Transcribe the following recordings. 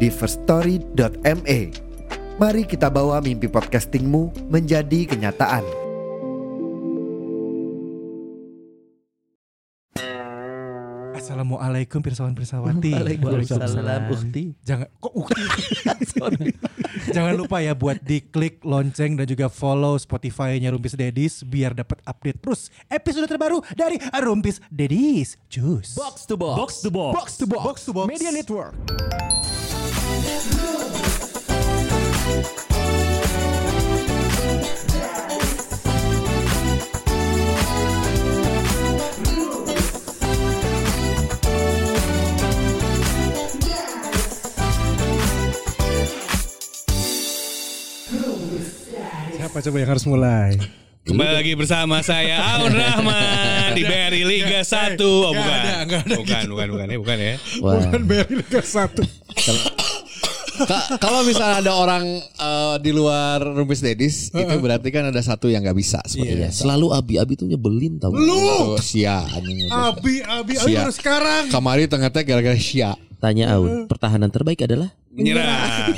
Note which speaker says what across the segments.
Speaker 1: di firststory.me. Mari kita bawa mimpi podcastingmu menjadi kenyataan.
Speaker 2: Assalamualaikum pirsawan pirsawati.
Speaker 3: Waalaikumsalam Ukti.
Speaker 2: Jangan kok ukti. Jangan lupa ya buat diklik lonceng dan juga follow Spotify-nya Rumpis Dedis biar dapat update terus episode terbaru dari Rumpis Dedis. Cus.
Speaker 3: Box to box. Box to box. Box to box. Box to box. Media Network.
Speaker 2: Siapa coba yang harus mulai?
Speaker 4: Kembali lagi bersama saya Aun Rahman di BRI
Speaker 5: Eh,
Speaker 4: Liga 1. Oh bukan. bukan, bukan, bukan, Eh, bukan ya.
Speaker 3: Wah.
Speaker 2: Beri Liga 1.
Speaker 5: Ka- kalau misalnya ada orang eh, di luar Rumpis Dedis itu berarti kan ada satu yang nggak bisa seperti
Speaker 3: Iya, selalu abi-abi tuh nyebelin tau.
Speaker 5: Lu Sia anjing.
Speaker 2: Abi, Abi, Abi
Speaker 5: Siap.
Speaker 2: harus sekarang.
Speaker 5: Kemarin tengah-tengah gara-gara Sia.
Speaker 3: Tanya Aun, pertahanan terbaik adalah?
Speaker 4: Nyerang.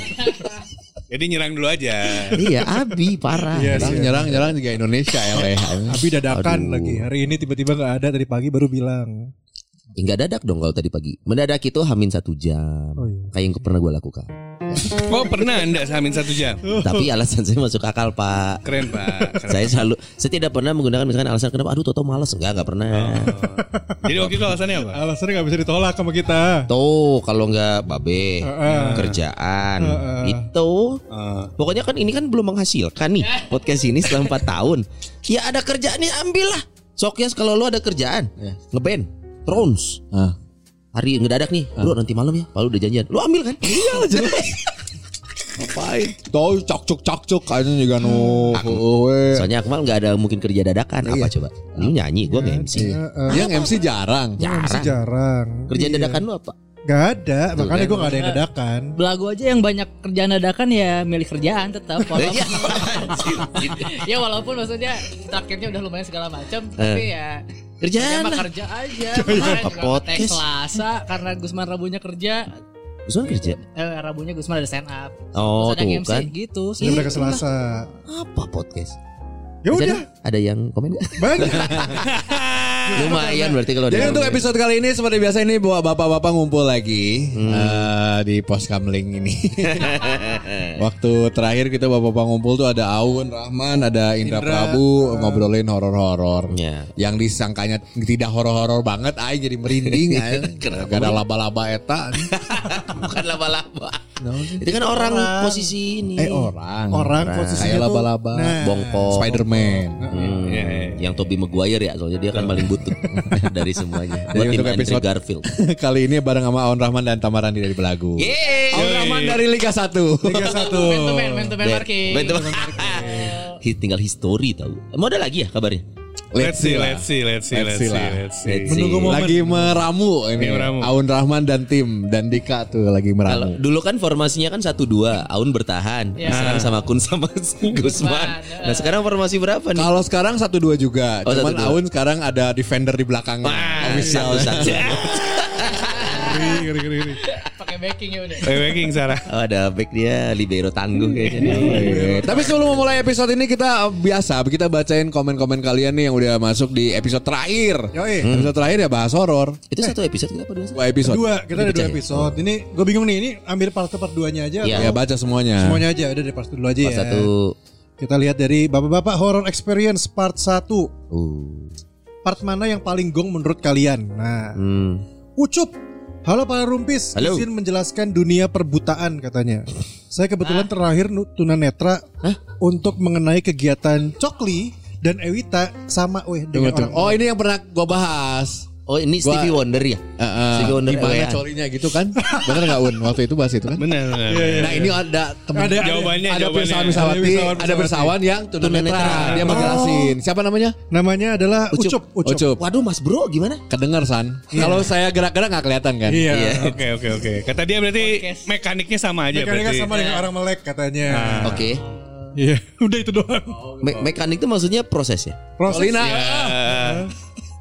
Speaker 4: Jadi nyerang dulu aja.
Speaker 3: iya, abi parah. Iya.
Speaker 5: Orang nyerang-nyerang juga Indonesia ya Le.
Speaker 2: Abi dadakan
Speaker 5: Aduh.
Speaker 2: lagi. Hari ini tiba-tiba nggak ada tadi pagi baru bilang.
Speaker 3: Enggak dadak dong kalau tadi pagi. Mendadak itu hamin satu jam.
Speaker 2: Oh, iya.
Speaker 3: Kayak yang pernah gue lakukan.
Speaker 4: Oh pernah anda samin satu jam?
Speaker 3: Tapi alasan saya masuk akal pak.
Speaker 4: Keren pak. Keren.
Speaker 3: Saya selalu, saya tidak pernah menggunakan dengan alasan kenapa. Aduh, Toto malas enggak, enggak pernah.
Speaker 4: Jadi waktu itu alasannya apa?
Speaker 2: Alasannya nggak bisa ditolak sama kita.
Speaker 3: Tuh, kalau enggak babe, kerjaan, itu.
Speaker 4: Eh,
Speaker 3: Pokoknya kan ini kan belum menghasilkan nih podcast ini selama 4 tahun. Ya ada kerjaan nih ambillah. Soknya kalau lu ada kerjaan,
Speaker 2: Iya.
Speaker 3: ngeband, Trons.
Speaker 5: Ah.
Speaker 3: Hari ngedadak nih, lu nanti malam ya, Palu udah janjian. Lu ambil kan? Iya
Speaker 5: Ngapain? Tuh cok-cok cok-cok kayaknya juga Oh, eh. nu. Heeh.
Speaker 3: Soalnya Akmal nggak ada mungkin kerja dadakan.
Speaker 2: Iya.
Speaker 3: Apa coba? Lu nyanyi, gua MC.
Speaker 5: Yang MC jarang.
Speaker 2: Masih
Speaker 3: Jarang.
Speaker 2: jarang.
Speaker 3: Kerjaan
Speaker 2: Iya.
Speaker 3: dadakan lu apa?
Speaker 2: Gak ada. Makanya gue gak ada yang dadakan.
Speaker 6: Belagu aja yang banyak kerjaan dadakan ya milih kerjaan tetap
Speaker 3: Iya.
Speaker 6: walaupun, ya walaupun maksudnya terakhirnya udah lumayan segala macam
Speaker 3: Eh.
Speaker 6: tapi ya
Speaker 3: Kerjaan
Speaker 6: ya mah
Speaker 3: lah.
Speaker 6: kerja aja kemarin juga
Speaker 3: Podcast.
Speaker 6: ngetek Selasa karena Gusman Rabunya kerja
Speaker 3: Gusman kerja.
Speaker 6: eh, Rabunya Gusman ada stand up Terus
Speaker 3: Oh,
Speaker 6: ada
Speaker 3: tuh
Speaker 6: yang MC
Speaker 3: kan.
Speaker 6: gitu
Speaker 2: Ini udah ke Selasa.
Speaker 3: Apa podcast?
Speaker 2: Ya
Speaker 3: Ada-
Speaker 2: udah.
Speaker 3: Ada yang komen nggak?
Speaker 2: Banyak.
Speaker 3: Lumayan berarti kalau ada
Speaker 5: Jadi
Speaker 3: yang
Speaker 5: untuk
Speaker 3: komen.
Speaker 5: episode kali ini seperti biasa ini bawa bapak-bapak ngumpul lagi
Speaker 4: Hmm.
Speaker 5: eh, di pos kamling ini. Waktu terakhir kita bapak-bapak ngumpul tuh ada Aun, Rahman, ada Indra, Prabu ngobrolin horor-horor.
Speaker 4: Iya.
Speaker 3: Ya.
Speaker 5: Yang disangkanya tidak horor-horor banget, aing jadi merinding. aing. Gak ada laba-laba eta.
Speaker 3: bukan laba-laba. Itu kan orang posisi ini.
Speaker 5: Nah, eh orang.
Speaker 2: Orang
Speaker 5: Kayak
Speaker 2: posisinya tuh.
Speaker 5: laba-laba.
Speaker 2: Nah.
Speaker 3: Bongkok.
Speaker 5: Oh, Spiderman.
Speaker 3: Hmm,
Speaker 4: Iya, iya.
Speaker 3: Yang Toby Maguire ya soalnya dia kan paling butut dari semuanya. Buat
Speaker 5: Jadi
Speaker 3: tim
Speaker 5: untuk
Speaker 3: Andrew
Speaker 5: episode-
Speaker 3: Garfield.
Speaker 5: kali ini bareng sama Aun Rahman dan Tamarandi dari Belagu.
Speaker 3: Yeay.
Speaker 5: Aun Rahman dari Liga 1.
Speaker 2: Liga satu.
Speaker 6: man to man man to man
Speaker 3: Ben-
Speaker 6: marking
Speaker 3: Ben- Hi- tinggal history tahu. Mau ada lagi ya kabarnya?
Speaker 4: let's see,
Speaker 5: lah.
Speaker 4: let's see, let's see, let's
Speaker 5: Let's see
Speaker 4: see,
Speaker 5: lah.
Speaker 4: let's see.
Speaker 3: Let's see.
Speaker 2: Menunggu momen.
Speaker 5: Lagi meramu ini.
Speaker 4: Lagi meramu.
Speaker 5: Aun Rahman dan tim dan Dika tuh lagi
Speaker 3: Kalau
Speaker 5: meramu.
Speaker 3: dulu kan formasinya kan satu dua, Aun bertahan,
Speaker 6: Ya.
Speaker 3: diserang sama Kun sama Iya. Gusman. Nah sekarang formasi berapa nih?
Speaker 5: Kalau sekarang satu dua juga,
Speaker 3: Oh,
Speaker 5: cuman
Speaker 3: 1-2.
Speaker 5: Aun sekarang ada defender di belakang.
Speaker 3: Wah,
Speaker 5: Official.
Speaker 3: satu-satu.
Speaker 6: pakai backing ya udah
Speaker 4: Waking Sarah.
Speaker 3: Oh, ada back dia libero tangguh kayaknya.
Speaker 5: Oke. Tapi sebelum memulai episode ini kita eh, biasa kita bacain komen-komen kalian nih yang udah masuk di episode terakhir.
Speaker 2: Yoi.
Speaker 5: Hmm. Episode terakhir ya bahas horor.
Speaker 3: Itu satu episode kita apa dua? ya?
Speaker 5: Dua episode.
Speaker 2: Dua, kita ada dua
Speaker 3: Dipercaya.
Speaker 2: episode. Ini gue bingung nih, ini ambil part part duanya aja.
Speaker 3: Iya.
Speaker 2: atau
Speaker 5: Ya baca semuanya.
Speaker 2: Semuanya aja, udah dari part dulu aja
Speaker 3: Pas
Speaker 2: ya.
Speaker 3: satu.
Speaker 2: Kita lihat dari Bapak-bapak Horror Experience part 1.
Speaker 3: Uh.
Speaker 2: Part mana yang paling gong menurut kalian? Nah,
Speaker 3: Hmm.
Speaker 2: Ucup. Halo para rumpis,
Speaker 3: Halo.
Speaker 2: izin menjelaskan dunia perbutaan katanya. Saya kebetulan terakhir nu- tunanetra untuk mengenai kegiatan Cokli dan Ewita sama weh
Speaker 5: Tunggu,
Speaker 2: dengan
Speaker 5: tunggu.
Speaker 2: orang.
Speaker 5: Oh ini yang pernah gua bahas.
Speaker 3: Oh ini
Speaker 5: Gua-
Speaker 3: Stevie Wonder ya?
Speaker 5: Eh, eh,
Speaker 3: Stevie Wonder
Speaker 5: gimana
Speaker 3: LA.
Speaker 5: colinya gitu kan? Bener nggak Un? Waktu itu bahas itu kan?
Speaker 4: Benar. benar, benar.
Speaker 5: Nah ini ada teman
Speaker 4: Ada- Jawabannya,
Speaker 5: ada
Speaker 4: jawabannya.
Speaker 5: pirsawan Pirsawati,
Speaker 2: Ada pirsawan
Speaker 5: ada bersawan yang tunanetra,
Speaker 3: Tunanetra.
Speaker 5: dia menjelasin. Siapa namanya?
Speaker 2: Namanya adalah Ucup. Ucup.
Speaker 5: Ucup.
Speaker 3: Waduh Mas Bro gimana?
Speaker 5: Kedengar San. Kalau saya gerak-gerak nggak kelihatan kan?
Speaker 2: Iya.
Speaker 3: Iya.
Speaker 4: Oke oke oke. Kata dia berarti
Speaker 6: Podcast.
Speaker 4: mekaniknya sama
Speaker 3: Oh,
Speaker 4: aja
Speaker 2: Mekaniknya
Speaker 4: berarti.
Speaker 2: sama dengan orang melek katanya.
Speaker 5: Nah.
Speaker 3: Oke.
Speaker 2: Iya, udah itu doang.
Speaker 5: Oh,
Speaker 3: Me- mekanik itu maksudnya prosesnya.
Speaker 5: Solina.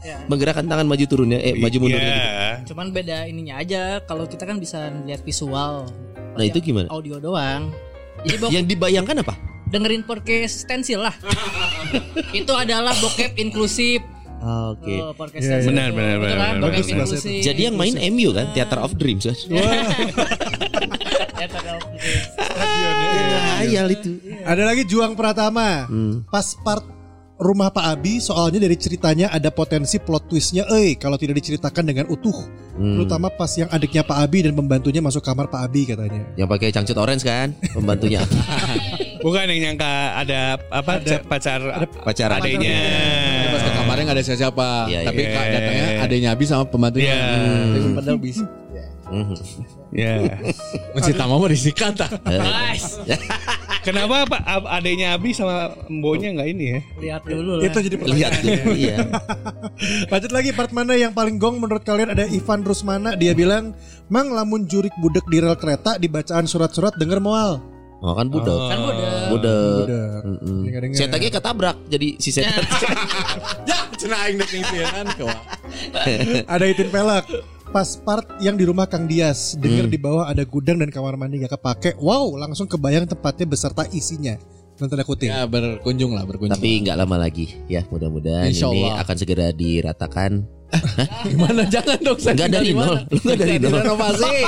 Speaker 4: Ya.
Speaker 3: Menggerakkan tangan maju turunnya eh maju mundurnya. gitu.
Speaker 4: Iya.
Speaker 6: Cuman beda ininya aja. Kalau kita kan bisa lihat visual.
Speaker 3: Nah, itu gimana?
Speaker 5: Oh,
Speaker 6: Audio doang. Jadi bok
Speaker 3: Yang dibayangkan apa?
Speaker 6: dengerin podcast stensil lah. itu adalah bokep inklusif.
Speaker 3: Ah, Oke.
Speaker 6: Oh, podcast stensil.
Speaker 4: Benar, benar,
Speaker 6: Betul
Speaker 4: benar,
Speaker 6: kan?
Speaker 4: benar,
Speaker 6: Bokep
Speaker 4: bagus, bagus.
Speaker 6: inklusif.
Speaker 3: Jadi yang main MU kan Theater of Dreams kan.
Speaker 6: Ya, tanda waktu.
Speaker 3: Ayal Iya, itu.
Speaker 2: Ada lagi Juang Pratama. Pas part rumah Pak Abi soalnya dari ceritanya ada potensi plot twistnya eh kalau tidak diceritakan dengan utuh terutama pas yang adiknya Pak Abi dan pembantunya masuk kamar Pak Abi katanya
Speaker 3: Yang pakai cangcut orange kan pembantunya.
Speaker 4: Bukan yang nyangka ada apa ca- pacar Iya.
Speaker 3: pacar
Speaker 4: adiknya.
Speaker 5: Pas ke kamarnya nggak ada siapa-siapa.
Speaker 3: Iya, iya.
Speaker 5: Tapi kak datangnya adanya habis sama pembantunya. Hmm.
Speaker 4: Iya.
Speaker 5: Tapi Padahal bisa.
Speaker 3: Mhm.
Speaker 4: Ya.
Speaker 5: Masih tamu mah disikat ah.
Speaker 4: Kenapa Pak ab- adiknya Abi sama Mbonya nggak ini ya?
Speaker 6: Lihat dulu lah.
Speaker 2: itu jadi
Speaker 3: Lihat
Speaker 2: pertanyaan
Speaker 3: tuh. Iya.
Speaker 2: lanjut lagi part mana yang paling gong menurut kalian ada Ivan Rusmana dia bilang mang lamun jurik budek di rel kereta dibacaan surat-surat denger moal
Speaker 3: Oh kan budak.
Speaker 6: Kan udah.
Speaker 3: Budak.
Speaker 2: Budak.
Speaker 3: Mm-mm.
Speaker 2: Dengar-dengar.
Speaker 3: Setaknya ketabrak jadi si setan.
Speaker 5: Ya, cenah aing
Speaker 3: Iya.
Speaker 5: dek ngisieunan keuang.
Speaker 2: ada itin pelak pas part yang di rumah Kang Dias denger di bawah ada gudang dan kamar mandi gak kepake wow langsung kebayang tempatnya beserta isinya dan tanda kutip
Speaker 5: Ya berkunjung lah berkunjung.
Speaker 3: Tapi nggak lama lagi ya mudah-mudahan
Speaker 5: Insya
Speaker 3: ini
Speaker 5: Allah.
Speaker 3: akan segera diratakan.
Speaker 5: gimana jangan dong saya
Speaker 3: Nggak dari
Speaker 5: tinggal di
Speaker 3: nol,
Speaker 5: mana?
Speaker 3: lu nggak dari
Speaker 5: Tinggal
Speaker 3: nol.
Speaker 5: di renovasi.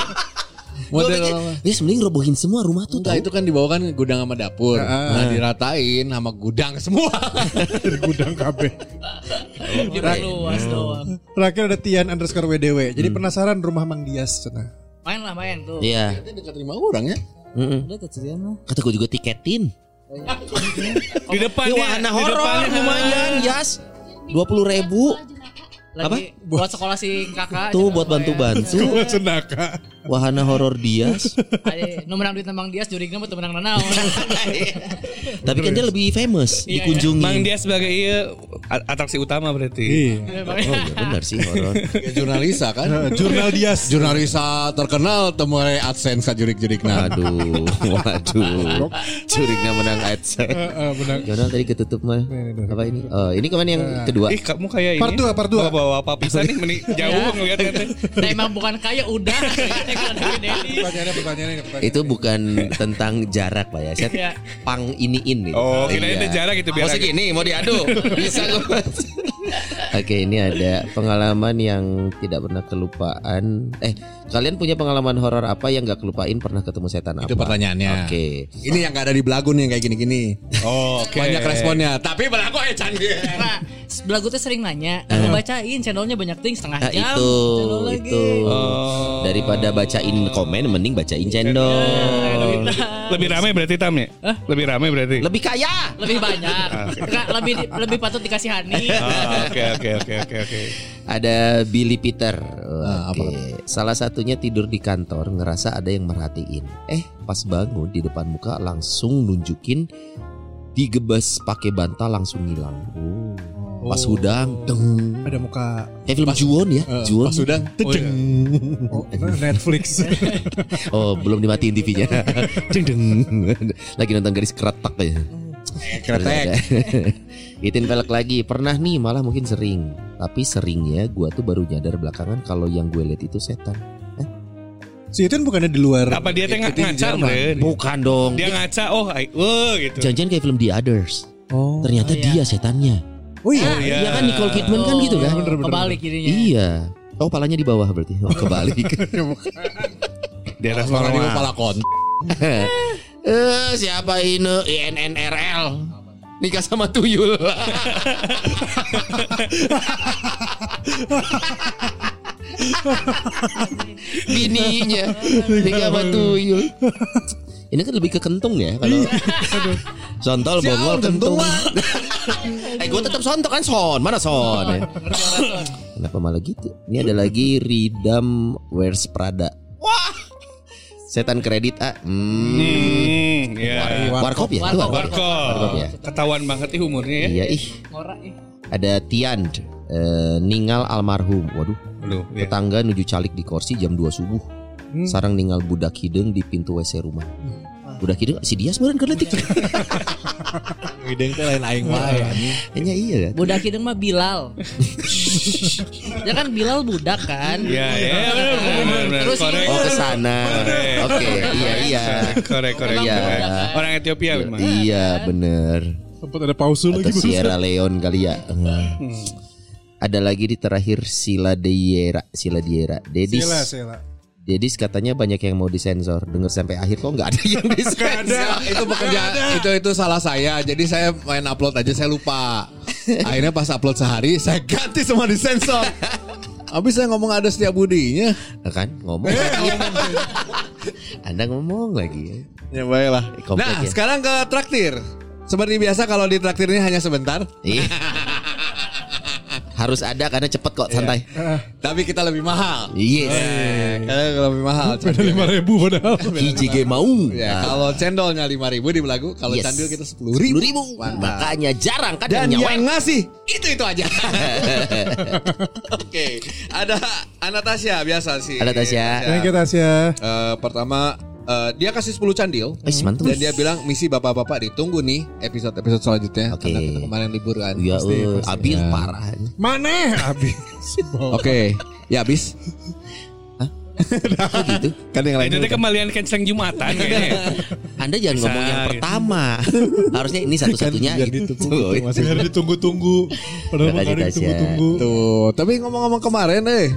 Speaker 5: Model
Speaker 3: Ini sebenarnya robohin semua rumah tuh.
Speaker 5: Enggak
Speaker 3: tau.
Speaker 5: itu kan dibawakan gudang sama dapur. Nah, diratain sama gudang semua.
Speaker 2: gudang KB
Speaker 6: Diperluas
Speaker 3: Iya.
Speaker 6: doang.
Speaker 2: terakhir ada Tian underscore WDW jadi penasaran rumah Mang Dias cina
Speaker 6: Main lah main tuh.
Speaker 3: Iya.
Speaker 5: Dekat rumah orang ya.
Speaker 3: Mm-mm.
Speaker 6: Udah kecerian lah.
Speaker 3: Kata gue juga tiketin.
Speaker 4: Di
Speaker 3: Ini
Speaker 4: depannya.
Speaker 3: wahana
Speaker 4: Iya, di
Speaker 3: horor
Speaker 4: depannya.
Speaker 3: lumayan, Yas. Dua puluh ribu
Speaker 6: Lagi buat sekolah si kakak. gitu, ya? aja
Speaker 3: tuh buat
Speaker 6: lumayan.
Speaker 3: bantu-bantu.
Speaker 2: senaka
Speaker 3: Wahana horor Dias.
Speaker 6: Ade, nu menang duit nang Bang Dias jurigna mah teu menang nanaon.
Speaker 3: Tapi kan dia lebih famous dikunjungi.
Speaker 4: Mang iya. dia sebagai iya, a- atraksi utama berarti.
Speaker 2: iya
Speaker 3: Oh iya benar sih horor.
Speaker 5: Kayak jurnalisa kan.
Speaker 2: jurnal Dias
Speaker 5: jurnalisa terkenal temuai adsense ka jurik-jurikna.
Speaker 3: Waduh, waduh. Curignya menang
Speaker 2: Eh,
Speaker 3: AdSense. Jurnal Ya tadi ketutup mah. Apa ini? Oh, ini kemarin yang kedua.
Speaker 4: Ih kamu kayak
Speaker 2: Part
Speaker 4: ini.
Speaker 2: dua, part dua.
Speaker 4: Bawa apa pisan nih meni- jauh ngeliatnya. teh.
Speaker 6: Nah, emang bukan kaya udah. Kalau dari Dedi.
Speaker 2: pertanyaannya pertanyaannya ini, pertanyaan.
Speaker 3: Itu bukan tentang jarak pak ya. Saya
Speaker 6: Iya.
Speaker 3: pang ini ini.
Speaker 4: Oh, kirain
Speaker 3: Iya.
Speaker 4: teh jarak gitu biar
Speaker 3: Mau
Speaker 4: agak-
Speaker 3: segini mau diadu bisa gue. Oke ini ada pengalaman yang tidak pernah kelupaan. Eh kalian punya pengalaman horor apa yang gak kelupain pernah ketemu setan apa?
Speaker 5: Itu pertanyaannya.
Speaker 3: Oke.
Speaker 5: Ini yang gak ada di belagu nih yang kayak gini-gini.
Speaker 4: Oh, oke.
Speaker 5: Banyak responnya. Tapi belagu eh canggih.
Speaker 6: Nah, belagu tuh sering nanya, aku bacain channelnya banyak ting setengah
Speaker 3: Nah,
Speaker 6: jam.
Speaker 3: itu
Speaker 6: channel lagi.
Speaker 3: itu
Speaker 4: Oh.
Speaker 3: daripada bacain komen mending
Speaker 4: Iya,
Speaker 3: bacain channel.
Speaker 4: Lebih ramai berarti tamnya. Lebih ramai berarti.
Speaker 3: Lebih kaya.
Speaker 6: Lebih banyak. Enggak, lebih lebih patut dikasihani.
Speaker 4: Ah, Oke oke oke oke oke.
Speaker 3: Ada Billy Peter.
Speaker 5: Ah,
Speaker 3: Oke. Salah satunya tidur di kantor ngerasa ada yang merhatiin. Eh, pas bangun di depan muka langsung nunjukin digebas pakai bantal langsung hilang. Pas udang, deng.
Speaker 2: ada muka
Speaker 3: Eh, film Juwon ya,
Speaker 5: Oh. Eh,
Speaker 3: Juwon.
Speaker 5: Pas udang. tedeng.
Speaker 2: oh,
Speaker 5: eh.
Speaker 2: Netflix
Speaker 3: Oh, belum dimatiin TV-nya. Deng, deng. Lagi nonton garis keretak ya.
Speaker 5: iya. Kretek.
Speaker 3: Itin pelek lagi Pernah nih malah mungkin sering Tapi seringnya gua tuh baru nyadar belakangan Kalau yang gue lihat itu setan
Speaker 2: si Tian bukannya di luar
Speaker 4: Apa dia teh nga-
Speaker 5: Ikutin
Speaker 4: ngaca
Speaker 5: Jerman.
Speaker 4: meren?
Speaker 3: Bukan dong
Speaker 4: Iya. Dia ngaca oh ai wah gitu.
Speaker 3: Janjian kayak film The Others
Speaker 2: oh
Speaker 3: Ternyata
Speaker 6: Oh, iya.
Speaker 3: dia setannya
Speaker 2: oh iya
Speaker 4: iya.
Speaker 3: Iya kan Nicole Kidman kan gitu kan
Speaker 2: bener, bener,
Speaker 6: Kebalik jadinya.
Speaker 3: Iya Oh palanya di bawah berarti Oh kebalik
Speaker 4: Daerah
Speaker 5: Suara di
Speaker 4: Sorong.
Speaker 5: kepala kon.
Speaker 3: Eh siapa ini INNRL Nikah sama tuyul Bininya Nikah sama tuyul Ini kan lebih ke kentung ya kalau Sontol bongol kentung Eh gue tetap sontok kan son Mana son ya? Kenapa malah gitu? Ini ada lagi Ridam Wears Prada. Wah. Setan kredit ah. Hmm.
Speaker 4: Hmm, ya.
Speaker 3: War- Warkop ya? Itu
Speaker 6: Warkop.
Speaker 4: Warkop.
Speaker 3: ya?
Speaker 4: Ketahuan banget nih umurnya ya.
Speaker 3: Iya ih.
Speaker 6: Ngorak ih.
Speaker 3: Ada Tian eh, Ningal almarhum. Waduh.
Speaker 4: Aduh, ya.
Speaker 3: Tetangga nuju calik di kursi jam 2 subuh. Sarang ninggal budak hidung di pintu WC rumah. Budak hidung si Dias meureun keletik.
Speaker 5: Hideng teh lain aing wae anjing.
Speaker 3: Hanya iya kan?
Speaker 6: Budak hidung mah Bilal. ya kan Bilal budak kan.
Speaker 4: Iya, ya, benar, benar, benar.
Speaker 6: Terus
Speaker 4: Korek.
Speaker 3: Oh ke sana.
Speaker 4: Korek.
Speaker 3: Oke, iya iya.
Speaker 4: Korek, korek.
Speaker 3: Iya.
Speaker 4: korek. Orang Ethiopia memang.
Speaker 3: Iya bener
Speaker 2: Sempat ada pause lagi
Speaker 3: Atau
Speaker 2: barusan.
Speaker 3: Sierra Leone kali ya. Ada lagi di terakhir Sila Diera, Sila Diera. Dedis.
Speaker 2: Sela, sela.
Speaker 3: Dedis katanya banyak yang mau disensor. Dengar sampai akhir kok nggak ada yang disensor.
Speaker 5: itu pekerjaan itu itu salah saya. Jadi saya main upload aja saya lupa. Akhirnya pas upload sehari saya ganti semua di sensor. Habis saya ngomong ada setiap budinya.
Speaker 3: Nah, kan ngomong.
Speaker 5: Eh,
Speaker 3: Anda ngomong lagi ya.
Speaker 5: Ya baiklah.
Speaker 3: Komplek
Speaker 5: Nah,
Speaker 3: ya.
Speaker 5: sekarang ke traktir. Seperti biasa kalau di traktir ini hanya sebentar,
Speaker 3: Ih. Iya. Harus ada karena cepet
Speaker 5: Iya.
Speaker 3: kok santai. Iya.
Speaker 5: tapi kita lebih mahal. iya.
Speaker 3: Yes.
Speaker 5: Karena lebih mahal.
Speaker 2: Beda lima ribu padahal.
Speaker 3: Hijige Iya. mau. Nah,
Speaker 5: Ya, kalau cendolnya 5000 di Belagu, kalau
Speaker 3: Yes.
Speaker 5: candil kita 10.000.
Speaker 3: 10
Speaker 5: ribu.
Speaker 3: ribu. Makanya jarang kan
Speaker 5: Dan
Speaker 3: yang
Speaker 5: yang
Speaker 3: nyaweng.
Speaker 5: ngasih itu-itu aja. Oke, ada Anastasia biasa sih.
Speaker 3: Anastasia.
Speaker 2: Thank you Tasya.
Speaker 5: Eh, pertama eh, dia kasih 10 candil.
Speaker 3: Wih, mantap.
Speaker 5: Dan dia bilang misi bapak-bapak ditunggu nih episode-episode selanjutnya
Speaker 3: Oke.
Speaker 5: karena kita kemarin libur kan.
Speaker 3: Ya,
Speaker 5: Pasti. Iya.
Speaker 3: eh, abil parah.
Speaker 2: Mana Abi?
Speaker 5: Oke, ya habis.
Speaker 3: Kok gitu?
Speaker 5: Kan yang
Speaker 4: Itu
Speaker 5: lain.
Speaker 4: teh kembalian canceling Jumatan kayaknya. ya.
Speaker 3: Anda jangan ngomong yang
Speaker 4: Bisa, gitu.
Speaker 3: pertama. Harusnya ini satu-satunya.
Speaker 2: Biar
Speaker 3: gitu.
Speaker 2: ditunggu. Masih biar ditunggu-tunggu. Padahal
Speaker 3: Makasih,
Speaker 2: makanya
Speaker 3: Tasya.
Speaker 2: ditunggu-tunggu.
Speaker 5: Tuh, tapi ngomong-ngomong kemarin eh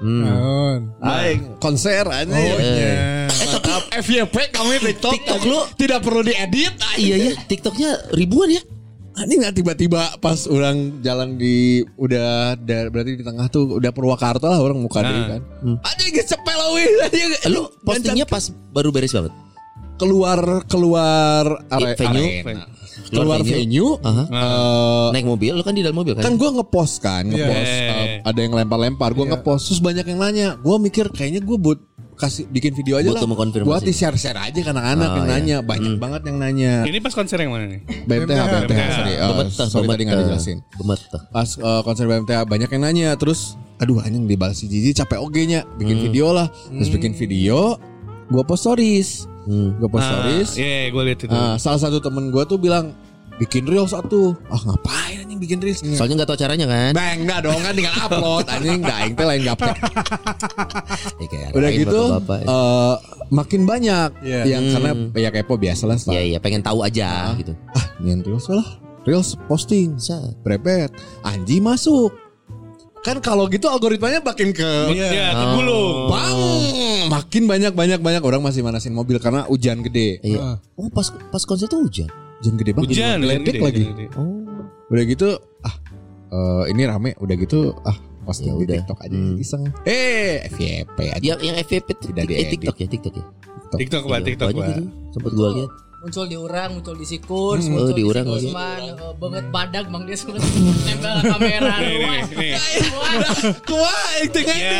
Speaker 3: Hmm.
Speaker 2: Naon.
Speaker 5: aing konser Eh, anjing.
Speaker 2: Ya.
Speaker 5: Mantap. FYP kami TikTok.
Speaker 3: Eh. TikTok lu.
Speaker 5: tidak perlu diedit.
Speaker 3: Ah, iya ya, TikToknya ribuan ya.
Speaker 5: Ah, Ini nggak tiba-tiba pas orang jalan di udah da- berarti di tengah tuh udah Purwakarta lah orang muka deh kan. Anjing cepet lah weh. Anjing,
Speaker 3: Hmm. Lu postingnya pas baru beres banget.
Speaker 5: keluar keluar are-
Speaker 3: venue.
Speaker 5: arena.
Speaker 3: Iya, Keluar
Speaker 5: keluar venue.
Speaker 3: Aha.
Speaker 5: eh,
Speaker 3: Naik mobil, lu kan di dalam mobil kan?
Speaker 5: kan gue ngepost kan ngepost
Speaker 3: Iya.
Speaker 5: eh, ada yang lempar-lempar gue ngepost terus banyak yang nanya gue mikir kayaknya gue buat kasih bikin video aja
Speaker 3: Buat
Speaker 5: lah
Speaker 3: lu mengkonfirmasi.
Speaker 5: buat di share share aja ke anak-anak
Speaker 3: Oh,
Speaker 5: yang
Speaker 3: iya.
Speaker 5: nanya banyak banget yang nanya
Speaker 4: Ini pas konser yang mana nih?
Speaker 5: BMTH BMTH
Speaker 4: BMTH.
Speaker 5: sorry eh,
Speaker 3: Bemetah,
Speaker 5: sorry tadi nggak dijelasin
Speaker 3: Bemetah.
Speaker 5: pas eh, konser BMTH banyak yang nanya terus aduh anjing di balas si Jiji capek oge nya bikin
Speaker 3: Hmm.
Speaker 5: video lah terus bikin video gue post stories
Speaker 3: Hmm.
Speaker 5: gue post stories
Speaker 4: Ah, Iya, gue lihat itu.
Speaker 5: Nah, salah satu temen gue tuh bilang bikin reels satu ah ngapain anjing bikin reels
Speaker 3: Soalnya nggak tahu caranya kan?
Speaker 5: Bang, enggak dong kan tinggal upload anjing enggak aing teh lain gaptek.
Speaker 3: Ya, kayak
Speaker 5: Udah
Speaker 3: lain iya.
Speaker 5: gitu
Speaker 3: bapak-bapak. ya.
Speaker 5: eh, makin banyak
Speaker 2: Iya.
Speaker 5: yang
Speaker 3: Hmm.
Speaker 5: karena ya kepo biasalah
Speaker 3: Ya
Speaker 5: setelah
Speaker 3: ya, pengen tahu aja gitu.
Speaker 5: ah nyen reels lah. Reels posting,
Speaker 3: Set.
Speaker 5: brepet, Anji masuk. Kan kalau gitu algoritmanya makin ke
Speaker 4: Iya, ke gulung.
Speaker 5: Bang, makin banyak banyak banyak orang masih manasin mobil karena hujan gede.
Speaker 3: Iya. Oh, pas pas konser tuh hujan.
Speaker 5: Hujan gede banget.
Speaker 4: Ah. Hujan, hujan
Speaker 5: Ledek
Speaker 4: gede,
Speaker 5: lagi.
Speaker 4: hujan gede.
Speaker 3: Oh.
Speaker 5: Udah gitu ah eh, ini rame udah gitu ah posting
Speaker 3: Ya
Speaker 5: di
Speaker 3: udah.
Speaker 5: TikTok aja
Speaker 3: Hmm.
Speaker 5: iseng. Eh, FYP aja.
Speaker 3: Yang yang FVP tuh
Speaker 5: Tidak
Speaker 3: eh,
Speaker 5: diedit.
Speaker 3: TikTok ya, TikTok ya.
Speaker 4: TikTok, Pak,
Speaker 3: Iya,
Speaker 4: TikTok,
Speaker 3: banyak
Speaker 4: Pak.
Speaker 3: itu. Sempet gua lihat.
Speaker 6: Muncul di orang, muncul di Sikun,
Speaker 3: Oh,
Speaker 6: muncul
Speaker 3: di
Speaker 6: si
Speaker 3: urang lagi.
Speaker 6: Gusman, eh, banget badak Bang dia suka nempel kamera.
Speaker 3: Iya,
Speaker 4: Nih, nih, Iya.
Speaker 6: Wah,
Speaker 4: nih.
Speaker 6: wah.
Speaker 5: Wah, itu
Speaker 4: Ya.
Speaker 3: Iya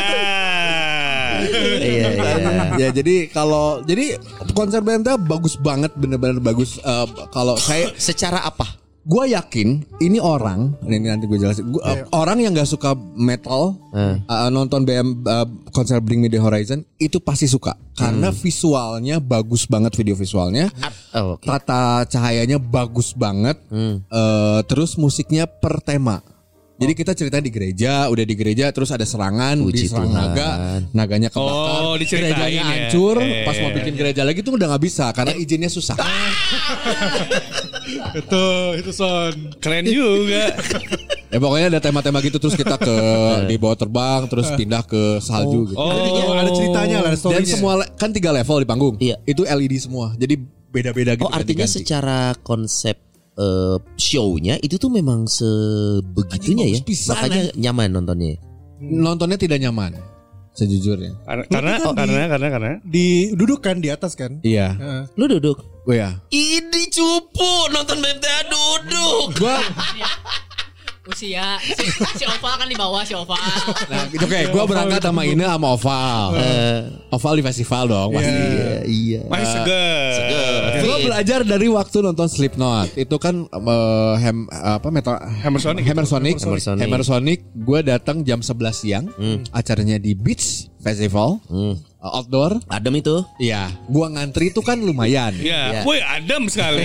Speaker 3: iya.
Speaker 5: ya jadi kalau jadi konser Benta bagus banget bener-bener bagus Eh, kalau saya
Speaker 3: Secara apa?
Speaker 5: gue yakin ini orang ini nanti gue jelasin Gua- eh, orang yang nggak suka metal
Speaker 3: Iya. Eh.
Speaker 5: eh, nonton BM eh, konser Bring Me The Horizon itu pasti suka
Speaker 3: Hmm.
Speaker 5: karena visualnya bagus banget video visualnya
Speaker 3: Oh, oke. Hmm.
Speaker 5: tata cahayanya bagus banget Eh, terus musiknya per tema jadi kita cerita di gereja, udah di gereja, terus ada serangan,
Speaker 3: Oh.
Speaker 5: di
Speaker 3: Puji
Speaker 5: serang
Speaker 3: Tuhan.
Speaker 5: naga, naganya kebakar,
Speaker 4: Oh, diceritain
Speaker 5: gerejanya
Speaker 4: ya.
Speaker 5: hancur,
Speaker 3: Iya,
Speaker 4: Eh.
Speaker 5: pas mau bikin gereja lagi tuh udah nggak bisa karena
Speaker 3: Eh.
Speaker 5: izinnya susah.
Speaker 3: Ah.
Speaker 2: Itu, itu son.
Speaker 4: Keren juga.
Speaker 5: Ya pokoknya ada tema-tema gitu terus kita ke
Speaker 3: Eh.
Speaker 5: dibawa terbang, terus pindah ke salju gitu.
Speaker 4: Oh,
Speaker 2: Ada ceritanya lah, ada
Speaker 5: Dan
Speaker 2: story-nya.
Speaker 5: semua le- kan tiga level di panggung,
Speaker 3: Iya.
Speaker 5: itu LED semua, jadi beda-beda gitu.
Speaker 3: Oh, artinya
Speaker 5: ganti-ganti.
Speaker 3: secara konsep eh, show-nya itu tuh memang sebegitunya
Speaker 5: Anjing, bagus
Speaker 3: ya.
Speaker 5: pisan,
Speaker 3: Makanya nyaman nontonnya.
Speaker 5: nontonnya tidak nyaman, sejujurnya.
Speaker 4: karena karena karena karena karena
Speaker 2: Di duduk kan di atas kan?
Speaker 5: Iya,
Speaker 2: Heeh.
Speaker 3: Lu duduk.
Speaker 5: oh ya.
Speaker 3: Ini cupu nonton BMTA duduk.
Speaker 5: Gua
Speaker 6: usia si, si Oval kan di bawah si Oval
Speaker 5: Nah, gitu kayak gue berangkat sama Ine sama Oval. Eh, Oval di festival dong pasti.
Speaker 3: Eh, Iya, iya.
Speaker 4: Masih seger.
Speaker 5: Gue belajar dari waktu nonton Slipknot. Itu kan eh, hem- apa metal
Speaker 4: Hammersonic.
Speaker 5: Hammersonic.
Speaker 3: Hammersonic.
Speaker 5: Hammersonic. Gue datang jam 11 siang. Acaranya di Beach Festival. Eh, Outdoor.
Speaker 3: Adem itu.
Speaker 5: Iya, gua ngantri itu kan lumayan.
Speaker 4: Ya,
Speaker 3: Iya.
Speaker 4: woi adem sekali.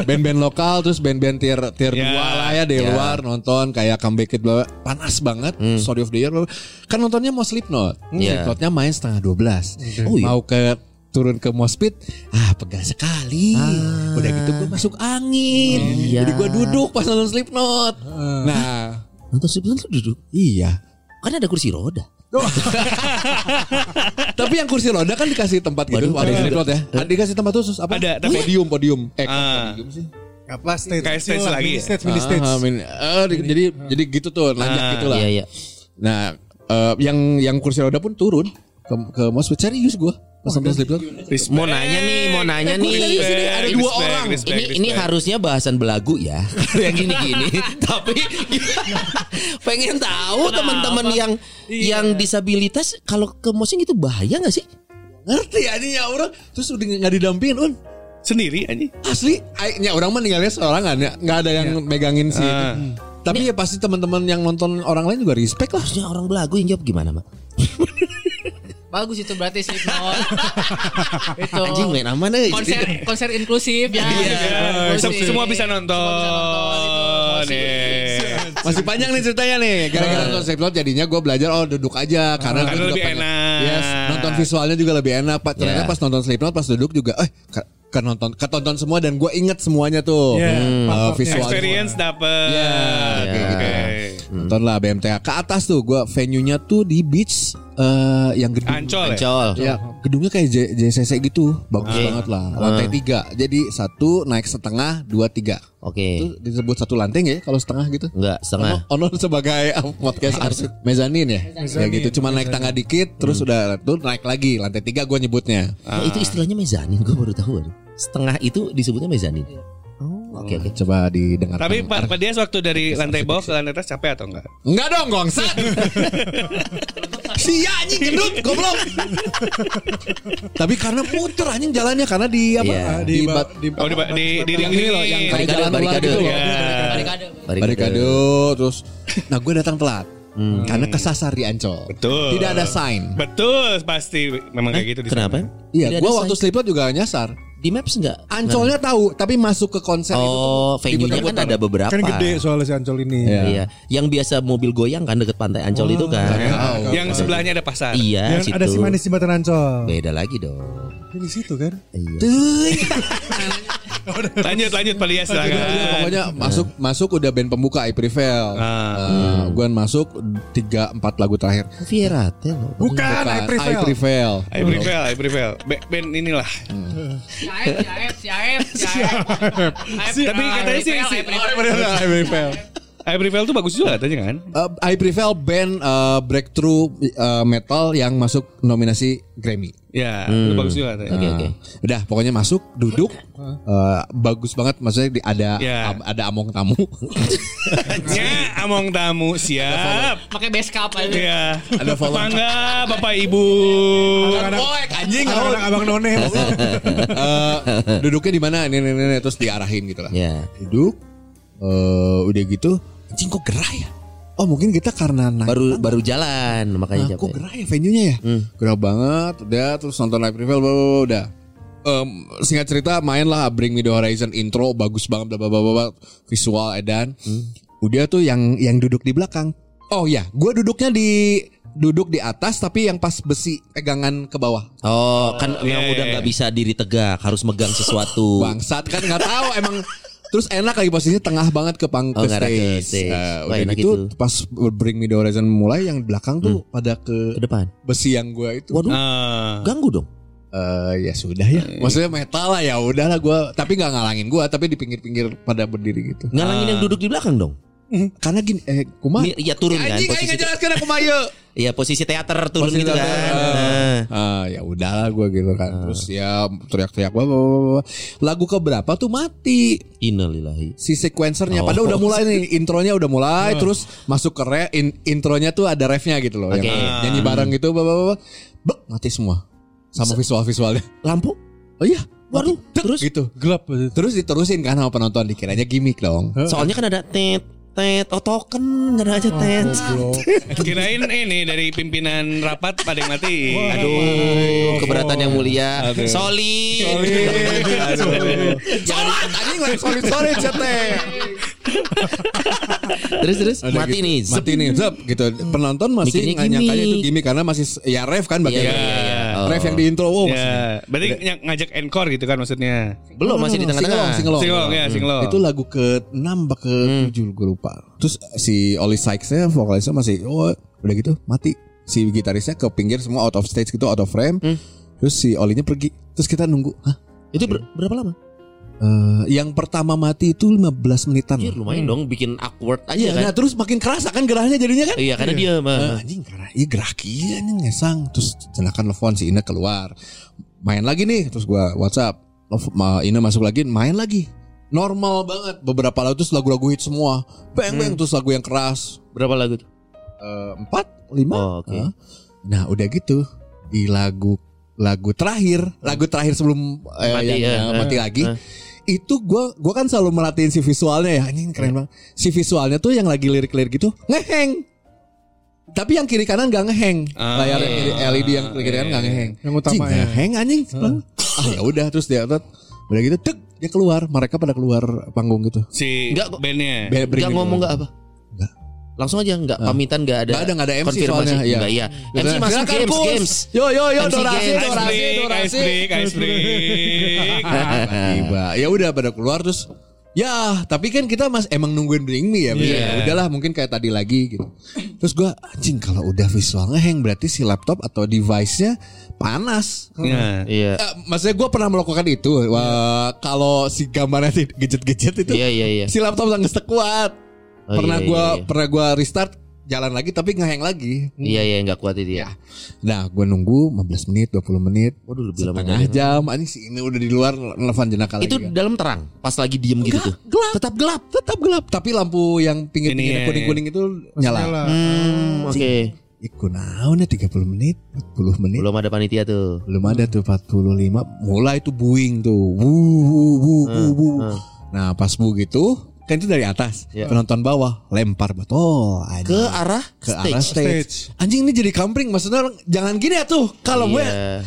Speaker 5: Band-band lokal terus band-band tier tier
Speaker 4: Ya.
Speaker 5: dua lah ya dari luar nonton kayak comeback Kid bla- panas banget story of the year bla- bla. kan nontonnya mau Slipknot
Speaker 3: Hmm. Ya. Hmm. Oh, iya.
Speaker 5: Slipknotnya main setengah 12 mau ke turun ke mospit ah pegal sekali udah gitu gue masuk angin
Speaker 3: Ah. Iya.
Speaker 5: jadi gue duduk pas nonton Slipknot
Speaker 4: Ah.
Speaker 5: nah
Speaker 3: Nonton Slipknot lu duduk.
Speaker 5: iya
Speaker 3: Kan ada kursi roda.
Speaker 5: tapi yang kursi roda kan dikasih tempat gitu
Speaker 3: Waduh,
Speaker 5: ada
Speaker 3: ada.
Speaker 5: Slipknot ya ada dikasih tempat khusus apa
Speaker 4: Ada, tapi-
Speaker 5: podium podium eh
Speaker 4: Ah.
Speaker 2: Apa stage?
Speaker 4: Kayak stage Ah.
Speaker 2: Inilah,
Speaker 4: lagi
Speaker 2: mini
Speaker 4: ya?
Speaker 2: Stage, mini
Speaker 5: Ah,
Speaker 2: stage.
Speaker 5: min- eh, di- jadi jadi gitu tuh nanjak gitu lah.
Speaker 3: Iya, iya.
Speaker 5: Nah, eh, yang yang kursi roda pun turun ke ke mospit serius gua. Pas sampai slip
Speaker 4: Respect.
Speaker 3: Mau nanya nih, mau nanya nih.
Speaker 4: Respect,
Speaker 3: Ada
Speaker 4: eh, respect,
Speaker 3: dua orang.
Speaker 4: respect,
Speaker 3: ini ini
Speaker 4: respect.
Speaker 3: harusnya bahasan belagu ya. Kalau yang gini-gini. Tapi pengen tahu teman-teman yang
Speaker 4: Iya.
Speaker 3: yang disabilitas kalau ke mosing itu bahaya nggak sih?
Speaker 5: Ngerti anjing ya orang terus udah nggak didampingin un.
Speaker 4: sendiri
Speaker 3: Iya.
Speaker 4: anjing.
Speaker 5: Asli aingnya orang mah ninggalnya seorangan ya. Nggak ada yang megangin sih.
Speaker 4: Ah.
Speaker 5: Tapi ya pasti teman-teman yang nonton orang lain juga respect lah.
Speaker 3: Harusnya orang belagu yang jawab gimana, Mak?
Speaker 6: bagus itu berarti Slipknot itu
Speaker 3: Anjing main aman eh.
Speaker 6: konser konser inklusif ya
Speaker 4: Iya.
Speaker 6: Inklusif.
Speaker 4: Sem- Semua bisa nonton.
Speaker 6: Semua bisa nonton, itu.
Speaker 4: Nih.
Speaker 5: Masih panjang nih ceritanya nih. Gara-gara nonton Slipknot jadinya gue belajar oh duduk aja karena,
Speaker 4: Karena
Speaker 5: gua juga
Speaker 4: lebih enak.
Speaker 5: Yes, nonton visualnya juga lebih enak. Pak ternyata
Speaker 3: Yeah.
Speaker 5: pas nonton Slipknot pas duduk juga eh ke, ke nonton ketonton semua dan gue inget semuanya tuh.
Speaker 2: Yeah,
Speaker 5: Hmm,
Speaker 2: faktornya.
Speaker 5: uh, visual.
Speaker 4: Experience dapat.
Speaker 5: Ya,
Speaker 3: Iya,
Speaker 4: Oke.
Speaker 5: Nonton lah BMTH ke atas tuh gue venue-nya tuh di beach eh, yang gedung
Speaker 4: Ancol ya.
Speaker 3: Ancol.
Speaker 5: Ya, gedungnya kayak J- JCC gitu, bagus
Speaker 3: Oke.
Speaker 5: banget lah. Lantai tiga, jadi satu naik setengah, dua tiga.
Speaker 3: Oke.
Speaker 5: Itu disebut satu lantai nggak ya kalau setengah gitu?
Speaker 3: Enggak, setengah.
Speaker 5: Ono sebagai uh, podcast arsip mezanin ya, kayak gitu. Cuma naik tangga dikit, terus udah tuh naik lagi lantai tiga gue nyebutnya.
Speaker 3: Ya, itu istilahnya mezanin, gue baru tahu. aduh. Setengah itu disebutnya mezanin.
Speaker 4: Iya.
Speaker 3: Oh, oke oke.
Speaker 5: Coba didengar.
Speaker 4: Tapi Pak Pak Dias waktu dari lantai bawah ke lantai atas capek atau enggak?
Speaker 5: Enggak dong gongsat. Sia anjing gendut goblok. Tapi karena muter anjing jalannya karena di apa? Ah,
Speaker 3: Iya.
Speaker 5: Di,
Speaker 2: Di,
Speaker 5: bat-
Speaker 2: di,
Speaker 4: Oh di di di
Speaker 5: yang ini loh yang kayak
Speaker 3: Barikade,
Speaker 5: jalan ular
Speaker 3: barikade.
Speaker 5: gitu loh.
Speaker 4: Iya.
Speaker 6: Barikade.
Speaker 5: Barikade terus nah gue datang telat. Karena kesasar di Ancol.
Speaker 4: Betul.
Speaker 5: Tidak ada sign.
Speaker 4: Betul pasti memang kayak gitu di sana.
Speaker 3: Kenapa?
Speaker 5: Iya,
Speaker 3: Tidak
Speaker 5: gue
Speaker 3: ada
Speaker 5: waktu
Speaker 3: sign.
Speaker 5: Slipknot juga nyasar.
Speaker 3: di maps enggak?
Speaker 2: Ah,
Speaker 5: Ancolnya tahu, tapi masuk ke konser itu tuh
Speaker 3: Oh, venue-nya kan
Speaker 5: diputar-putar.
Speaker 3: ada beberapa.
Speaker 2: kan gede soalnya si Ancol ini.
Speaker 5: Iya.
Speaker 3: Iya, yang biasa mobil goyang kan deket pantai Ancol itu kan.
Speaker 5: Oh,
Speaker 4: Yang sebelahnya ada pasar.
Speaker 2: Oh,
Speaker 3: Iya,
Speaker 2: Yang kan? ada Iya. si manis jembatan Ancol.
Speaker 3: Beda lagi dong.
Speaker 2: Di situ kan.
Speaker 3: Iya.
Speaker 4: Lanjut lanjut Pak Dias
Speaker 5: Iya,
Speaker 4: silakan.
Speaker 5: pokoknya masuk masuk udah band pembuka I Prevail. Eh, Gua masuk 3 4 lagu terakhir.
Speaker 3: Viera Tel.
Speaker 2: Bukan, I Prevail.
Speaker 5: Prevail.
Speaker 4: I prevail, I prevail. Be- Band inilah.
Speaker 6: Si Aep, si Aep, si Aep, si Aep. Aep,
Speaker 4: Tapi
Speaker 5: ah,
Speaker 6: Aep,
Speaker 4: katanya sih
Speaker 6: Aep,
Speaker 4: si
Speaker 6: Aep, Aep.
Speaker 5: I Prevail.
Speaker 4: I prevail tuh bagus juga katanya kan?
Speaker 5: Eh, I Prevail band eh, breakthrough eh, metal yang masuk nominasi Grammy.
Speaker 4: Ya,
Speaker 5: Hmm.
Speaker 4: itu bagus juga katanya.
Speaker 3: Oke oke.
Speaker 5: Nah, Udah pokoknya masuk duduk eh, bagus banget maksudnya di, ada
Speaker 4: Iya.
Speaker 5: am- ada among tamu.
Speaker 4: Ya, among tamu siap.
Speaker 6: Pakai base cap aja.
Speaker 4: Iya.
Speaker 5: Ada follow.
Speaker 4: Bangga Bapak Ibu.
Speaker 5: Poek, anjing
Speaker 2: Anak anak abang none.
Speaker 5: Eh, duduknya di mana ini, ini, ini, terus diarahin gitu lah
Speaker 3: Ya.
Speaker 5: duduk eh udah gitu anjing kok gerah ya oh mungkin kita karena naik
Speaker 3: Baru baru jalan
Speaker 5: nah, kok
Speaker 3: makanya capek.
Speaker 2: kan-
Speaker 5: gerah ya venue-nya ya gerah banget udah terus nonton live reveal bla, bla, bla, udah Em, singkat cerita mainlah Bring Me The Horizon intro bagus banget bla bla bla, bla, bla. visual edan udah tuh yang yang duduk di belakang oh ya gue duduknya di duduk di atas tapi yang pas besi pegangan ke bawah
Speaker 3: Oh, kan memang
Speaker 4: iya,
Speaker 3: udah
Speaker 4: iya.
Speaker 3: nggak bisa diri tegak, harus megang sesuatu.
Speaker 5: bangsat kan nggak tahu emang terus enak lagi posisinya tengah banget ke pang
Speaker 3: Oh,
Speaker 5: ke
Speaker 3: nggak ada ke
Speaker 5: stage, Eh,
Speaker 3: stage. Wah,
Speaker 5: udah
Speaker 3: enak
Speaker 5: gitu
Speaker 3: itu.
Speaker 5: pas Bring Me The Horizon mulai yang belakang tuh pada ke
Speaker 3: Ke depan.
Speaker 5: besi yang gua itu
Speaker 3: Waduh,
Speaker 4: Ah.
Speaker 3: ganggu dong.
Speaker 5: Eh, ya sudah ya maksudnya metal lah ya udahlah gua tapi nggak ngalangin gua tapi di pinggir-pinggir pada berdiri gitu
Speaker 3: Ngalangin yang duduk di belakang dong.
Speaker 5: Karena gini eh kumaha?
Speaker 3: Mi- Iya turun Hmm. kan
Speaker 5: Anjing ya, aing
Speaker 3: posisi.
Speaker 5: ngajelaskeun aku mah ieu.
Speaker 3: Iya posisi teater turun
Speaker 5: Posisi
Speaker 3: gitu kan.
Speaker 5: teater,
Speaker 3: Nah.
Speaker 5: Ah, ya udahlah gue gitu kan.
Speaker 3: Ah.
Speaker 5: Terus ya teriak-teriak bla, bla, bla, bla. Lagu keberapa tuh mati
Speaker 3: Innalillahi.
Speaker 5: si sequencernya
Speaker 3: Oh.
Speaker 5: padahal udah mulai nih intronya udah mulai terus masuk ke re, in- intronya tuh ada refnya gitu loh
Speaker 3: Oke.
Speaker 5: yang nyanyi bareng gitu bla, bla, bla, bla. Bek, mati semua sama visual-visualnya
Speaker 3: Lampu.
Speaker 5: oh iya
Speaker 3: Waduh,
Speaker 5: terus
Speaker 3: terus?
Speaker 5: gitu
Speaker 2: Gelap.
Speaker 5: terus diterusin kan sama penonton dikiranya gimmick dong
Speaker 3: Soalnya kan ada tet tet oh token nggak ada
Speaker 5: Oh,
Speaker 3: aja tet.
Speaker 4: Kirain ini dari pimpinan rapat pada yang mati.
Speaker 3: Aduh, keberatan yang mulia. Soli.
Speaker 5: Jangan anjing lagi sorry-sorry cete
Speaker 3: Terus terus
Speaker 5: Ada
Speaker 3: mati
Speaker 5: gitu.
Speaker 3: nih. Zep.
Speaker 5: mati nih zep gitu penonton masih
Speaker 3: Mikirnya
Speaker 5: nggak nyangkanya itu
Speaker 3: gimmick.
Speaker 5: gimmick karena masih ya ref kan bagian
Speaker 3: Iya, iya, iya. Oh.
Speaker 5: ref yang di intro wow masih-
Speaker 4: Ya, berarti ny- ngajak encore gitu kan maksudnya.
Speaker 3: Belum masih di tengah-tengah.
Speaker 5: Hmm, Singelong,
Speaker 4: Singlong
Speaker 5: iya. singelong.
Speaker 4: ya, singlong.
Speaker 5: Hmm. Itu lagu ke-6 apa ke-7
Speaker 3: Hmm.
Speaker 5: gue lupa. Terus eh, si Oli Sykes-nya vokalisnya masih oh udah gitu mati. Si gitarisnya ke pinggir semua out of stage gitu out of frame.
Speaker 3: Hmm.
Speaker 5: Terus si Olinya pergi. Terus kita nunggu. Hah?
Speaker 3: Itu ber- berapa lama?
Speaker 5: Eh, yang pertama mati itu 15 menitan.
Speaker 3: Anjir lumayan dong bikin awkward aja
Speaker 5: Hmm. Iya,
Speaker 3: kan.
Speaker 5: nah terus makin kerasa kan gerahnya jadinya kan?
Speaker 3: Iya karena dia
Speaker 5: Eh,
Speaker 3: mah.
Speaker 5: anjing karena iya gerak iya nih ngesang terus cenakan telepon si Ina keluar main lagi nih terus gua WhatsApp Nelf- ma- Ina masuk lagi main lagi normal banget beberapa lagu terus lagu-lagu hit semua bang bang terus lagu yang keras
Speaker 3: Berapa lagu tuh?
Speaker 5: Eh, empat lima
Speaker 3: Oh, oke.
Speaker 5: Hah? nah udah gitu di lagu lagu terakhir lagu terakhir sebelum eh,
Speaker 3: Mati,
Speaker 5: yang,
Speaker 3: ya.
Speaker 5: eh,
Speaker 3: Eh,
Speaker 5: mati lagi
Speaker 3: eh.
Speaker 5: itu gua gua kan selalu merhatiin si visualnya ya ini
Speaker 3: Iya.
Speaker 5: keren banget si visualnya tuh yang lagi lirik-lirik gitu ngeheng tapi yang kiri kanan gak ngeheng
Speaker 4: Ah,
Speaker 5: layar yang
Speaker 4: iya.
Speaker 5: kiri- LED yang kiri
Speaker 3: Iya,
Speaker 5: kanan gak ngeheng
Speaker 2: Yang utama
Speaker 5: Cing,
Speaker 2: ya.
Speaker 5: ngeheng anjing ah ya udah terus dia tet, udah gitu dek dia keluar mereka pada keluar panggung gitu
Speaker 4: Si
Speaker 3: Enggak kok.
Speaker 4: bandnya.
Speaker 5: Be- bring
Speaker 3: Gak
Speaker 5: gitu.
Speaker 3: ngomong gak apa?
Speaker 5: Nggak.
Speaker 3: Langsung aja nggak pamitan nggak ada.
Speaker 5: Nggak ada, nggak ada MC
Speaker 3: konfirmasi.
Speaker 5: soalnya, iya.
Speaker 3: Nggak, iya. MC
Speaker 5: Silakan,
Speaker 3: masuk games
Speaker 5: Kus.
Speaker 3: games.
Speaker 5: yo yo yo
Speaker 3: MC
Speaker 5: dorasi
Speaker 3: games.
Speaker 4: Ice
Speaker 5: dorasi
Speaker 4: break, ice
Speaker 5: dorasi
Speaker 4: break, ice break.
Speaker 5: Nah, Ah, tiba ya udah pada keluar terus ya tapi kan kita mas emang nungguin bring me ya Ya
Speaker 3: Iya.
Speaker 5: udahlah mungkin kayak tadi lagi gitu terus gua anjing kalau udah visualnya hang berarti si laptop atau device nya panas
Speaker 4: Nah.
Speaker 3: Iya.
Speaker 5: Eh, maksudnya gua pernah melakukan itu Wah, kalau si gambarnya di- gejet-gejet itu Hmm.
Speaker 3: Iya iya iya.
Speaker 5: si laptop nggak kuat
Speaker 3: Oh,
Speaker 5: pernah
Speaker 3: iya,
Speaker 5: gua
Speaker 3: iya, iya.
Speaker 5: pernah gua restart jalan lagi tapi ngehang lagi
Speaker 3: Iya iya nggak kuat itu
Speaker 5: Ya.
Speaker 3: ya.
Speaker 5: Nah, gue nunggu 15 menit, 20 menit.
Speaker 3: Waduh lebih lama
Speaker 5: Setengah
Speaker 3: lagi.
Speaker 5: jam, anjing si ini udah di luar nelfon jenaka lagi.
Speaker 3: Itu
Speaker 5: kan.
Speaker 3: dalam terang pas lagi diem gitu tuh.
Speaker 5: gelap. Tetap gelap, tetap gelap. Tapi lampu yang pinggir-pinggir
Speaker 4: Ini,
Speaker 5: kuning-kuning itu nyala.
Speaker 3: Hmm, oke.
Speaker 5: Iku naon ya 30 menit, 40 menit. Belum,
Speaker 3: Belum ada panitia tuh.
Speaker 5: ada tuh 45, mulai tuh buing tuh. Wuh, wuh,
Speaker 3: Hmm,
Speaker 5: wuh, wuh, wuh. Nah, pas bu gitu, kan itu dari atas.
Speaker 3: Ya.
Speaker 5: Penonton bawah lempar botol anjing.
Speaker 3: Ke arah
Speaker 5: Ke
Speaker 3: stage.
Speaker 5: arah stage. Anjing ini jadi kampring maksudnya orang, jangan gini ya tuh. Kalau gue
Speaker 3: Iya.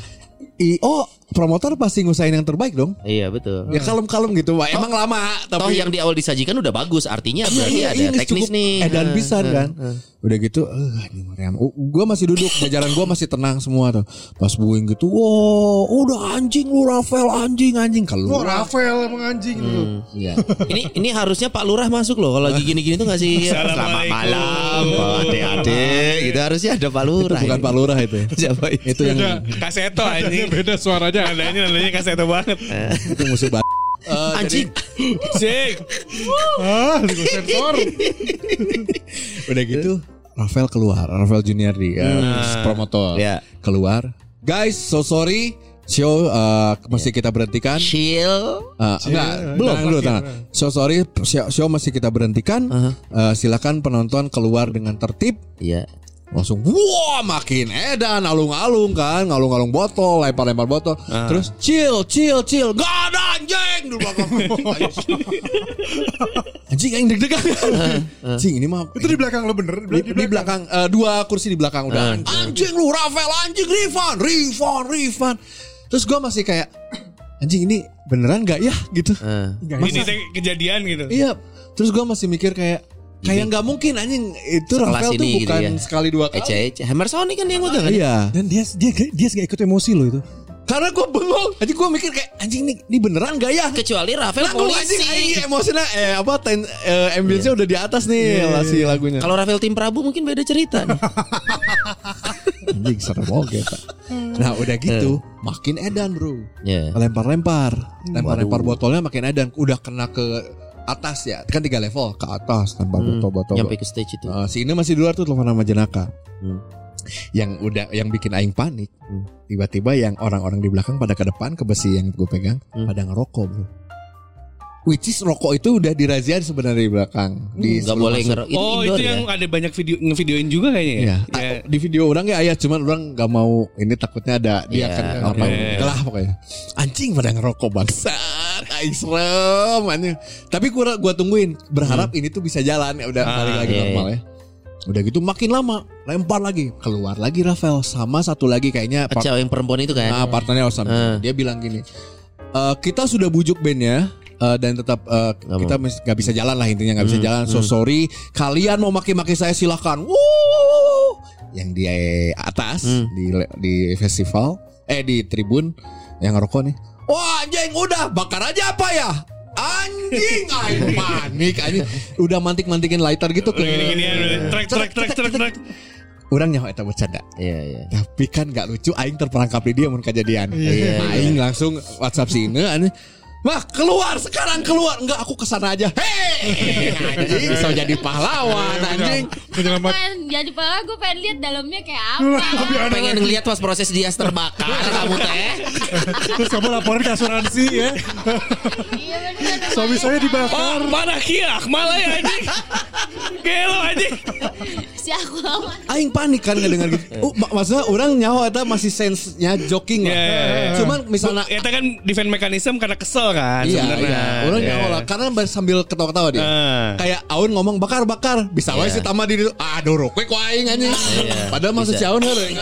Speaker 5: I, oh promotor pasti ngusahain yang terbaik dong.
Speaker 3: Iya betul.
Speaker 5: Ya kalem-kalem gitu, Pak. Emang lama, tapi Iya,
Speaker 3: Toh yang di awal disajikan udah bagus artinya berarti ada
Speaker 5: ini
Speaker 3: teknis
Speaker 5: cukup
Speaker 3: nih.
Speaker 5: Edan
Speaker 3: Nah,
Speaker 5: pisan
Speaker 3: nah,
Speaker 5: kan.
Speaker 3: nah.
Speaker 5: Udah gitu, eh ini Mariam. Uh, gua masih duduk, jajaran gua masih tenang semua tuh. Pas buing gitu, wow, udah anjing lu Rafael anjing anjing
Speaker 2: Wah, Oh,
Speaker 5: keluar.
Speaker 2: Rafael emang anjing lu.
Speaker 5: Iya.
Speaker 3: Hmm, ini ini harusnya Pak Lurah masuk loh kalau lagi gini-gini tuh ngasih selamat
Speaker 4: Assalamualaikum.
Speaker 3: malam Pak adik-adik gitu harusnya ada Pak Lurah.
Speaker 5: Bukan Pak Lurah itu. ya.
Speaker 3: Siapa itu?
Speaker 5: itu yang
Speaker 4: Kaseto anjing. Beda suaranya. Nadanya nadanya kaseto banget.
Speaker 5: itu musuh Eh, banget.
Speaker 3: Anjing.
Speaker 4: Sik.
Speaker 2: Ah, lu sensor.
Speaker 5: Udah gitu, Rafael keluar, Rafael Junior di uh, promotor.
Speaker 3: Hmm. Iya.
Speaker 5: Keluar. Guys, so sorry. Show uh, masih
Speaker 3: Iya.
Speaker 5: kita berhentikan.
Speaker 3: Chill.
Speaker 5: Eh, enggak,
Speaker 3: Nah,
Speaker 5: belum, belum, tenang. So sorry, show, show masih kita berhentikan. Eh, silakan penonton keluar dengan tertib.
Speaker 3: Iya.
Speaker 5: Langsung, wah makin edan, alung-alung kan, ngalung-alung botol, lempar-lempar botol.
Speaker 3: Ah.
Speaker 5: Terus chill, chill, chill, gak ada anjing di belakang. anjing yang deg-degan.
Speaker 3: Ah,
Speaker 5: Anjing ini mah
Speaker 2: Itu di belakang lo bener. Di,
Speaker 5: di,
Speaker 2: belakang.
Speaker 5: di belakang eh, dua kursi di belakang udah
Speaker 3: Ah.
Speaker 5: anjing lu Rafael anjing Rifan Rifan Rifan terus gua masih kayak anjing ini beneran gak ya gitu
Speaker 3: Eh.
Speaker 4: Ini teh kejadian gitu.
Speaker 5: iya terus gua masih mikir kayak kayak nggak mungkin anjing itu
Speaker 3: Sekelas
Speaker 5: Rafael tuh
Speaker 3: ini gitu
Speaker 5: bukan
Speaker 3: ya.
Speaker 5: sekali dua kali
Speaker 3: Ece-ece. Hammer Sonic kan dia ngutang kan?
Speaker 5: iya
Speaker 2: Dan dia dia dia nggak ikut emosi lo itu.
Speaker 5: karena gua bengong anjing gua mikir kayak anjing ini, ini beneran gak ya
Speaker 3: Kecuali Rafael
Speaker 5: lagu anjing
Speaker 3: polisi.
Speaker 5: anjing emosinya eh apa ten, eh, ambience-nya udah di atas nih lah si lagunya
Speaker 3: Kalau Rafael Tim Prabu mungkin beda cerita nih.
Speaker 5: anjing serem oke Pak. nah udah gitu makin edan bro
Speaker 3: Iya.
Speaker 5: Hmm. lempar-lempar lempar-lempar botolnya makin edan udah kena ke atas ya kan tiga level ke atas tanpa
Speaker 3: Hmm,
Speaker 5: bertobat-tobat
Speaker 3: nyampe ke stage itu.
Speaker 5: Eh, si Ine masih di luar tuh telepon sama jenaka
Speaker 3: Hmm.
Speaker 5: yang udah yang bikin aing panik
Speaker 3: Hmm.
Speaker 5: tiba-tiba yang orang-orang di belakang pada ke depan ke besi yang gue pegang
Speaker 3: Hmm.
Speaker 5: pada ngerokok bro. which is rokok itu udah dirazia sebenarnya di belakang di
Speaker 3: Hmm, Nggak
Speaker 5: sebelum
Speaker 3: boleh
Speaker 5: masuk.
Speaker 3: ngero. Itu
Speaker 4: oh
Speaker 3: indoor
Speaker 4: itu
Speaker 3: ya?
Speaker 4: yang ada banyak video ngevideoin juga kayaknya ya.
Speaker 5: Iya.
Speaker 4: Ya.
Speaker 5: Ah, Di video orang ya ayah cuman orang nggak mau ini takutnya ada dia
Speaker 3: Iya,
Speaker 5: akan
Speaker 3: oke.
Speaker 5: ngapain Gitu lah pokoknya. Anjing pada ngerokok bangsat. Aing serem anjing. Tapi gua gua tungguin berharap ini tuh bisa jalan ya udah
Speaker 4: Ah,
Speaker 5: balik lagi
Speaker 3: Hmm. iya,
Speaker 5: normal ya. Udah gitu makin lama lempar lagi keluar lagi Rafael sama satu lagi kayaknya part-
Speaker 3: Cewek yang perempuan itu kan.
Speaker 5: Nah, partnernya Osam.
Speaker 3: Eh.
Speaker 5: Dia bilang gini, "E, kita sudah bujuk bandnya eh, dan tetap eh,
Speaker 3: Nggak Hmm,
Speaker 5: kita mis- nggak bisa jalan lah intinya nggak bisa jalan. So sorry, kalian mau maki-maki saya silahkan. Wuh, yang di atas
Speaker 3: Hmm.
Speaker 5: di le- di festival, eh di tribun yang ngerokok nih. Wah anjing udah bakar aja apa ya? Anjing, ayo panik anjing. Udah mantik-mantikin lighter gitu ke.
Speaker 4: Gini-ginian, ya, trek trek trek trek trek.
Speaker 5: Orang nyawa eta bercanda.
Speaker 3: Iya iya.
Speaker 5: Tapi kan gak lucu Aing terperangkap di dia mun kejadian
Speaker 3: Iya,
Speaker 5: Aing langsung Whatsapp si Ine aneh, Wah keluar sekarang keluar Enggak aku kesana aja Hei anjing so jadi
Speaker 4: Iya,
Speaker 5: pahlawan anjing
Speaker 2: Penyelamat
Speaker 7: pengen jadi pala gue pengen lihat dalamnya kayak
Speaker 3: Iya,
Speaker 7: apa Iya,
Speaker 3: Pengen ngeliat pas proses dia terbakar kamu teh.
Speaker 2: Terus kamu laporan ke asuransi ya
Speaker 7: iya bener
Speaker 2: Suami saya dibakar
Speaker 4: Oh mana kia malah ya anjing. Gelo anjing.
Speaker 7: si aku lama
Speaker 5: Aing panik kan ngedengar gitu uh, mak- Maksudnya orang nyawa Eta masih sense-nya joking lah
Speaker 4: Iya, iya, iya.
Speaker 5: Cuman misalnya
Speaker 4: Eta kan defense mechanism karena kesel kan
Speaker 5: Iya,
Speaker 4: sebenarnya.
Speaker 5: iya. Orang
Speaker 4: Iya.
Speaker 5: nyawa lah Karena sambil ketawa-ketawa dia
Speaker 4: Ah.
Speaker 5: Kayak Aun ngomong bakar-bakar Bisa wae si
Speaker 3: Iya.
Speaker 5: Tama di Aduh rokwe ku Aing anjing
Speaker 3: Iya,
Speaker 5: Padahal maksud si
Speaker 3: bisa.
Speaker 5: Aun kan, ya. heureuy.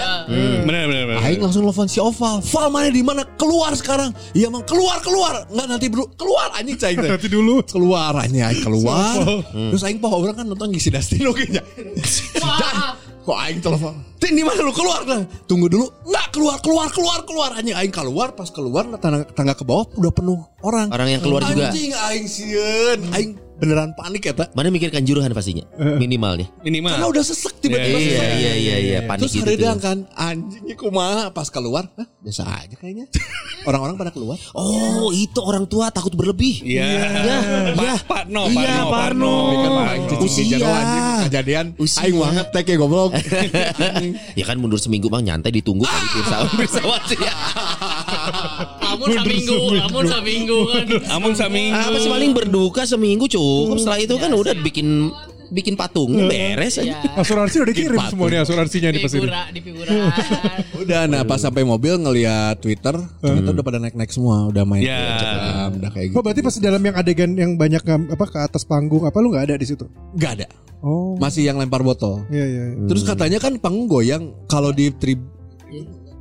Speaker 4: Benar benar benar.
Speaker 5: Aing langsung telepon si Oval. Val mana di mana? Keluar sekarang. Iya mang keluar keluar. Enggak nanti bro keluar anjing cai teh.
Speaker 2: Nanti dulu
Speaker 5: keluar anjing aing keluar. Terus aing poho orang kan nonton si Dastino kayaknya. Si Dan kok aing telepon. Tin di mana lu keluar nah. Tunggu dulu. Enggak keluar keluar keluar keluar anjing aing keluar pas keluar nah, tangga, tangga ke bawah udah penuh orang.
Speaker 3: Orang yang keluar juga. Iya.
Speaker 5: Anjing aing sieun. Aing beneran panik eta.
Speaker 3: Mana mikirkan juruhan pastinya minimal deh.
Speaker 4: Minimal.
Speaker 5: Karena udah sesek tiba-tiba
Speaker 4: Iya,
Speaker 5: sesek.
Speaker 3: iya iya iya panik
Speaker 5: Terus
Speaker 3: gitu. tuh.
Speaker 5: haridang kan anjingnya kumaha pas keluar Hah, biasa aja kayaknya. Orang-orang pada keluar.
Speaker 3: Oh itu orang tua takut berlebih.
Speaker 4: Iya.
Speaker 3: Iya.
Speaker 4: Pa-
Speaker 3: Iya.
Speaker 4: Parno,
Speaker 3: Iya,
Speaker 4: Parno, Parno. Parno.
Speaker 5: Usia
Speaker 3: kan
Speaker 5: kejadian
Speaker 3: Usia.
Speaker 5: aing banget teh kayak goblok.
Speaker 3: Ya kan mundur seminggu bang nyantai ditunggu kali pirsawan pirsawan sih ya.
Speaker 6: Lamun seminggu, lamun seminggu kan.
Speaker 4: Amun Iya. saminggu.
Speaker 3: Iya, Apa sih paling berduka seminggu cukup setelah itu kan udah bikin bikin patung beres
Speaker 6: Ya,
Speaker 3: aja.
Speaker 2: Iya. Asuransi udah dikirim semua nih asuransinya
Speaker 6: di
Speaker 2: nih pasti
Speaker 6: figura, Iya. di figuraan.
Speaker 5: udah nah pas sampai mobil ngelihat Twitter ternyata udah pada naik-naik semua, udah main
Speaker 3: Iya.
Speaker 4: Ya.
Speaker 5: Instagram, udah kayak gitu.
Speaker 2: Oh berarti pas di dalam yang adegan yang banyak ngam- apa ke atas panggung apa lu nggak ada di situ?
Speaker 5: Gak ada.
Speaker 2: Oh,
Speaker 5: Masih yang lempar botol.
Speaker 2: iya iya. iya.
Speaker 5: Terus katanya kan panggung goyang kalau di trib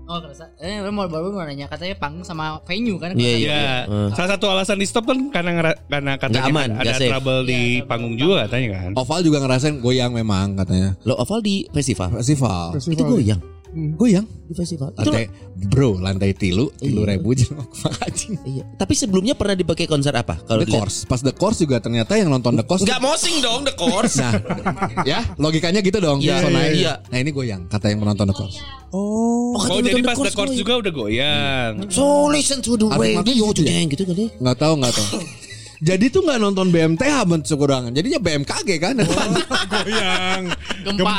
Speaker 6: Oh, kerasa. Eh, lu mau baru mau nanya katanya panggung sama venue kan?
Speaker 3: Iya iya.
Speaker 4: Iya.
Speaker 3: Eh.
Speaker 4: Salah satu alasan di stop kan karena ngera- karena katanya
Speaker 3: Nggak aman,
Speaker 4: ada
Speaker 3: Iya, nggak safe.
Speaker 4: trouble di panggung juga katanya kan.
Speaker 5: Oval juga ngerasain goyang memang katanya.
Speaker 3: Lo oval di festival.
Speaker 5: Festival.
Speaker 2: Festival.
Speaker 3: Itu goyang
Speaker 5: Goyang.
Speaker 3: di festival. Itu
Speaker 5: Lantai, bro, lantai tilu, tilu ribu jeung anjing.
Speaker 3: Iya. Tapi sebelumnya pernah dipakai konser apa? Kalau
Speaker 5: The
Speaker 3: dilihat?
Speaker 5: Course. Pas The Course juga ternyata yang nonton The Course.
Speaker 3: Nggak mosing dong the course.
Speaker 5: Nah, ya logikanya gitu dong.
Speaker 3: Iya,
Speaker 5: So,
Speaker 3: iya,
Speaker 5: naik.
Speaker 3: iya.
Speaker 5: Nah ini goyang kata yang menonton The Course.
Speaker 2: Oh,
Speaker 4: Oh,
Speaker 3: kan
Speaker 4: jadi pas the course juga udah goyang.
Speaker 3: iya. So listen to the
Speaker 5: Arti makin
Speaker 3: radio
Speaker 5: gitu ya?
Speaker 3: jeng gitu kali.
Speaker 5: Nggak tahu nggak tahu. Jadi tuh nggak nonton BMTH bentuk kurangan. Jadinya BMKG kan.
Speaker 4: iya.
Speaker 2: goyang. Gempa.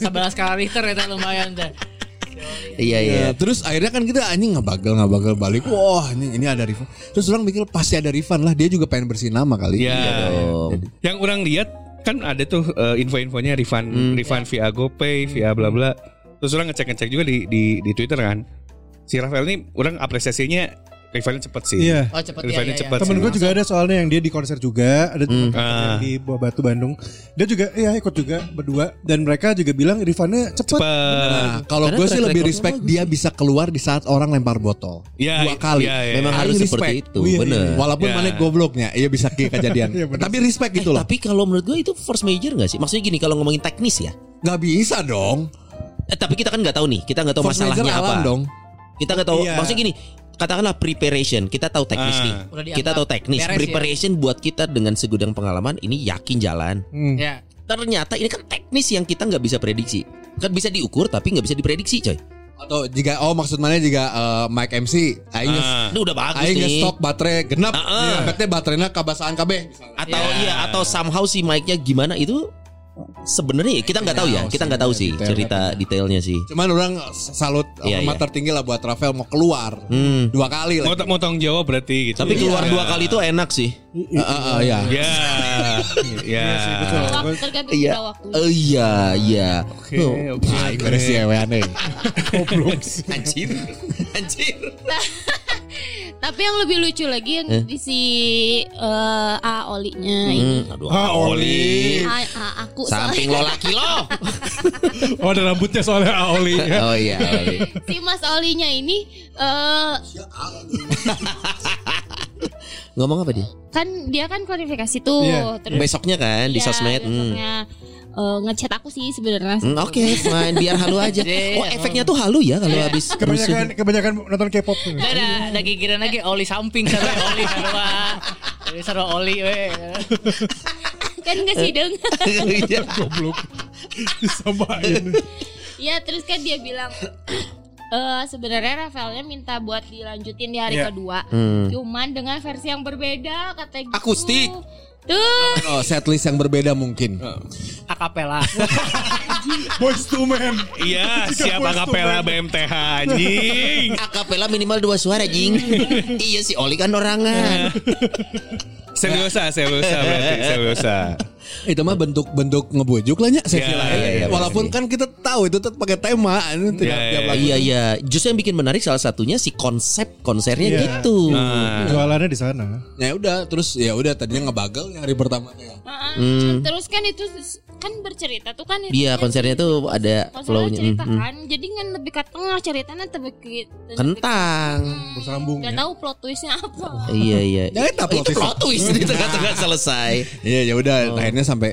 Speaker 6: Gempa. 11 skala Richter ya teh, lumayan teh.
Speaker 3: Iya iya.
Speaker 5: Ya, terus akhirnya kan kita anjing ngebagal ngebagal balik. Wah ini ini ada refund. Terus orang mikir pasti ada refund lah. Dia juga pengen bersihin nama kali.
Speaker 4: Iya.
Speaker 3: dong.
Speaker 4: Yang orang lihat kan ada tuh eh, info-infonya refund
Speaker 8: Hmm.
Speaker 4: refund via GoPay, via bla bla. Terus orang ngecek-ngecek juga di di di Twitter kan. Si Rafael ini orang apresiasinya refundnya cepet sih.
Speaker 2: Iya.
Speaker 6: Oh, cepet ya.
Speaker 4: Refundnya
Speaker 6: ya, ya.
Speaker 4: cepet.
Speaker 2: Temen
Speaker 4: sih.
Speaker 2: gue juga ada soalnya yang dia di konser juga ada temen konser
Speaker 4: Ah.
Speaker 2: yang di Buah Batu Bandung. Dia juga iya ikut juga berdua dan mereka juga bilang refundnya cepet.
Speaker 4: Cepet.
Speaker 5: Nah, kalau
Speaker 3: Karena
Speaker 5: gue sih
Speaker 3: track
Speaker 5: lebih
Speaker 3: recordnya
Speaker 5: respect
Speaker 3: bagus
Speaker 5: dia bisa keluar di saat orang lempar botol
Speaker 4: Iya,
Speaker 5: dua kali.
Speaker 4: iya, iya.
Speaker 3: Memang
Speaker 5: Aing
Speaker 3: harus
Speaker 5: respect.
Speaker 3: seperti itu.
Speaker 2: Oh, iya, iya.
Speaker 3: Bener.
Speaker 5: Walaupun
Speaker 4: Ya.
Speaker 5: mana gobloknya, iya bisa kayak kejadian.
Speaker 2: Iya, bener.
Speaker 5: Tapi respect gitu loh.
Speaker 3: Eh, Tapi kalau menurut gue itu force major gak sih? Maksudnya gini kalau ngomongin teknis ya.
Speaker 5: Nggak bisa dong.
Speaker 3: Eh, tapi kita kan nggak tahu nih, kita nggak tahu
Speaker 5: Force
Speaker 3: masalahnya
Speaker 5: major
Speaker 3: apa.
Speaker 5: alam dong.
Speaker 3: Kita nggak tahu.
Speaker 2: Iya.
Speaker 3: Maksudnya gini, katakanlah preparation, kita tahu teknis
Speaker 4: Ah.
Speaker 3: nih.
Speaker 6: Udah dianggap
Speaker 3: Kita tahu teknis.
Speaker 6: beres ya.
Speaker 3: preparation buat kita dengan segudang pengalaman ini yakin jalan.
Speaker 2: Hmm.
Speaker 6: Ya.
Speaker 3: Ternyata ini kan teknis yang kita nggak bisa prediksi. Kan bisa diukur tapi nggak bisa diprediksi, coy.
Speaker 5: Atau jika oh maksud mana jika eh, Mike MC aing geus-
Speaker 4: Ah.
Speaker 3: Ini udah bagus
Speaker 5: aing
Speaker 3: nih.
Speaker 5: geus stok baterai genep.
Speaker 3: Heeh.
Speaker 5: Berarti baterainya kabasaan kabeh misalnya.
Speaker 3: Atau iya atau somehow si mic-nya gimana itu sebenarnya ya, kita nggak tahu ya. Kita nggak tahu sih
Speaker 5: Iya, detailnya.
Speaker 3: cerita detailnya sih.
Speaker 5: Cuman orang salut
Speaker 3: Iya,
Speaker 5: hormat
Speaker 3: iya.
Speaker 5: tertinggi lah buat Rafael mau keluar.
Speaker 3: Hmm.
Speaker 5: Dua kali
Speaker 4: Mau,
Speaker 5: lah.
Speaker 4: mau tanggung jawab berarti gitu.
Speaker 3: Tapi keluar
Speaker 4: Iya.
Speaker 3: dua kali itu enak sih.
Speaker 5: Heeh, heeh, iya.
Speaker 4: Ya.
Speaker 8: Iya
Speaker 4: Ya.
Speaker 7: Waktu tergantung
Speaker 3: Iya.
Speaker 7: pada waktu.
Speaker 3: Eh, iya, iya.
Speaker 4: Oke, oke.
Speaker 5: Ah, ieu beres sih eweane.
Speaker 3: Anjir. Anjir.
Speaker 7: Tapi yang lebih lucu lagi yang di si eh, A Olinya ini.
Speaker 3: Hmm, aduh, Oli.
Speaker 7: A, A aku soalnya
Speaker 3: Samping lo laki lo.
Speaker 8: Oh ada rambutnya soalnya Aoli.
Speaker 3: Oh iya, Oli.
Speaker 7: si Mas Olinya ini eh
Speaker 3: Ngomong apa dia?
Speaker 7: kan dia kan kualifikasi tuh terus
Speaker 3: Besoknya kan di
Speaker 7: Iya,
Speaker 3: sosmed. Hmm.
Speaker 7: besoknya, eh, ngechat aku sih sebenarnya.
Speaker 3: Hmm, Oke, fine. Biar halu aja. Oh, efeknya tuh halu ya kalau habis
Speaker 2: kebanyakan
Speaker 3: rusuh.
Speaker 2: kebanyakan nonton K-pop tuh.
Speaker 6: Nggak ada, ada gigiran lagi oli samping sarwa oli sarwa. Jadi sarwa oli we.
Speaker 7: kan nggak
Speaker 3: Eh.
Speaker 7: sih dong
Speaker 3: Iya.
Speaker 7: ya terus kan dia bilang eh sebenarnya Rafaelnya minta buat dilanjutin di hari kedua
Speaker 3: Hmm.
Speaker 7: cuman dengan versi yang berbeda kata gitu
Speaker 3: Akustik.
Speaker 7: tuh
Speaker 5: Oh, setlist yang berbeda mungkin.
Speaker 6: Akapela.
Speaker 2: Boys to men.
Speaker 4: Iya, siapa kapela BMTH anjing.
Speaker 3: Akapela minimal dua suara, Jing. iya si Oli kan orangan.
Speaker 4: Seriosa, seriosa berarti, seriosa.
Speaker 5: Itu mah bentuk-bentuk ngebujuk lah ya sesi
Speaker 4: Iya,
Speaker 5: lain.
Speaker 4: iya, iya,
Speaker 5: Walaupun
Speaker 3: pasti.
Speaker 5: kan kita tahu itu tetap pakai tema ini
Speaker 4: Iya,
Speaker 5: tidak
Speaker 4: iya,
Speaker 5: tiap lagu.
Speaker 3: iya, iya. Justru yang bikin menarik salah satunya si konsep konsernya gitu.
Speaker 4: Nah,
Speaker 2: Jualannya di sana.
Speaker 5: Ya udah terus ya udah tadinya ngebagel yang hari pertama tuh ya.
Speaker 7: Heeh. terus kan itu kan bercerita tuh kan itu
Speaker 3: Hmm. Iya, konsernya tuh ada
Speaker 7: konsernya
Speaker 3: flow-nya.
Speaker 7: cerita
Speaker 3: Mm, mm.
Speaker 7: kan jadi kan lebih ke tengah ceritanya tapi ke-
Speaker 3: hmm. Kentang.
Speaker 2: Bersambung.
Speaker 7: nggak tahu plot twistnya apa
Speaker 3: Iya, iya.
Speaker 5: Ya, itu plot
Speaker 3: itu
Speaker 5: twist. Nah.
Speaker 3: plot twist di tengah-tengah selesai.
Speaker 5: Iya ya udah akhirnya sampai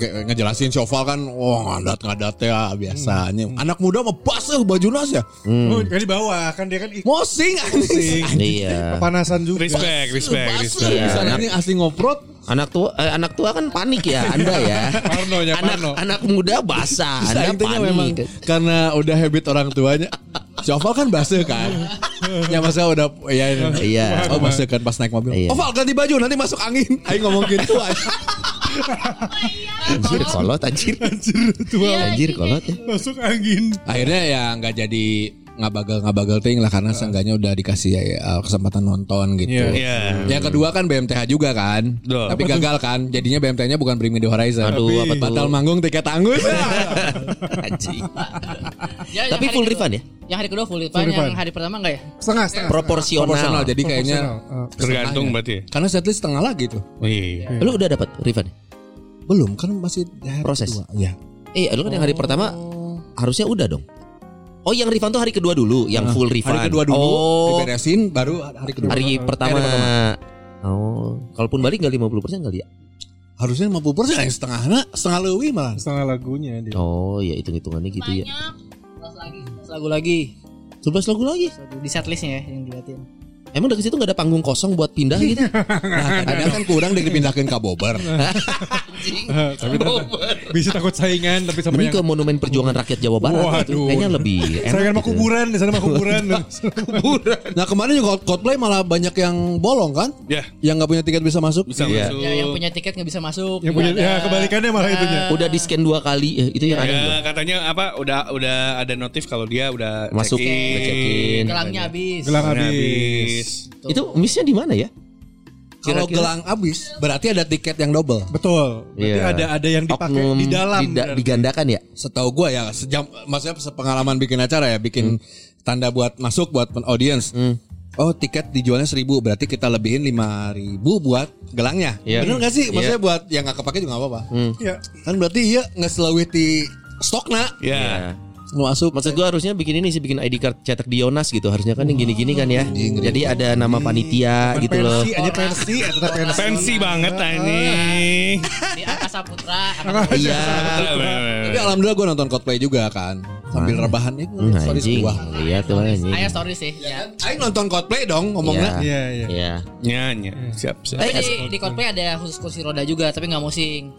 Speaker 5: kayak ngejelasin Soval kan wah ngadat ngadat ya biasanya anak muda mah baseuh baju nas ya
Speaker 3: Hmm.
Speaker 2: Oh, kan di bawah kan dia kan ikut
Speaker 5: mosing anjing
Speaker 3: Iya.
Speaker 2: panasan juga.
Speaker 4: respect, respect, respect.
Speaker 3: Iya.
Speaker 5: Bisa
Speaker 3: anak-
Speaker 5: ini asli ngoprot
Speaker 3: Anak tua eh, anak tua kan panik ya Anda ya.
Speaker 5: Parnonya,
Speaker 3: anak
Speaker 5: parno.
Speaker 3: anak muda basah, Anda
Speaker 5: Saing tanya
Speaker 3: panik.
Speaker 5: memang karena udah habit orang tuanya Soval kan baseuh kan ya masa udah ya
Speaker 3: Iya.
Speaker 5: oh baseuh kan pas naik mobil
Speaker 3: Iya.
Speaker 5: Oval ganti baju nanti masuk angin ayo ngomong gitu aja
Speaker 3: Anjir kolot anjir.
Speaker 7: Iya,
Speaker 3: Anjir kolot ya.
Speaker 2: Masuk angin.
Speaker 5: akhirnya ya nggak jadi ngabagal-ngabagal ting lah karena seenggaknya udah dikasih ya, ya, kesempatan nonton gitu.
Speaker 4: Iya.
Speaker 5: Yang kedua kan BMTH juga kan,
Speaker 4: Betul.
Speaker 5: tapi gagal kan. Jadinya BMTH-nya bukan Bring Me The Horizon.
Speaker 3: Aduh, Tapi- apa tuh?
Speaker 5: Batal manggung tiket tanggung.
Speaker 3: Anjir.
Speaker 6: Ya, yang
Speaker 3: Tapi
Speaker 6: hari
Speaker 3: full
Speaker 6: kedua-
Speaker 3: refund ya?
Speaker 6: Yang hari kedua full refund,
Speaker 2: Full refund.
Speaker 6: yang hari pertama enggak ya?
Speaker 2: Setengah setengah.
Speaker 5: Proporsional.
Speaker 3: Proporsional.
Speaker 5: Jadi kayaknya
Speaker 2: Proporsional, eh.
Speaker 4: Tergantung berarti.
Speaker 5: karena setlist setengah lagi tuh.
Speaker 4: Wih.
Speaker 3: Lu udah dapat refund? ya?
Speaker 5: Belum kan masih hari
Speaker 3: Proses.
Speaker 5: kedua. Ya.
Speaker 3: Eh, lu kan yang hari pertama harusnya udah dong. Oh, yang refund tuh hari kedua dulu, yang full refund.
Speaker 5: Nah, Hari kedua dulu
Speaker 3: Oh,
Speaker 5: diberesin baru hari kedua.
Speaker 3: hari pertama. Oh, kalaupun balik enggak 50% kali ya?
Speaker 5: Harusnya 50 persen yang setengah nah, setengah lebih malah.
Speaker 2: Setengah lagunya dia.
Speaker 3: Oh, ya hitung-hitungannya gitu ya.
Speaker 7: banyak
Speaker 6: Terus lagi, terus lagu lagi.
Speaker 3: 11 lagu lagi.
Speaker 6: Terus lagu- Di setlistnya ya yang diliatin.
Speaker 3: Emang dari situ nggak ada panggung kosong buat pindah
Speaker 2: Iya,
Speaker 3: gitu?
Speaker 5: Nah, kadang kan kurang dan dipindahkan ke Bobber.
Speaker 2: tapi bisa takut saingan tapi sampai
Speaker 3: Mending
Speaker 2: yang
Speaker 3: ke Monumen Perjuangan Rakyat Jawa Barat gitu.
Speaker 2: Waduh. kan-
Speaker 3: Kayaknya lebih enak.
Speaker 2: saingan sama
Speaker 3: gitu.
Speaker 2: kuburan di sana sama kuburan.
Speaker 5: Nah kemarin juga Coldplay malah banyak yang bolong kan?
Speaker 4: Ya,
Speaker 5: Yang nggak punya tiket bisa masuk.
Speaker 4: bisa
Speaker 3: Iya.
Speaker 4: masuk.
Speaker 6: Ya, yang punya tiket nggak bisa masuk.
Speaker 2: yang punya
Speaker 6: Nggak
Speaker 2: ya
Speaker 6: ada.
Speaker 2: kebalikannya malah itunya.
Speaker 3: Udah di scan dua kali, eh, itu
Speaker 2: Iya,
Speaker 3: yang ada belum?
Speaker 4: Ya, katanya apa udah udah ada notif kalau dia udah
Speaker 3: Masuk, udah check-in.
Speaker 4: check-in.
Speaker 6: Gelangnya habis.
Speaker 2: Gelang
Speaker 4: Gelangnya
Speaker 2: habis.
Speaker 4: habis.
Speaker 3: Itu missnya di mana ya?
Speaker 5: Kalau
Speaker 3: Kira-kira.
Speaker 5: gelang habis berarti ada tiket yang double.
Speaker 2: Betul. Berarti
Speaker 3: Iya.
Speaker 2: ada ada yang dipakai
Speaker 3: Oknum
Speaker 2: di dalam.
Speaker 3: dida-
Speaker 2: berarti.
Speaker 3: digandakan ya?
Speaker 5: setahu gua ya sejam maksudnya sepengalaman bikin acara ya
Speaker 3: Hmm.
Speaker 5: bikin tanda buat masuk buat pen- audience oh tiket dijualnya seribu berarti kita lebihin lima ribu buat gelangnya
Speaker 3: Iya. Hmm.
Speaker 5: bener gak sih maksudnya buat yang gak kepake juga gak apa-apa
Speaker 2: Iya.
Speaker 5: kan berarti iya nggak selawih di stokna
Speaker 3: Iya.
Speaker 4: Ya.
Speaker 5: nu asup
Speaker 3: Maksud gua harusnya bikin ini sih bikin ID card cetak Dionas gitu. Harusnya kan yang gini-gini kan ya. Jadi ada nama panitia gitu loh.
Speaker 2: Pensi aja pensi atau pensi.
Speaker 4: Pensi banget anjing.
Speaker 6: Di atas Saputra.
Speaker 3: Iya.
Speaker 5: Tapi alhamdulillah gue nonton Coldplay juga kan Sambil
Speaker 3: Mana?
Speaker 5: rebahan ya
Speaker 3: Hmm,
Speaker 5: gue stories
Speaker 3: anjing.
Speaker 5: gua.
Speaker 3: Iya tuh anjing.
Speaker 6: Ayah story sih.
Speaker 3: kan?
Speaker 6: Ya.
Speaker 5: Ayo nonton Coldplay dong ngomongnya
Speaker 3: Iya.
Speaker 2: Iya, iya.
Speaker 3: Iya.
Speaker 4: Nyanyi. Siap, siap.
Speaker 6: Tapi
Speaker 3: kan?
Speaker 6: di, di Coldplay ada khusus kursi roda juga, tapi nggak musing.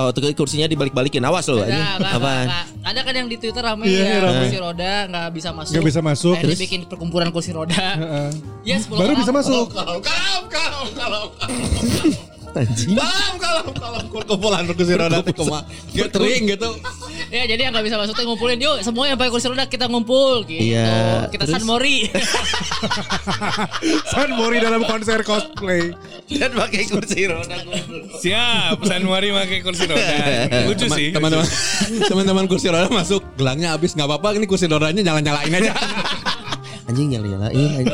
Speaker 3: Oh, tuh kursinya dibalik-balikin. Awas lo. anjing.
Speaker 6: Ada, nggak,
Speaker 3: Apaan?
Speaker 6: nggak, nggak. Ada kan yang di Twitter ramai
Speaker 2: Iya, iya,
Speaker 6: ya,
Speaker 2: ramai.
Speaker 6: kursi roda nggak bisa masuk.
Speaker 2: Nggak bisa masuk,
Speaker 6: Akhirnya
Speaker 2: terus?
Speaker 6: dibikin perkumpulan kursi roda.
Speaker 2: Heeh.
Speaker 6: Ya, 10
Speaker 2: Baru
Speaker 6: orang.
Speaker 2: bisa masuk.
Speaker 5: Kalau kalau kalau kalau
Speaker 3: Anjing.
Speaker 5: kalau kalau kalau kumpulan kursi roda teh kumaha gathering gitu.
Speaker 6: Ya, jadi yang nggak bisa masuk tuh ngumpulin yuk semua yang pakai kursi roda kita ngumpul gitu.
Speaker 3: Iya,
Speaker 6: Kita
Speaker 3: terus?
Speaker 6: San Mori.
Speaker 2: San Mori dalam konser cosplay.
Speaker 3: Dan pakai kursi roda.
Speaker 4: Siap, Sanwari pakai kursi roda. Lucu
Speaker 5: Teman-
Speaker 4: sih.
Speaker 5: Teman-teman teman-teman kursi roda masuk gelangnya habis nggak apa-apa ini kursi rodanya nyala-nyalain aja.
Speaker 3: Anjing nyala-nyalain. anjing.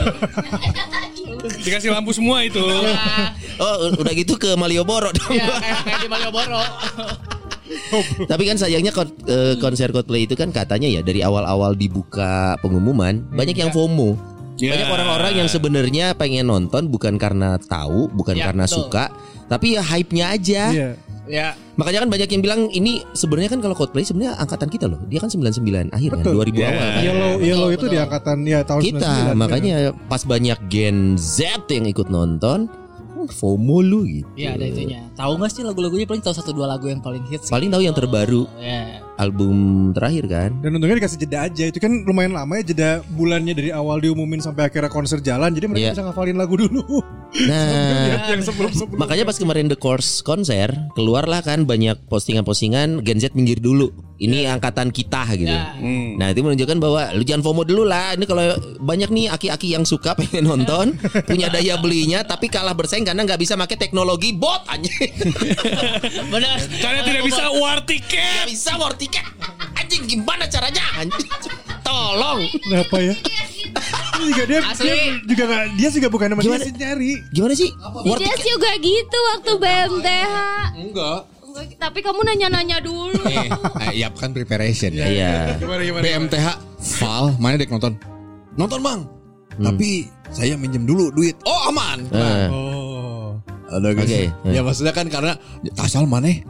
Speaker 4: Dikasih lampu semua itu.
Speaker 6: Iya.
Speaker 3: Oh, udah gitu ke Malioboro dong.
Speaker 6: ya, kayak, kayak di Malioboro.
Speaker 3: Tapi kan sayangnya kon- eh, konser Coldplay itu kan katanya ya dari awal-awal dibuka pengumuman
Speaker 6: Hmm,
Speaker 3: banyak
Speaker 6: iya.
Speaker 3: yang FOMO.
Speaker 2: Iya.
Speaker 4: Ya.
Speaker 3: Banyak orang-orang yang sebenarnya pengen nonton bukan karena tahu, bukan
Speaker 6: Ya,
Speaker 3: karena
Speaker 6: betul.
Speaker 3: suka, tapi ya hype-nya aja.
Speaker 2: Iya.
Speaker 6: ya,
Speaker 3: Makanya kan banyak yang bilang ini sebenarnya kan kalau Coldplay sebenarnya angkatan kita loh. Dia kan 99 akhir kan,
Speaker 2: Betul. Iya. Oh,
Speaker 3: 2000
Speaker 4: Ya.
Speaker 3: awal kan.
Speaker 2: Yellow, yellow itu
Speaker 6: betul.
Speaker 2: di angkatan ya tahun 99.
Speaker 3: Kita
Speaker 2: iya.
Speaker 3: makanya pas banyak Gen Z yang ikut nonton "Hmm, FOMO lu gitu.
Speaker 6: ya ada itunya. Tahu nggak sih lagu-lagunya paling tahu satu dua lagu yang paling hits.
Speaker 3: Paling tahu yang terbaru
Speaker 6: Ya.
Speaker 3: album terakhir kan.
Speaker 2: Dan untungnya dikasih jeda aja Itu kan lumayan lama ya jeda bulannya dari awal diumumin sampai akhirnya konser jalan Jadi mereka
Speaker 3: Iya.
Speaker 2: bisa ngafalin lagu dulu
Speaker 3: Nah,
Speaker 2: Yang sebelum-sebelum
Speaker 3: Makanya pas kemarin The Course konser keluarlah kan banyak postingan-postingan Gen Z minggir dulu. Ini
Speaker 2: Iya.
Speaker 3: angkatan kita gitu.
Speaker 6: Ya.
Speaker 4: Hmm.
Speaker 3: Nah itu menunjukkan bahwa lu jangan FOMO dulu lah Ini kalau banyak nih aki-aki yang suka pengen nonton Punya daya belinya tapi kalah bersaing karena nggak bisa pakai teknologi bot anjing
Speaker 6: Benar.
Speaker 4: Karena
Speaker 6: Iya.
Speaker 4: tidak bisa war tiket.
Speaker 3: Nggak bisa war tiket Anjing gimana caranya anjing Tolong
Speaker 2: Kenapa ya? Ini juga dia,
Speaker 6: Asli.
Speaker 2: dia juga gak, dia juga bukan nama dia
Speaker 3: Gimana?
Speaker 2: sih nyari
Speaker 3: Gimana sih war
Speaker 7: Dia
Speaker 3: tiket
Speaker 7: juga gitu waktu BMTH.
Speaker 5: Enggak.
Speaker 7: Enggak, Tapi kamu nanya-nanya dulu.
Speaker 5: Eh, ya kan preparation.
Speaker 3: Iya
Speaker 5: BMTH Val mana dek nonton nonton bang tapi saya minjem dulu duit oh aman
Speaker 3: Hmm. Eh,
Speaker 2: Oh
Speaker 5: ada gitu.
Speaker 3: Oke. eh.
Speaker 5: ya maksudnya kan karena asal mana eh,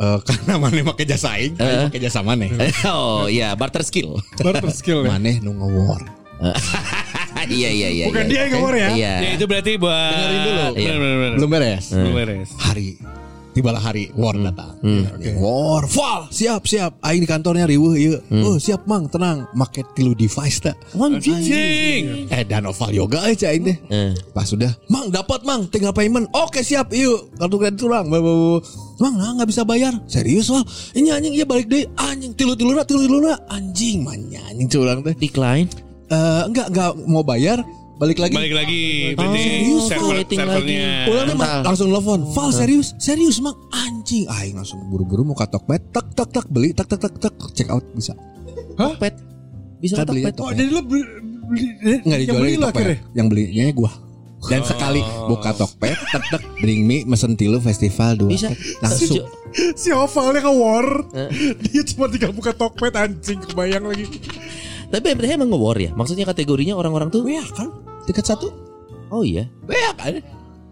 Speaker 5: karena mana pakai jasa aing
Speaker 3: Eh.
Speaker 5: aing pakai jasa mana
Speaker 3: Oh iya barter skill
Speaker 2: Barter skill ya
Speaker 5: mana nu ngewar
Speaker 3: Iya iya iya
Speaker 2: Bukan
Speaker 3: iya.
Speaker 2: dia yang ngomong ya
Speaker 3: Iya
Speaker 4: Ya itu berarti buat
Speaker 5: Dengerin dulu.
Speaker 4: Benar, benar, benar.
Speaker 5: Iya. belum beres
Speaker 3: Nah.
Speaker 4: Belum beres.
Speaker 5: hari tibalah hari war datang Oke. war Val siap siap aing di kantornya riweuh ieu oh siap mang tenang make tilu device tak
Speaker 4: Anjing.
Speaker 5: Eh dan oval yoga aja ini. Pas sudah, mang dapat mang, tinggal payment. Oke siap, yuk kartu kredit orang. Blah, blah, blah. Mang nah, nggak bisa bayar. Serius wal, ini anjing iya balik deh. Anjing tilu tiluna tilu tiluna anjing manya anjing curang teh.
Speaker 3: Decline
Speaker 5: Eh enggak enggak mau bayar, balik lagi.
Speaker 4: Balik lagi
Speaker 3: Ah,
Speaker 4: berarti
Speaker 5: serius,
Speaker 4: server
Speaker 3: rating
Speaker 4: servernya.
Speaker 5: Ulang deh, Mang.
Speaker 3: Entar.
Speaker 5: langsung telepon. Val serius, serius mang anjing. Aing langsung buru-buru mau katok bet. Tak tak tak beli, tak tak tak tak check out bisa.
Speaker 3: Tokped Bisa
Speaker 5: Kan beli
Speaker 3: Tokped
Speaker 5: Tokped.
Speaker 2: Oh jadi lo beli, beli
Speaker 5: Nggak
Speaker 2: yang
Speaker 5: dijual
Speaker 2: beli
Speaker 5: di
Speaker 2: lo
Speaker 5: Tokped
Speaker 2: akhirnya
Speaker 5: Yang belinya gua Dan sekali buka Tokped Tek tek Bring me Mesen tilu festival dua
Speaker 3: Bisa
Speaker 5: tek, Langsung
Speaker 2: Si Ovalnya ke war Dia cuma tinggal buka Tokped anjing Kebayang lagi
Speaker 3: Tapi MTH emang nge-war ya? Maksudnya kategorinya orang-orang tuh
Speaker 5: Wah kan Tiket satu
Speaker 3: Oh iya
Speaker 5: Wah kan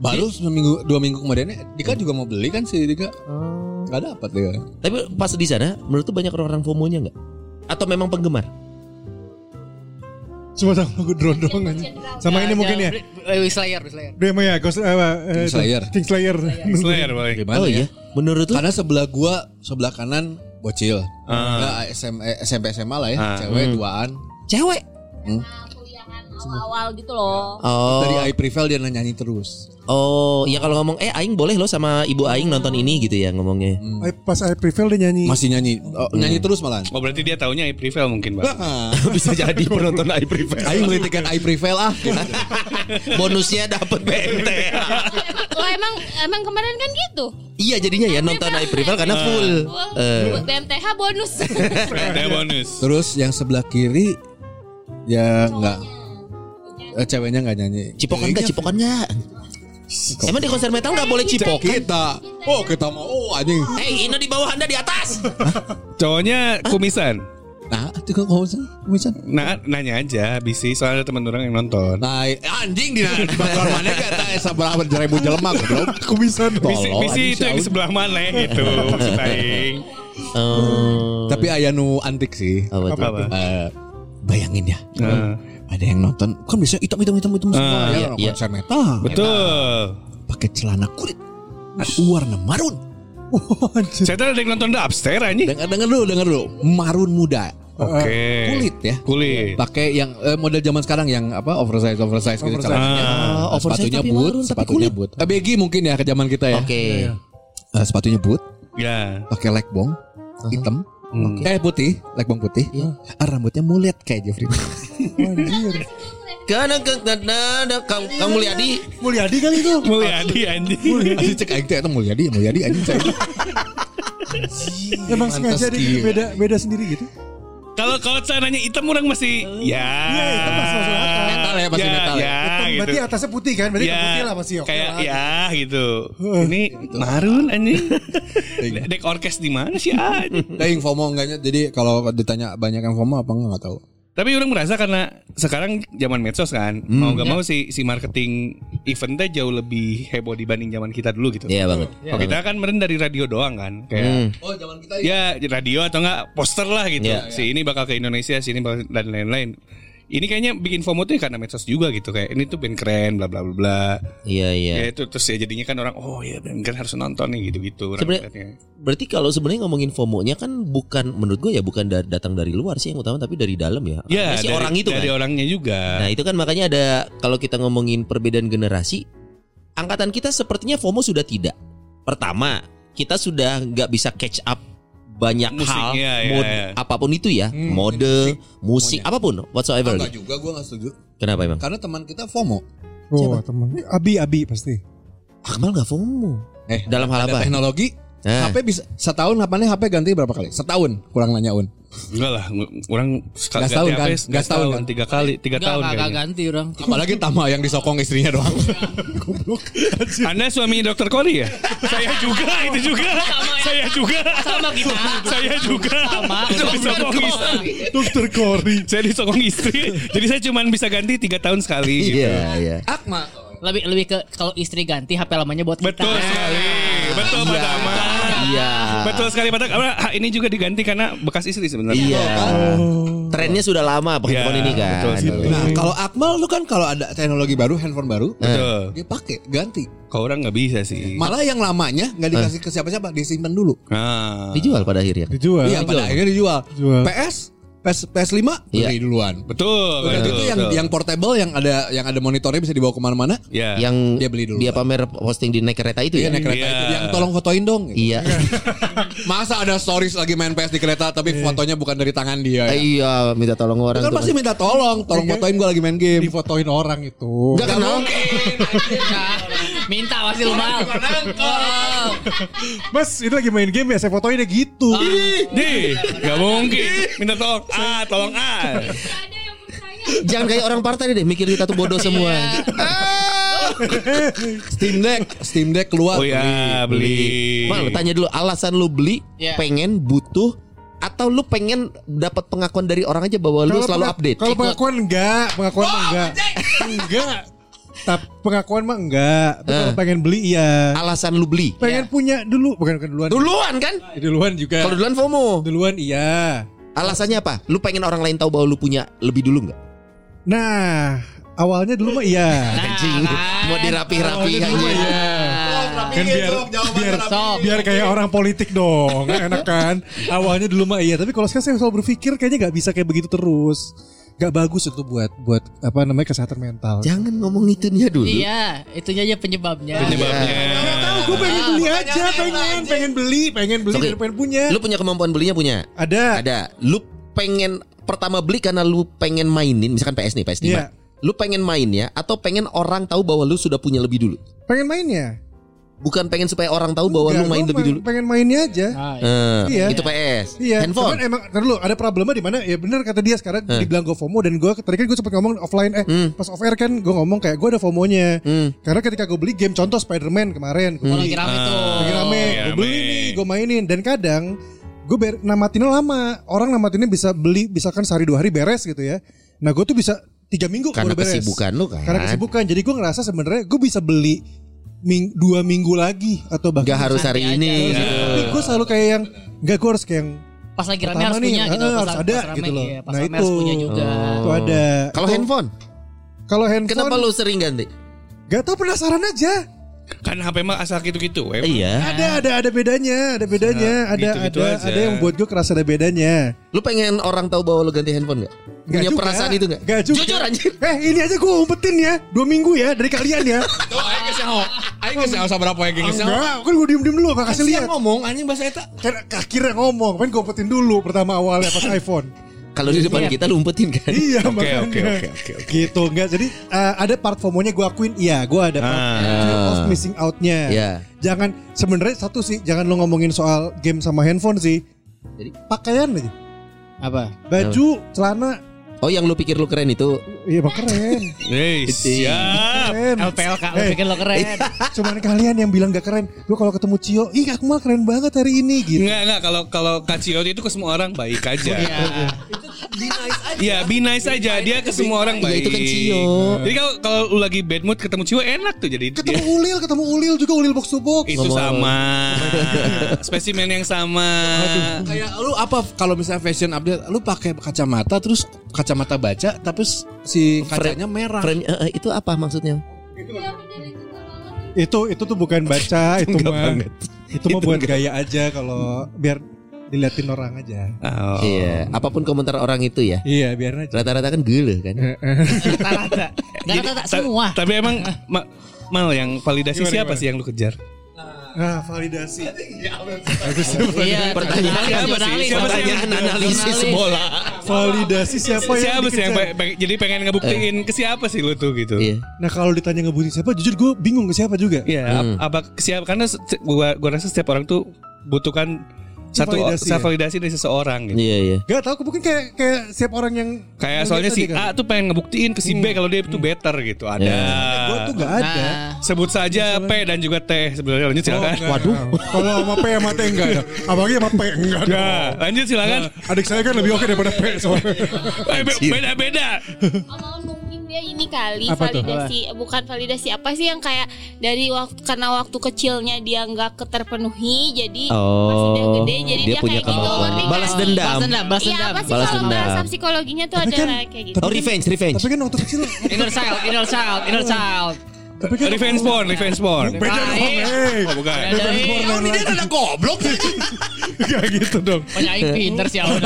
Speaker 5: Baru seminggu dua minggu kemudiannya Dika juga mau beli kan si Dika Gak dapat dia
Speaker 3: Tapi pas di sana Menurut tuh banyak orang-orang FOMO-nya nggak? Atau memang penggemar?
Speaker 2: Cuma sama lagu drone doang aja Sama ini mungkin ya
Speaker 6: Lewis Slayer, Lewis Slayer.
Speaker 2: Dia mah ya Ghost apa, eh,
Speaker 5: King Slayer.
Speaker 2: King Slayer.
Speaker 4: Slayer balik.
Speaker 5: Gimana
Speaker 3: oh iya Menurut lu?
Speaker 5: ya? Karena sebelah gua Sebelah kanan Bocil Nah, SM, eh, SMP SMA lah ya Cewek duaan
Speaker 3: Cewek
Speaker 7: Kuliahan awal-awal gitu loh.
Speaker 3: Oh
Speaker 5: Dari I Prevail dia nyanyi terus
Speaker 3: Oh Ya kalau ngomong Eh Aing boleh loh sama ibu Aing nonton ini gitu ya ngomongnya
Speaker 5: Hmm.
Speaker 2: I- Pas I Prevail dia nyanyi.
Speaker 5: Masih nyanyi Oh,
Speaker 3: Hmm.
Speaker 5: Nyanyi terus malahan
Speaker 4: Oh berarti dia taunya I Prevail mungkin bang.
Speaker 3: Bisa jadi penonton I Prevail
Speaker 5: Ayo beli tiket I Prevail ah
Speaker 3: Bonusnya dapet BMT
Speaker 7: Loh Oh, emang emang kemarin kan gitu. Oh,
Speaker 3: Iya jadinya ya nonton I Prevail karena full Eh,
Speaker 7: Wah,
Speaker 5: Iya,
Speaker 7: BMTH bonus.
Speaker 4: Ada bonus.
Speaker 5: Terus yang sebelah kiri ya nggak eh, ceweknya nggak nyanyi.
Speaker 3: Cipokan
Speaker 5: iya.
Speaker 3: gak? Cipokan gak? Emang di konser metal gak boleh cipokan?
Speaker 5: Kita, oh kita mau oh anjing.
Speaker 3: Eh Ino di bawah anda di atas
Speaker 4: Cowoknya kumisan.
Speaker 5: Nah, juga kawasan kumisan.
Speaker 4: Nah, nanya aja bisi soalnya ada teman orang yang nonton.
Speaker 5: Nah, anjing di di bakar mana gak tak eh, sabar jeribu jelema goblok. Kumisan
Speaker 4: Bisi,
Speaker 5: tolol.
Speaker 4: bisi
Speaker 5: anjing,
Speaker 4: itu yang di
Speaker 5: Saud.
Speaker 4: sebelah mana gitu maksud aing.
Speaker 5: Tapi aya nu antik sih.
Speaker 3: Oh. Apa tuh?
Speaker 4: Apa?
Speaker 5: Eh, bayangin ya.
Speaker 4: Heeh.
Speaker 5: Ada yang nonton kan biasanya hitam hitam hitam hitam semua
Speaker 4: Ah,
Speaker 5: ya,
Speaker 3: iya, iya.
Speaker 5: konser metal.
Speaker 4: Betul.
Speaker 5: Pakai celana kulit warna marun.
Speaker 4: Saya tadi ada yang nonton Dubster anjing.
Speaker 5: Dengar dengar dulu, dengar dulu. Marun muda.
Speaker 4: Oke.
Speaker 5: Kulit ya.
Speaker 4: Kulit.
Speaker 5: Pakai yang eh, model zaman sekarang yang apa oversize oversize gitu celananya.
Speaker 4: Ah.
Speaker 5: Eh, sepatunya boot, sepatunya boot. Eh, baggy mungkin ya ke zaman kita ya.
Speaker 3: Oke.
Speaker 4: Iya,
Speaker 5: Eh, sepatunya boot,
Speaker 4: Ya.
Speaker 5: pakai legbong hitam. Eh putih, legbong putih. Ah, rambutnya mulet kayak Jeffrey.
Speaker 3: Karena ke- karena ada kamu kamu lihat di
Speaker 2: Mulyadi kan itu.
Speaker 4: Mulyadi anjing.
Speaker 5: Asli cek aing teh eta Mulyadi, Mulyadi anjing cek.
Speaker 2: Emang sengaja
Speaker 5: Pantes
Speaker 2: di-
Speaker 5: kieu.
Speaker 2: beda beda sendiri gitu.
Speaker 4: Kalau kalau celananya hitam orang masih ya.
Speaker 2: Iya, hitam masih masuk akal.
Speaker 5: Metal ya, pasti metal ya.
Speaker 4: Ya,
Speaker 2: Hitam,
Speaker 3: Ah,
Speaker 4: gitu. Ya,
Speaker 2: berarti atasnya putih kan? Berarti
Speaker 3: Iya.
Speaker 2: putih lah Iya. masih oke
Speaker 4: kayak
Speaker 2: lah. Gitu.
Speaker 4: ya gitu. Ini marun anjing. Dek orkes di mana sih anjing?
Speaker 5: Aing FOMO enggaknya. Jadi kalau ditanya banyak yang FOMO apa enggak enggak tahu.
Speaker 4: Tapi orang merasa karena sekarang zaman medsos kan,
Speaker 3: Hmm.
Speaker 4: mau gak mau si si marketing eventnya jauh lebih heboh dibanding zaman kita dulu gitu.
Speaker 3: Iya banget.
Speaker 4: Kalau kita kan meren dari radio doang kan,
Speaker 3: Hmm.
Speaker 4: kayak
Speaker 5: Oh, zaman kita
Speaker 4: ya di radio atau enggak poster lah gitu.
Speaker 3: Iya.
Speaker 4: Si ini bakal ke Indonesia, si ini bakal dan lain-lain. Ini kayaknya bikin FOMO tuh ya karena medsos juga gitu kayak ini tuh band keren bla bla bla bla.
Speaker 3: Iya iya.
Speaker 4: Ya itu terus ya jadinya kan orang oh ya band keren harus nonton nih gitu-gitu. orang
Speaker 3: Sebenarnya-
Speaker 4: liatnya.
Speaker 3: Berarti kalau sebenarnya ngomongin FOMO-nya kan bukan menurut gue ya bukan da- datang dari luar sih yang utama tapi dari dalam ya.
Speaker 4: Ya,
Speaker 3: Karena si
Speaker 4: dari,
Speaker 3: orang itu
Speaker 4: dari
Speaker 3: kan.
Speaker 4: orangnya juga.
Speaker 3: Nah, itu kan makanya ada kalau kita ngomongin perbedaan generasi, angkatan kita sepertinya FOMO sudah tidak. Pertama, kita sudah nggak bisa catch up banyak hal,
Speaker 4: Musiknya, ya,
Speaker 3: mode,
Speaker 4: ya.
Speaker 3: apapun itu ya, mode, musik, apapun whatsoever. gitu.
Speaker 5: Enggak juga gua enggak setuju.
Speaker 3: Kenapa emang?
Speaker 5: Karena teman kita FOMO.
Speaker 2: Oh, teman. Abi Abi pasti.
Speaker 3: Akmal nggak FOMO.
Speaker 5: Eh,
Speaker 3: Dalam hal
Speaker 5: ada
Speaker 3: apa?
Speaker 5: teknologi
Speaker 3: Nah,
Speaker 5: HP bisa setahun lapannya HP ganti berapa kali? Setahun kurang nanya un.
Speaker 4: Enggak lah, ngu- orang sekali
Speaker 5: Gas tahun kan?
Speaker 4: Gas
Speaker 5: Gas
Speaker 4: tahun,
Speaker 5: tahun
Speaker 4: kan?
Speaker 5: kan?
Speaker 4: tiga kali, tiga
Speaker 6: Enggak,
Speaker 4: tahun
Speaker 6: enggak, enggak
Speaker 4: kayaknya.
Speaker 6: ganti orang.
Speaker 5: Apalagi Tama yang disokong istrinya doang.
Speaker 4: Anda suami dokter Kori ya? Saya juga, itu juga.
Speaker 6: Sama ya.
Speaker 4: Saya juga.
Speaker 6: Sama kita.
Speaker 4: Saya juga.
Speaker 6: Sama.
Speaker 4: Saya disokong
Speaker 6: Dokter
Speaker 4: istri. Dokter Kori. Saya disokong istri. Jadi saya cuma bisa ganti tiga tahun sekali. gitu.
Speaker 3: iya, iya.
Speaker 6: Lebih lebih ke kalau istri ganti HP lamanya buat kita.
Speaker 4: Betul sekali. Betul Pak Daman.
Speaker 3: Iya.
Speaker 4: Betul sekali Pak Daman. Ah, Ini juga diganti karena bekas istri sebenarnya.
Speaker 3: Iya. Trennya sudah lama Pokemon
Speaker 4: Iya,
Speaker 3: ini kan.
Speaker 4: betul sih.
Speaker 5: nah, kalau Akmal lu kan kalau ada teknologi baru, handphone baru,
Speaker 3: Eh.
Speaker 4: Betul.
Speaker 5: dia pakai ganti.
Speaker 4: Kau orang nggak bisa sih.
Speaker 5: Malah yang lamanya nggak dikasih ke siapa-siapa, disimpan dulu.
Speaker 4: Nah,
Speaker 3: Dijual pada akhirnya. kan?
Speaker 2: Dijual.
Speaker 5: Iya, pada akhirnya dijual.
Speaker 2: Dijual.
Speaker 5: PS, PS, PS5
Speaker 3: Iya.
Speaker 5: beli duluan.
Speaker 4: betul.
Speaker 5: Udah
Speaker 4: betul,
Speaker 5: gitu yang
Speaker 4: betul.
Speaker 5: yang portable yang ada yang ada monitornya bisa dibawa kemana-mana.
Speaker 4: Ya.
Speaker 3: Yang
Speaker 5: Dia beli dulu.
Speaker 3: Dia pamer posting di naik kereta itu
Speaker 5: Iya
Speaker 3: ya.
Speaker 5: naik kereta
Speaker 4: Iya.
Speaker 5: itu. Yang tolong fotoin dong. gitu.
Speaker 3: Iya.
Speaker 5: Masa ada stories lagi main PS di kereta tapi fotonya bukan dari tangan dia.
Speaker 3: Eh,
Speaker 5: Ya.
Speaker 3: Iya, minta tolong orang
Speaker 5: Kan
Speaker 3: tuh.
Speaker 5: pasti minta tolong, tolong fotoin gue lagi main game.
Speaker 2: Difotoin orang itu.
Speaker 5: Enggak kenal.
Speaker 6: Iya. Minta pasti lu mal. Oh.
Speaker 2: Mas, ini lagi main game ya, saya fotoin ya gitu.
Speaker 3: Ah.
Speaker 4: Di, nggak mungkin. Minta tolong A, tolong ah. A.
Speaker 7: Gak ada yang percaya.
Speaker 3: Jangan kayak orang partai deh mikir kita tuh bodoh semua.
Speaker 5: Steam Deck, Steam Deck keluar.
Speaker 4: Oh ya, beli.
Speaker 3: Mal, tanya dulu alasan lu beli,
Speaker 6: Iya.
Speaker 3: pengen, butuh atau lu pengen dapat pengakuan dari orang aja bahwa lu
Speaker 2: Kalau
Speaker 3: selalu
Speaker 2: pengak-
Speaker 3: update. Gitu. Oh,
Speaker 2: Kalau pengakuan enggak, pengakuan mah enggak. Enggak. Tapi pengakuan mah enggak. Tapi
Speaker 3: Ah.
Speaker 2: kalau pengen beli iya.
Speaker 3: Alasan lu beli.
Speaker 2: Pengen punya dulu, bukan bukan duluan. Iya,
Speaker 3: Duluan kan?
Speaker 2: Duluan juga.
Speaker 3: Iya. Kalau duluan FOMO.
Speaker 2: Duluan iya.
Speaker 3: Alasannya apa? Lu pengen orang lain tahu bahwa lu punya lebih dulu nggak?
Speaker 2: Nah, awalnya dulu mah iya.
Speaker 3: Anjing, mau dirapi-rapi anjing.
Speaker 2: ya.
Speaker 3: Nah.
Speaker 2: Kan biar biar
Speaker 6: Sok.
Speaker 2: biar kayak orang politik dong, Nggak enak kan? Awalnya dulu mah iya, tapi kalau sekarang saya selalu berpikir kayaknya nggak bisa kayak begitu terus. Gak bagus itu buat buat apa namanya kesehatan mental.
Speaker 3: Jangan ngomong itunya dulu.
Speaker 6: Iya, itunya aja penyebabnya.
Speaker 4: Penyebabnya.
Speaker 2: Nggak tahu, gue
Speaker 3: Ah,
Speaker 2: pengen beli aja, pengen, pengen beli, pengen beli,
Speaker 3: Sorry.
Speaker 2: dan pengen punya.
Speaker 3: Lu punya kemampuan belinya punya?
Speaker 2: Ada.
Speaker 3: Ada. Lu pengen pertama beli karena lu pengen mainin misalkan PS nih, PS5.
Speaker 2: Iya.
Speaker 3: Lu pengen main ya atau pengen orang tahu bahwa lu sudah punya lebih dulu?
Speaker 2: Pengen mainnya.
Speaker 3: Bukan pengen supaya orang tahu bahwa lu
Speaker 2: Enggak,
Speaker 3: main
Speaker 2: gua
Speaker 3: lebih
Speaker 2: ma-
Speaker 3: dulu.
Speaker 2: Pengen mainnya aja.
Speaker 6: Nah,
Speaker 3: Eh,
Speaker 2: Iya.
Speaker 3: Itu PS.
Speaker 2: Iya.
Speaker 3: Handphone.
Speaker 2: Cuman
Speaker 3: Eh.
Speaker 2: emang ntar dulu ada problemnya di mana ya bener kata dia sekarang dibilang gue FOMO dan gue tadi kan gue sempat ngomong offline eh
Speaker 3: Hmm.
Speaker 2: pas off air kan gue ngomong kayak gue ada FOMO-nya. Karena ketika gue beli game
Speaker 3: Hmm.
Speaker 2: contoh Spider-Man kemarin gue
Speaker 6: kalau
Speaker 2: beli.
Speaker 4: Iya.
Speaker 6: lagi Oh, iya, rame tuh.
Speaker 2: Lagi rame,
Speaker 4: Lagi
Speaker 2: gue beli
Speaker 4: rame.
Speaker 2: nih, gue mainin dan kadang gue ber namatinnya lama orang namatinnya bisa beli misalkan sehari dua hari beres gitu ya nah gue tuh bisa tiga minggu
Speaker 3: Karena
Speaker 2: baru beres
Speaker 3: kesibukan lu kan.
Speaker 2: karena kesibukan jadi gue ngerasa sebenarnya gue bisa beli ming dua minggu lagi atau bahkan
Speaker 3: Gak harus hari
Speaker 6: Santai
Speaker 3: ini.
Speaker 6: aja.
Speaker 3: gitu.
Speaker 2: tapi gue selalu kayak yang gak gue harus kayak yang
Speaker 6: Pas lagi rame
Speaker 2: Pertama
Speaker 6: harus
Speaker 2: nih,
Speaker 6: punya
Speaker 2: eh,
Speaker 6: gitu. Pas
Speaker 2: harus ada
Speaker 6: rame,
Speaker 2: gitu loh.
Speaker 6: iya, Pas
Speaker 2: Nah,
Speaker 6: rame harus
Speaker 2: itu. Oh.
Speaker 6: punya juga.
Speaker 2: itu ada
Speaker 3: Oh. Kalau
Speaker 2: Itu-
Speaker 3: handphone,
Speaker 2: kalau handphone
Speaker 3: kenapa lu sering ganti?
Speaker 2: gak tau penasaran aja
Speaker 4: Kan HP mah asal gitu-gitu. eh. Em.
Speaker 3: Iya.
Speaker 2: ada ada ada bedanya ada bedanya
Speaker 4: Nah,
Speaker 2: ada
Speaker 4: gitu-gitu
Speaker 2: ada
Speaker 4: aja.
Speaker 2: ada yang buat gue kerasa ada bedanya
Speaker 3: Lu pengen orang tahu bahwa lu ganti handphone gak?
Speaker 2: Nggak
Speaker 3: Punya
Speaker 2: juga.
Speaker 3: perasaan itu gak?
Speaker 2: Nggak juga.
Speaker 3: Jujur anjir.
Speaker 2: Eh ini aja gue umpetin ya Dua minggu ya dari kalian ya
Speaker 4: Tuh, ayo ke Saho. Ayo ke Saho sama berapa ya geng Saho?
Speaker 2: Enggak kan gue diem-diem dulu gak kasih lihat
Speaker 4: ngomong anjing bahasa eta.
Speaker 2: Kan akhirnya ngomong Pengen gue umpetin dulu pertama awalnya pas iPhone
Speaker 3: Kalau di depan kita lu umpetin kan?
Speaker 2: Iya
Speaker 4: Oke,
Speaker 2: makanya
Speaker 4: oke, oke, oke, oke.
Speaker 2: Gitu enggak Jadi eh, ada part FOMO-nya gue akuin Iya gue ada part
Speaker 4: Ah.
Speaker 2: fear of missing out-nya
Speaker 3: Iya.
Speaker 2: Jangan sebenarnya satu sih Jangan lo ngomongin soal game sama handphone sih
Speaker 3: Jadi?
Speaker 2: Pakaian aja
Speaker 6: Apa?
Speaker 2: Baju, celana
Speaker 3: Oh yang lu pikir lu keren itu
Speaker 2: Iya bang keren
Speaker 4: Hei, siap.
Speaker 2: Keren
Speaker 6: LPLK lu
Speaker 2: Eh.
Speaker 6: bikin lo keren.
Speaker 2: Cuman kalian yang bilang gak keren Gue kalau ketemu Cio Ih aku malah keren banget hari ini gitu
Speaker 4: Enggak, enggak kalau kalau Kacio itu ke semua orang baik aja. Iya. be nice aja. Dia ke semua orang
Speaker 3: Iya,
Speaker 4: baik.
Speaker 3: itu kan Cio.
Speaker 4: Jadi kalau kalau lu lagi bad mood ketemu Cio enak tuh jadi dia-
Speaker 2: Ketemu Ulil, ketemu Ulil juga Ulil box to box.
Speaker 4: itu sama. Spesimen yang sama.
Speaker 5: Kayak lu apa kalau misalnya fashion update lu pakai kacamata terus kacamata baca tapi s- si kacanya merah.
Speaker 3: frame eh, eh, itu apa maksudnya?
Speaker 2: Itu itu tuh bukan baca, itu
Speaker 3: Enggak
Speaker 2: mah
Speaker 3: banget.
Speaker 2: itu mah buat gaya aja kalau biar diliatin orang aja.
Speaker 4: Oh.
Speaker 3: Iya, apapun komentar orang itu ya.
Speaker 2: Iya, biarin aja.
Speaker 3: Rata-rata kan gele kan.
Speaker 2: Iya.
Speaker 6: Rata-rata. Gak rata-rata
Speaker 4: Ta-
Speaker 6: semua.
Speaker 4: Tapi emang ma- Mal yang validasi siapa sih yang lu kejar?
Speaker 2: Nah, validasi.
Speaker 6: Iya.
Speaker 3: Pertanyaan
Speaker 6: jurnalis, jurnalis,
Speaker 4: apa sih? Siapa sih
Speaker 6: jurnalis.
Speaker 3: Pertanyaan analisis
Speaker 6: Jurnalis.
Speaker 3: bola.
Speaker 2: Validasi siapa
Speaker 4: siapa
Speaker 2: yang
Speaker 4: sih yang
Speaker 2: dikejar?
Speaker 4: pe- pe- jadi pengen ngebuktiin ke siapa sih lu tuh gitu?
Speaker 3: Eh. Iya.
Speaker 2: Nah, kalau ditanya ngebutin siapa, jujur gue bingung ke siapa juga.
Speaker 4: Iya,
Speaker 3: Hmm.
Speaker 4: ap- apa siapa karena se- gua gua rasa setiap orang tuh butuhkan satu
Speaker 2: Validasi
Speaker 4: validasi,
Speaker 2: ya?
Speaker 4: validasi dari seseorang gitu.
Speaker 3: Iya, iya.
Speaker 2: Gak tau, mungkin kayak kayak siap orang yang
Speaker 4: Kayak
Speaker 2: Kan
Speaker 4: soalnya si A tuh pengen ngebuktiin ke si B kalau dia itu better gitu. Ada.
Speaker 3: Iya.
Speaker 2: Gue Hmm. tuh gak ada.
Speaker 6: Nah,
Speaker 4: Sebut saja P dan juga T sebenarnya lanjut
Speaker 2: Oh,
Speaker 4: silakan.
Speaker 2: Waduh. Kalau sama P sama T enggak ada. Apalagi sama P enggak ada.
Speaker 4: Nah, lanjut silakan.
Speaker 2: Adik saya kan lebih oke daripada P soalnya.
Speaker 4: Eh, be- Beda-beda.
Speaker 7: Kalau mungkin dia ini kali
Speaker 2: Apa tuh?
Speaker 7: validasi bukan validasi apa sih yang kayak dari waktu karena waktu kecilnya dia nggak keterpenuhi jadi pas
Speaker 3: Oh,
Speaker 7: udah gede jadi
Speaker 3: dia
Speaker 7: dia,
Speaker 3: punya
Speaker 7: kayak gitu
Speaker 3: kemampuan.
Speaker 7: ngerti
Speaker 3: Balas
Speaker 7: nggak?
Speaker 3: dendam.
Speaker 6: Balas dendam, balas
Speaker 7: Iya
Speaker 6: dendam.
Speaker 7: apa sih
Speaker 3: Balas
Speaker 7: kalau
Speaker 3: dendam.
Speaker 7: bahasa psikologinya tuh
Speaker 2: Tapi
Speaker 7: ada
Speaker 2: kan-
Speaker 7: lah kayak gitu.
Speaker 3: Oh, revenge, revenge.
Speaker 2: Tapi kan waktu kecil
Speaker 6: Inner child, inner child, inner child. Nah, iya.
Speaker 2: Tapi kan
Speaker 4: Revenge porn, revenge porn. Ah.
Speaker 2: Beda dong
Speaker 6: Baik.
Speaker 2: hey.
Speaker 4: Oh, bukan.
Speaker 6: Beda dong.
Speaker 2: Oh, ini dia ada goblok Gak gitu dong
Speaker 6: Penyanyi pinter sih Aun.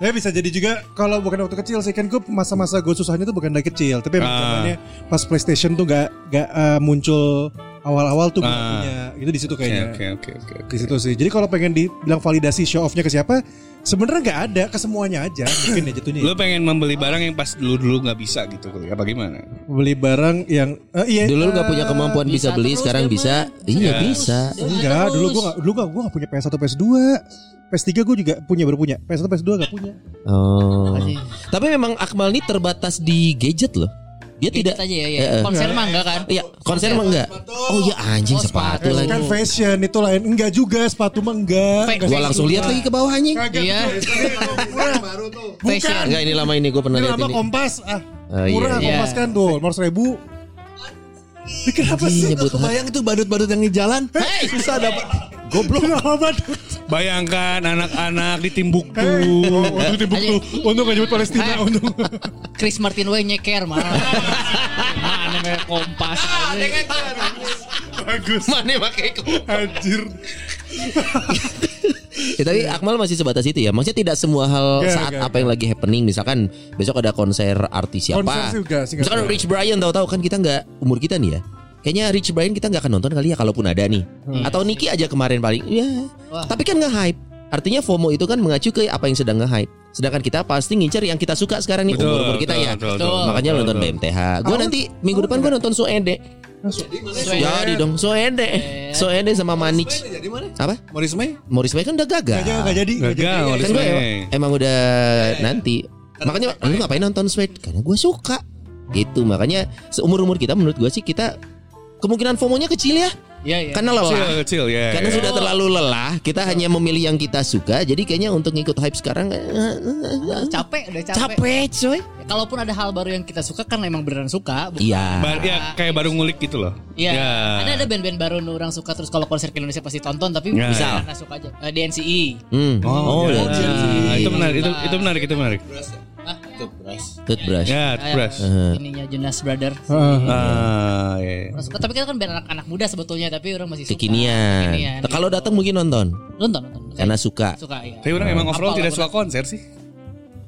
Speaker 2: Ya bisa jadi juga Kalau bukan waktu kecil sih Kan gue masa-masa gue susahnya tuh bukan dari kecil Tapi emang
Speaker 4: Ah.
Speaker 2: zamannya Pas Playstation tuh gak, gak eh, muncul Awal-awal tuh gue
Speaker 4: Ah.
Speaker 2: punya Itu di situ
Speaker 4: Oke,
Speaker 2: kayaknya
Speaker 4: oke, oke, oke. oke.
Speaker 2: Di situ sih Jadi kalau pengen dibilang validasi show offnya ke siapa sebenarnya nggak ada ke semuanya aja mungkin ya jatuhnya
Speaker 4: Lu pengen membeli barang yang pas dulu-dulu nggak bisa gitu kali. Apa gimana?
Speaker 2: beli barang yang eh, iya
Speaker 3: Dulu lu gak punya kemampuan
Speaker 6: Bisa
Speaker 3: bisa beli,
Speaker 6: terus
Speaker 3: sekarang
Speaker 6: dia
Speaker 3: bisa. Iya, bisa.
Speaker 2: Enggak, dulu gua gak, dulu gua, gua gak punya PS1 PS2. PS3 gua juga punya baru punya. PS1 PS2 gak punya.
Speaker 3: Oh.
Speaker 6: Makasih.
Speaker 3: Tapi memang Akmal ini terbatas di gadget loh. Dia
Speaker 6: Tidak
Speaker 3: tidak
Speaker 6: aja ya, ya.
Speaker 3: Eh, eh.
Speaker 6: Konser mah enggak kan?
Speaker 3: Iya, konser mah enggak. Oh iya anjing
Speaker 6: Oh, sepatu.
Speaker 3: sepatu lagi.
Speaker 2: Kan fashion itu lain. Enggak juga, sepatu mah enggak.
Speaker 6: Fe-
Speaker 3: Gua langsung lihat lagi ke bawah anjing.
Speaker 6: Iya.
Speaker 2: Bukan.
Speaker 3: Enggak ini lama ini gue
Speaker 2: Ini
Speaker 3: pernah lihat
Speaker 2: lama
Speaker 3: ini.
Speaker 2: kompas. Ah,
Speaker 3: Oh, iya,
Speaker 2: murah
Speaker 3: iya.
Speaker 2: kompas kan tuh, 500 ribu. Ini kenapa
Speaker 3: Anjing,
Speaker 2: sih?
Speaker 3: nyebut
Speaker 5: Bayang tuh badut-badut yang di jalan.
Speaker 2: Hei, susah dapat. Goblok. Kenapa badut?
Speaker 4: Bayangkan anak-anak ditimbuk
Speaker 2: Hei,
Speaker 4: tuh.
Speaker 2: oh, Untung timbuk tuh. Untung gak nyebut
Speaker 6: Hei.
Speaker 2: Palestina. Untung.
Speaker 6: Chris Martin we nyeker mah. Mana me kompas.
Speaker 2: Bagus.
Speaker 3: Mana pakai kompas?
Speaker 2: Anjir.
Speaker 3: Ya, tapi
Speaker 2: Iya.
Speaker 3: Akmal masih sebatas itu ya. Maksudnya tidak semua hal
Speaker 2: Enggak,
Speaker 3: saat
Speaker 2: enggak,
Speaker 3: apa yang lagi happening misalkan besok ada konser artis siapa.
Speaker 2: Konser sih enggak sih, enggak
Speaker 3: misalkan
Speaker 2: tahu.
Speaker 3: Rich Brian tahu-tahu kan kita nggak umur kita nih ya. Kayaknya Rich Brian kita nggak akan nonton kali ya kalaupun ada nih.
Speaker 2: Hmm.
Speaker 3: Atau Nicky aja kemarin paling. Ya.
Speaker 6: Wah.
Speaker 3: Tapi kan nge-hype. Artinya FOMO itu kan mengacu ke apa yang sedang nge-hype. Sedangkan kita pasti ngincer yang kita suka sekarang nih umur-umur kita ya. Makanya nonton BMTH. Gue nanti minggu depan gue nonton Soende.
Speaker 2: Nah,
Speaker 3: Jadi dong Soende. Soende sama Manic. Apa?
Speaker 5: Morris May?
Speaker 3: Morris Bay kan udah gagal.
Speaker 2: Aja gak jadi. nggak
Speaker 4: Gagal,
Speaker 2: jadi.
Speaker 4: Morris
Speaker 3: Kan gue
Speaker 4: Bay.
Speaker 3: emang udah nanti. Makanya lu ngapain nonton Sweat? Karena gue suka. Gitu makanya seumur umur kita menurut gue sih kita kemungkinan FOMO-nya kecil ya.
Speaker 6: Iya, iya.
Speaker 3: Karena lelah.
Speaker 4: Kecil, kecil ya.
Speaker 3: Karena
Speaker 4: ya.
Speaker 3: sudah terlalu lelah, kita hanya memilih yang kita suka. Jadi kayaknya untuk ngikut hype sekarang eh, eh, eh,
Speaker 6: capek udah capek.
Speaker 3: capek, coy.
Speaker 6: Ya, Kalaupun ada hal baru yang kita suka kan emang beneran suka. bukan-
Speaker 3: Iya.
Speaker 4: Ba- ya, kayak baru ngulik gitu loh.
Speaker 6: Iya.
Speaker 3: Ya.
Speaker 6: Ada ada band-band baru nu orang suka terus kalau konser ke Indonesia pasti tonton tapi
Speaker 4: Ya.
Speaker 6: bisa nggak suka aja. Eh, DNCI.
Speaker 3: Hmm.
Speaker 4: Oh, ya.
Speaker 3: jadi.
Speaker 4: itu menarik, itu, itu menarik, itu menarik.
Speaker 3: Toothbrush.
Speaker 6: Ah,
Speaker 4: Ya, toothbrush.
Speaker 6: ya,
Speaker 3: Uh-huh.
Speaker 6: Ininya Jonas Brother.
Speaker 2: Uh-huh.
Speaker 4: Ah, iya.
Speaker 6: Orang suka tapi kita kan band anak, anak muda sebetulnya tapi orang masih suka.
Speaker 3: Kekinian.
Speaker 6: Kekinian.
Speaker 3: Kalau datang mungkin nonton
Speaker 6: Nonton nonton.
Speaker 3: karena suka.
Speaker 6: suka ya.
Speaker 4: Tapi orang emang overall
Speaker 6: Apa
Speaker 4: tidak
Speaker 6: lagu-
Speaker 4: suka konser sih.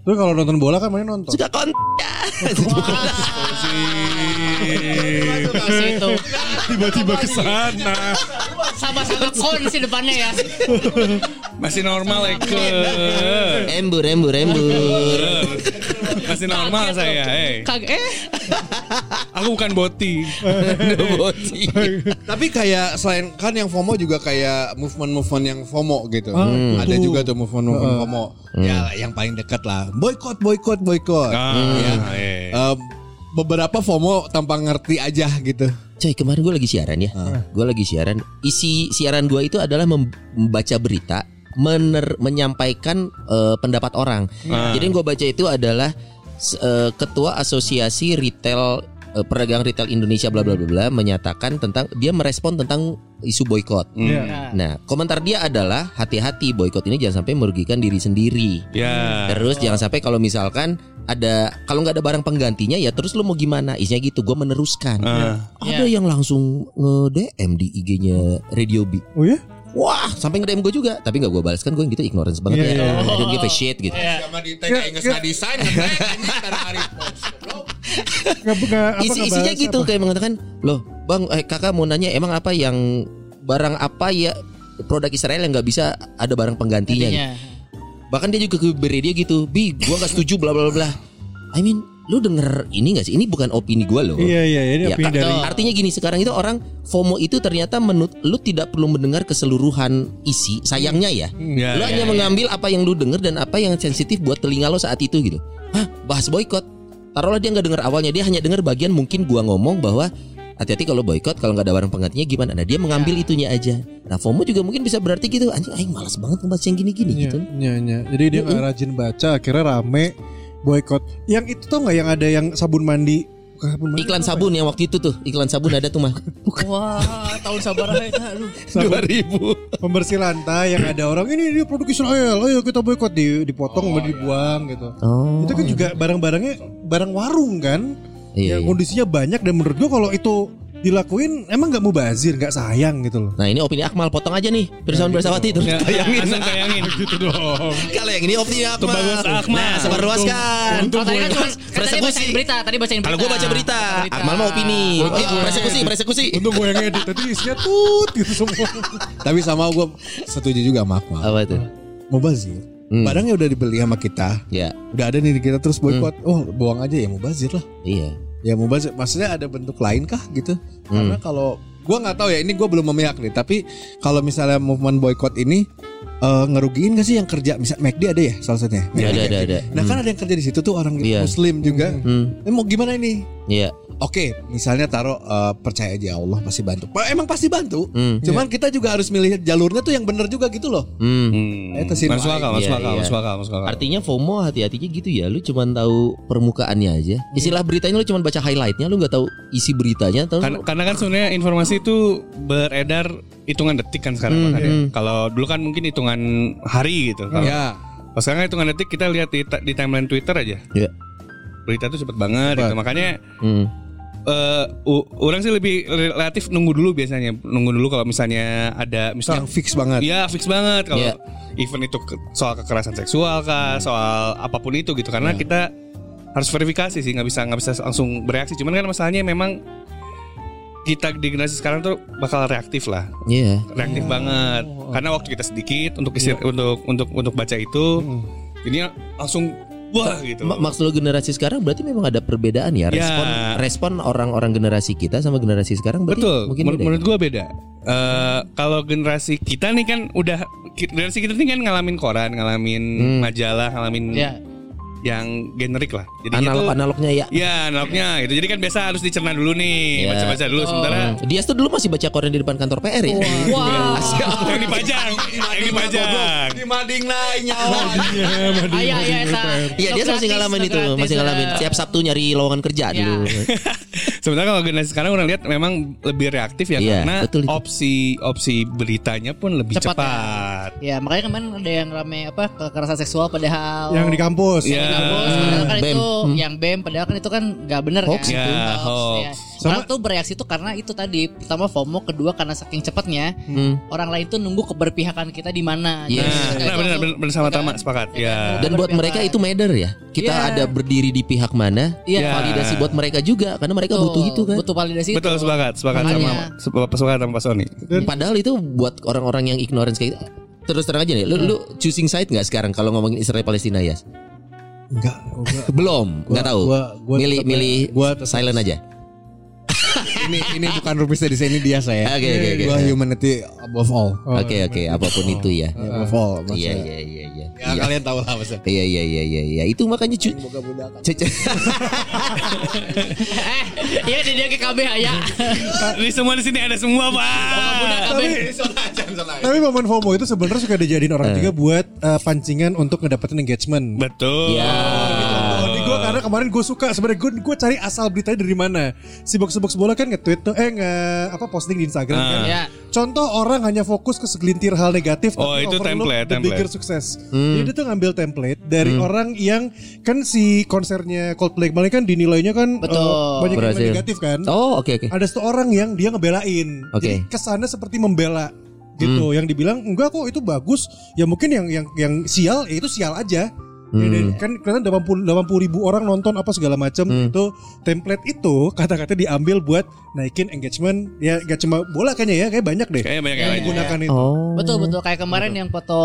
Speaker 2: Lu kalau nonton bola kan mainnya nonton.
Speaker 3: Suka kon.
Speaker 6: Masih itu.
Speaker 2: Tiba-tiba ke sana.
Speaker 6: Sama-sama kon sih depannya ya.
Speaker 4: Masih normal eh, Eko.
Speaker 3: Embur, embur, embur.
Speaker 6: Iya.
Speaker 4: Masih normal saya. eh.
Speaker 6: Kag eh
Speaker 4: Aku bukan boti.
Speaker 3: Boti.
Speaker 5: Tapi kayak selain kan yang FOMO juga kayak movement-movement yang FOMO gitu.
Speaker 2: Ah,
Speaker 5: Ada juga tuh movement-movement FOMO. Ya yang paling dekat lah. Boykot, boykot, boykot.
Speaker 4: Ah,
Speaker 5: Ya.
Speaker 4: iya.
Speaker 5: Eh, beberapa FOMO tanpa ngerti aja gitu.
Speaker 3: Coy kemarin gue lagi siaran ya Gue lagi siaran Isi siaran gue itu adalah mem- membaca berita mener- Menyampaikan eh, pendapat orang Jadi yang gue baca itu adalah s- eh, Ketua Asosiasi Retail eh, Pedagang Retail Indonesia bla bla bla bla Menyatakan tentang Dia merespon tentang isu boykot Nah komentar dia adalah Hati-hati boykot ini jangan sampai merugikan diri sendiri
Speaker 4: Ya.
Speaker 2: Ah.
Speaker 3: Terus jangan sampai kalau misalkan ada kalau nggak ada barang penggantinya ya terus lu mau gimana? Isinya gitu, gue meneruskan.
Speaker 2: Ah.
Speaker 3: Nah, Ada yang langsung nge-DM di IG-nya Radio B.
Speaker 2: Oh ya?
Speaker 3: Wah, sampai nge-DM gue juga, tapi nggak gue balas kan gue yang gitu ignorance
Speaker 2: Iya,
Speaker 3: banget ya. I don't give a shit gitu.
Speaker 5: Sama di tag ingat desain
Speaker 2: Nggak nggak apa
Speaker 3: Isi isinya
Speaker 2: ngebahas
Speaker 3: gitu
Speaker 2: apa.
Speaker 3: kayak mengatakan, "Loh, Bang, eh, Kakak mau nanya emang apa yang barang apa ya produk Israel yang nggak bisa ada barang penggantinya?" gitu.
Speaker 6: Iya.
Speaker 3: Bahkan dia juga ke dia gitu Bi gua gak setuju bla bla bla I mean Lu denger ini gak sih Ini bukan opini gua loh
Speaker 2: Iya iya ini
Speaker 3: Ya,
Speaker 2: opini
Speaker 3: kak-
Speaker 2: dari
Speaker 3: Artinya gini sekarang itu orang FOMO itu ternyata menurut lu tidak perlu mendengar keseluruhan isi sayangnya
Speaker 4: Ya,
Speaker 3: ya.
Speaker 2: Iya,
Speaker 3: lu
Speaker 4: ya,
Speaker 3: hanya mengambil apa yang lu denger dan apa yang sensitif buat telinga lo saat itu gitu. Hah, bahas boykot. Taruhlah dia nggak dengar awalnya, dia hanya dengar bagian mungkin gua ngomong bahwa hati-hati kalau boykot kalau nggak ada barang penggantinya gimana. Nah, dia mengambil
Speaker 2: Iya.
Speaker 3: itunya aja. Nah, FOMO juga mungkin bisa berarti gitu. Anjing aing malas banget ngebaca yang gini-gini
Speaker 2: Iya,
Speaker 3: gitu.
Speaker 2: iya, iya. Jadi dia nggak rajin baca, akhirnya rame boykot. Yang itu tau nggak yang ada yang sabun mandi? Bukan sabun mandi.
Speaker 3: Iklan sabun yang waktu itu tuh, iklan sabun ada tuh mah.
Speaker 6: Wah, tahun sabar aja. Aduh.
Speaker 2: Sabun pembersih lantai yang ada orang ini dia produk Israel, ayo kita boykot di dipotong, kemudian dibuang gitu.
Speaker 3: Oh.
Speaker 2: itu kan juga barang-barangnya barang warung kan,
Speaker 3: Iya,
Speaker 2: yang
Speaker 3: iya.
Speaker 2: kondisinya banyak dan menurut gua kalau itu dilakuin emang nggak mau bazir, nggak sayang gitu loh.
Speaker 3: Nah ini opini Akmal potong aja nih
Speaker 2: Nah, iya.
Speaker 3: Pirsawan Bersawati terus tayangin
Speaker 4: Langsung tayangin. Iya, gitu dong.
Speaker 3: Kalau yang ini opini Akmal
Speaker 4: Bagus,
Speaker 2: ah.
Speaker 4: Akmal.
Speaker 3: Nah sebarluaskan
Speaker 6: Kalau tadi kan cuma kan tadi bacain
Speaker 3: Persekusi
Speaker 6: berita, tadi bacain berita.
Speaker 3: Kalau gue baca berita Akmal mah opini Oh iya persekusi persekusi
Speaker 2: Untung gue yang edit tadi isinya tut gitu semua.
Speaker 5: Tapi sama gue setuju juga sama Akmal.
Speaker 3: Apa tuh
Speaker 5: Mau bazir.
Speaker 3: Hmm.
Speaker 5: Barangnya udah dibeli sama kita.
Speaker 3: Ya
Speaker 5: Udah ada nih di kita terus boykot. Oh, buang aja ya mau bazir lah.
Speaker 3: Iya
Speaker 5: Ya mau bazir. Maksudnya ada bentuk lain kah gitu?
Speaker 3: Hmm.
Speaker 5: Karena kalau gue nggak tahu ya ini gue belum memihak nih. Tapi kalau misalnya movement boykot ini eh, ngerugiin gak sih yang kerja? Misal McD ada ya salah satunya.
Speaker 3: Iya, Ada
Speaker 5: McD.
Speaker 3: ada ada
Speaker 5: Nah kan ada yang kerja di situ tuh orang
Speaker 3: Iya.
Speaker 5: Muslim juga.
Speaker 3: Hmm
Speaker 5: Eh, mau gimana ini?
Speaker 3: Iya
Speaker 5: Oke, misalnya taruh eh, percaya aja Allah pasti bantu. Bah, Emang pasti bantu.
Speaker 3: Hmm
Speaker 5: Cuman kita juga harus milih jalurnya tuh yang bener juga gitu loh.
Speaker 3: Hmm
Speaker 4: Hmm.
Speaker 5: Itu sih
Speaker 4: Masuk
Speaker 5: baik.
Speaker 4: akal, masuk
Speaker 3: Iya,
Speaker 4: akal,
Speaker 3: iya.
Speaker 4: masuk akal, masuk akal.
Speaker 3: Artinya FOMO hati-hatinya gitu ya Lu cuman tahu permukaannya aja Istilah beritanya lu cuman baca highlightnya Lu nggak tahu isi beritanya tahu
Speaker 4: Karena, karena kan sebenarnya informasi itu beredar hitungan detik kan sekarang makanya. Kalau dulu kan mungkin hitungan hari gitu. Kalau
Speaker 5: Ya.
Speaker 4: kalau sekarang kan hitungan detik kita lihat di, ta- di timeline Twitter aja.
Speaker 3: Iya.
Speaker 4: Berita tuh cepet banget gitu. Makanya
Speaker 3: Hmm
Speaker 4: eh, u- orang sih lebih relatif nunggu dulu biasanya. Nunggu dulu kalau misalnya ada misalnya
Speaker 5: Yang fix banget.
Speaker 4: Iya fix banget kalau
Speaker 3: Iya.
Speaker 4: event itu ke- soal kekerasan seksual kah, soal apapun itu gitu
Speaker 3: Iya.
Speaker 4: karena kita harus verifikasi sih nggak bisa nggak bisa langsung bereaksi. Cuman kan masalahnya memang kita di generasi sekarang tuh bakal reaktif lah,
Speaker 3: Iya Oh,
Speaker 4: reaktif banget. Karena waktu kita sedikit untuk isi, untuk untuk untuk baca itu,
Speaker 3: Hmm.
Speaker 4: ini langsung wah gitu.
Speaker 3: Ma- Maksud lu generasi sekarang berarti memang ada perbedaan ya respon
Speaker 4: Ya.
Speaker 3: respon orang-orang generasi kita sama generasi sekarang berarti
Speaker 4: Betul.
Speaker 3: mungkin
Speaker 4: Menur-
Speaker 3: beda. ya?
Speaker 4: menurut gua beda. Eh, kalau generasi kita nih kan udah generasi kita nih kan ngalamin koran, ngalamin majalah, ngalamin
Speaker 6: Iya.
Speaker 4: yang generik lah. Jadi
Speaker 3: analog analognya ya.
Speaker 4: Ya analognya itu. Jadi kan biasa harus dicerna dulu nih,
Speaker 3: Iya.
Speaker 4: baca-baca dulu. Sementara
Speaker 3: Dia Hmm. tuh dulu masih baca koran di depan kantor PR ya.
Speaker 6: Wah. iya,
Speaker 4: yang dipajang, yang dipajang.
Speaker 3: mading lain nyawa.
Speaker 6: Ayah, ayah, eta.
Speaker 3: Iya dia
Speaker 6: Gratis,
Speaker 3: masih ngalamin itu,
Speaker 6: iya. gratis,
Speaker 3: masih ngalamin.
Speaker 6: eh.
Speaker 3: Setiap Sabtu nyari lowongan kerja
Speaker 6: Iya.
Speaker 3: dulu.
Speaker 4: Sementara kalau generasi sekarang orang lihat memang lebih reaktif ya
Speaker 3: Iya,
Speaker 4: karena
Speaker 3: betul itu.
Speaker 4: opsi opsi beritanya pun lebih
Speaker 6: Cepat,
Speaker 4: cepat.
Speaker 6: ya. Ya makanya kemarin ada yang rame apa kekerasan seksual padahal
Speaker 2: Yang di kampus.
Speaker 4: Iya.
Speaker 6: Kampus, padahal kan
Speaker 3: BEM.
Speaker 6: itu yang BEM padahal kan itu kan nggak bener
Speaker 3: Hoax
Speaker 6: kan.
Speaker 4: itu. Ya, hoax.
Speaker 6: ya. Orang tuh bereaksi tuh karena itu tadi pertama FOMO, kedua karena saking cepatnya
Speaker 3: Hmm.
Speaker 6: orang lain tuh nunggu keberpihakan kita di mana.
Speaker 3: Yes.
Speaker 6: Jadi,
Speaker 4: Nah, benar
Speaker 6: itu
Speaker 4: benar
Speaker 6: langsung-
Speaker 4: benar, benar sama
Speaker 6: kan?
Speaker 4: Tama sepakat. Ya.
Speaker 3: Dan buat mereka itu matter ya. Kita
Speaker 6: Iya.
Speaker 3: ada berdiri di pihak mana,
Speaker 6: Iya.
Speaker 3: validasi buat mereka juga karena mereka butuh itu kan.
Speaker 6: Butuh validasi itu.
Speaker 4: Betul sepakat, sepakat sama
Speaker 6: Gitu. Makanya.
Speaker 4: sepakat sama Pak Sony.
Speaker 3: Padahal itu buat orang-orang yang ignorance kayak gitu. terus terang aja nih, lu, lu choosing side nggak sekarang kalau ngomongin Israel Palestina ya?
Speaker 2: Enggak. kok gua-
Speaker 3: Belum,
Speaker 2: gua-
Speaker 3: nggak tahu.
Speaker 2: gua- gua
Speaker 3: milih
Speaker 2: tetep-
Speaker 3: milih
Speaker 2: gua tetep-
Speaker 3: silent aja.
Speaker 5: ini ini bukan rupiah di sini dia saya.
Speaker 3: Oke, oke, oke.
Speaker 5: Gua humanity above all.
Speaker 2: Oh,
Speaker 3: Oke oke, apapun itu ya.
Speaker 5: Above all.
Speaker 3: Iya
Speaker 5: maksudnya.
Speaker 3: iya iya iya.
Speaker 5: Ya, kalian tahu lah maksudnya.
Speaker 3: Iya iya iya iya iya. Itu makanya cu- cu- cu-
Speaker 6: eh, iya di dia ke KB ya.
Speaker 4: Di semua di sini ada semua Pak.
Speaker 2: Nah, Tapi momen FOMO itu sebenarnya suka dijadiin orang juga buat eh, pancingan untuk ngedapetin engagement.
Speaker 4: Nah. Betul.
Speaker 3: Ya.
Speaker 2: Oh, ini gue karena kemarin gue suka sebenarnya gue gue cari asal beritanya dari mana si box box bola kan nge-tweet tuh eh nge apa posting di Instagram kan
Speaker 4: Ah.
Speaker 6: Ya.
Speaker 2: contoh orang hanya fokus ke segelintir hal negatif
Speaker 4: Oh, itu
Speaker 2: overlook
Speaker 4: template,
Speaker 2: the bigger
Speaker 4: template.
Speaker 2: success jadi dia tuh ngambil template dari orang yang kan si konsernya Coldplay kemarin kan dinilainya kan
Speaker 6: Betul.
Speaker 2: eh, banyak yang
Speaker 3: Berhasil.
Speaker 2: negatif kan
Speaker 3: Oh oke oke.
Speaker 2: ada satu orang yang dia ngebelain.
Speaker 3: Oke. Hmm.
Speaker 2: Jadi kesannya seperti membela gitu. Yang dibilang enggak kok itu bagus. Ya mungkin yang yang yang sial ya itu sial aja. Ya,
Speaker 3: Hmm.
Speaker 2: dan kan kelihatan 80 80 ribu orang nonton apa segala macam
Speaker 3: Hmm.
Speaker 2: itu template itu kata-kata diambil buat naikin engagement ya gak cuma bola kayaknya ya kayak banyak deh
Speaker 4: Kayaknya banyak yang
Speaker 2: yang
Speaker 4: lain.
Speaker 2: menggunakan itu
Speaker 3: Oh.
Speaker 6: Betul betul kayak kemarin yang foto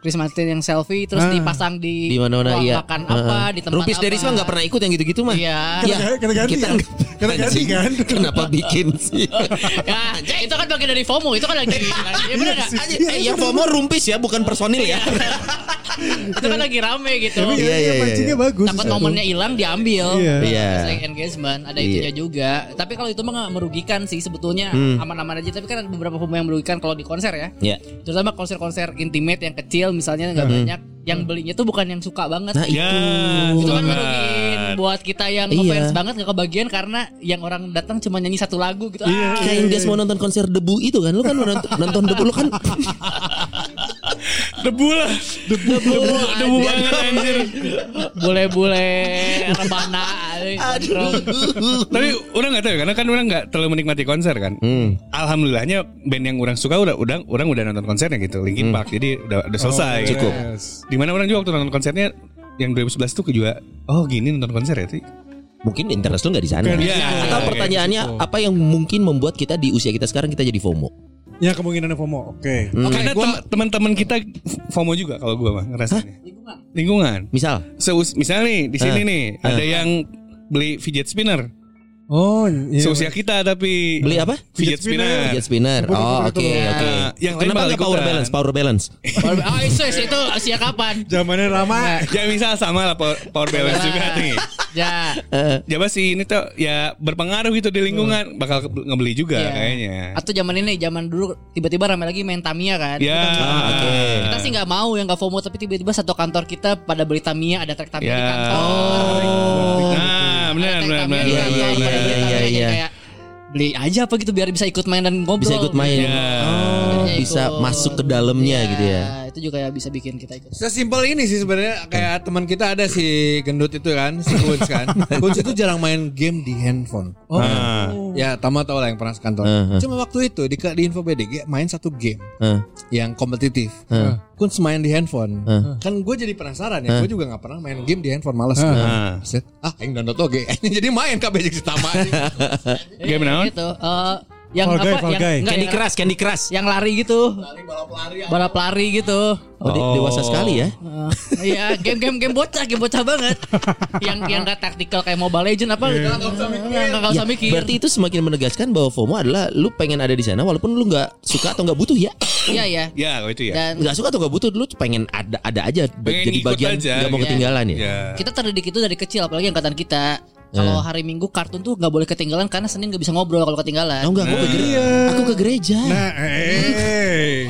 Speaker 6: Chris Martin yang selfie terus dipasang di
Speaker 3: Di mana-mana
Speaker 6: ruang
Speaker 3: iya.
Speaker 6: makan
Speaker 3: Heeh.
Speaker 6: apa di tempat
Speaker 3: Rumpis
Speaker 6: apa.
Speaker 3: dari Risma nggak pernah ikut yang gitu-gitu mah.
Speaker 6: Iya.
Speaker 3: Iya.
Speaker 2: kita ganti
Speaker 3: Kita
Speaker 2: ya.
Speaker 3: nggak-
Speaker 2: Kita ganti
Speaker 3: Anjing,
Speaker 2: kan?
Speaker 3: Kenapa bikin sih?
Speaker 6: ya, itu kan bagian dari FOMO, itu kan lagi ya bener nggak?
Speaker 3: Anjing, eh, yang FOMO rumpis ya, bukan personil ya.
Speaker 6: Itu kan lagi rame gitu.
Speaker 2: tapi
Speaker 3: Iya,
Speaker 2: ya,
Speaker 3: iya,
Speaker 2: ya,
Speaker 3: iya,
Speaker 2: pancingnya bagus
Speaker 6: Takut
Speaker 2: itu.
Speaker 6: momennya hilang diambil.
Speaker 2: Iya.
Speaker 3: Iya.
Speaker 6: Selain engagement ada itunya juga. Tapi kalau itu mah nggak merugikan sih sebetulnya aman-aman aja. Tapi kan ada beberapa FOMO yang merugikan kalau di konser ya.
Speaker 3: Ya.
Speaker 6: Terutama konser-konser intimate yang kecil misalnya nggak banyak. Yang belinya tuh bukan yang suka banget.
Speaker 3: Nah,
Speaker 4: Ya.
Speaker 6: itu kan
Speaker 4: sepakat.
Speaker 6: ngerugiin buat kita yang
Speaker 3: Iya.
Speaker 6: ngefans banget gak kebagian karena yang orang datang cuma nyanyi satu lagu gitu. Ah.
Speaker 3: Kayak Indes mau nonton konser debu itu kan, lu kan mau nonton, nonton debu lu kan.
Speaker 4: Debu lah. Debu, debu, debu banget anjir.
Speaker 6: bule-bule rebana
Speaker 4: Tapi orang nggak tahu ya, karena kan orang nggak terlalu menikmati konser kan.
Speaker 3: Hmm.
Speaker 4: Alhamdulillahnya band yang orang suka udah udah orang udah nonton konsernya gitu, Linkin Park. Jadi udah udah selesai.
Speaker 2: iya.
Speaker 4: cukup. Dimana orang juga waktu nonton konsernya yang 2011 tuh juga oh gini nonton konser ya sih.
Speaker 3: Mungkin interest lu nggak di sana.
Speaker 4: Iya.
Speaker 3: Atau
Speaker 4: Oke.
Speaker 3: pertanyaannya apa yang mungkin membuat kita di usia kita sekarang kita jadi FOMO? Hmm.
Speaker 2: ya kemungkinan FOMO oke
Speaker 4: Oh, Karena tem- teman-teman kita FOMO juga kalau gua mah ngerasanya. Lingkungan.
Speaker 3: Misal,
Speaker 4: Seus misalnya nih di sini nih ada yang beli fidget spinner.
Speaker 2: oh iya.
Speaker 4: Seusia kita tapi
Speaker 3: beli apa?
Speaker 4: Fidget spinner.
Speaker 3: Fidget spinner. Oh, oke oke.
Speaker 4: Nah, yang lain
Speaker 3: Kenapa
Speaker 4: bakal
Speaker 3: nggak power
Speaker 4: ikutan.
Speaker 3: balance? Power balance.
Speaker 6: Oh itu itu usia kapan?
Speaker 2: zamannya Rama
Speaker 4: Ya misal sama lah power, power balance juga nih.
Speaker 6: Ya.
Speaker 3: Eh,
Speaker 4: Jawa sih ini tuh ya berpengaruh gitu di lingkungan bakal ke- ngebeli juga
Speaker 6: Iya.
Speaker 4: kayaknya.
Speaker 6: Atau zaman ini zaman dulu tiba-tiba ramai lagi main Tamiya kan.
Speaker 4: Ya.
Speaker 3: Ah,
Speaker 6: Kita sih nggak mau yang nggak FOMO tapi tiba-tiba satu kantor kita pada beli Tamiya ada trek Tamiya
Speaker 4: Ya.
Speaker 6: di kantor.
Speaker 4: Nah, benar
Speaker 6: Ada trek
Speaker 4: benar
Speaker 6: Tamiya
Speaker 4: benar.
Speaker 6: di
Speaker 3: Iya,
Speaker 6: kantor,
Speaker 3: iya,
Speaker 6: pada
Speaker 3: iya,
Speaker 6: beli
Speaker 3: iya,
Speaker 6: Tamiya,
Speaker 3: iya.
Speaker 6: jadi kayak, Beli aja apa gitu biar bisa ikut main dan ngobrol.
Speaker 3: Bisa ikut main.
Speaker 4: Iya.
Speaker 3: Oh, bisa
Speaker 6: Ikut.
Speaker 3: masuk ke dalamnya
Speaker 6: Iya,
Speaker 3: gitu ya.
Speaker 6: Itu juga ya bisa bikin kita ikut.
Speaker 5: Sesimpel ini sih sebenarnya kayak teman kita ada si gendut itu kan, si Kunz kan. Kunz itu jarang main game di handphone. Oh. Ya, Tama tau lah yang pernah sekantor.
Speaker 3: Heeh.
Speaker 5: Cuma waktu itu di, di info BDG main satu game
Speaker 3: Heeh.
Speaker 5: yang kompetitif. Eh. Kunz main di handphone. Kan gue jadi penasaran ya, gue juga nggak pernah main game di handphone, males. gua. Set, Ah, yang download oke. Jadi main kabeh si Tama.
Speaker 4: Game naon?
Speaker 6: Gitu. eh, yang
Speaker 2: Fall Guy,
Speaker 6: apa
Speaker 2: Fall
Speaker 6: yang
Speaker 2: Guy.
Speaker 6: enggak,
Speaker 3: Candy
Speaker 6: yang-
Speaker 3: Crush, Candy Crush.
Speaker 6: yang lari gitu. Balap lari gitu.
Speaker 3: Oh, de- dewasa sekali ya.
Speaker 6: Eh, Iya, game-game game bocah, game bocah banget. yang yang nggak taktikal kayak Mobile Legend apa
Speaker 4: Iya.
Speaker 6: enggak
Speaker 4: Oh,
Speaker 6: enggak
Speaker 3: Ya,
Speaker 6: usah mikir. Iya,
Speaker 3: berarti itu semakin menegaskan bahwa FOMO adalah lu pengen ada di sana walaupun lu nggak suka atau nggak butuh ya.
Speaker 6: iya ya.
Speaker 4: Ya kalau itu
Speaker 6: Dan
Speaker 4: ya.
Speaker 3: Nggak suka atau nggak butuh lu pengen ada ada aja be-
Speaker 4: Pengen
Speaker 3: jadi
Speaker 4: ikut
Speaker 3: bagian
Speaker 4: aja,
Speaker 3: nggak mau
Speaker 4: gitu.
Speaker 3: ketinggalan ya.
Speaker 4: Ya.
Speaker 6: kita terdidik itu dari kecil apalagi angkatan kita.
Speaker 3: Iya.
Speaker 6: Kalau hari Minggu kartun tuh nggak boleh ketinggalan karena Senin nggak bisa ngobrol kalau ketinggalan.
Speaker 3: Oh enggak, aku ke gereja. Aku ke gereja.
Speaker 2: Nah, eh.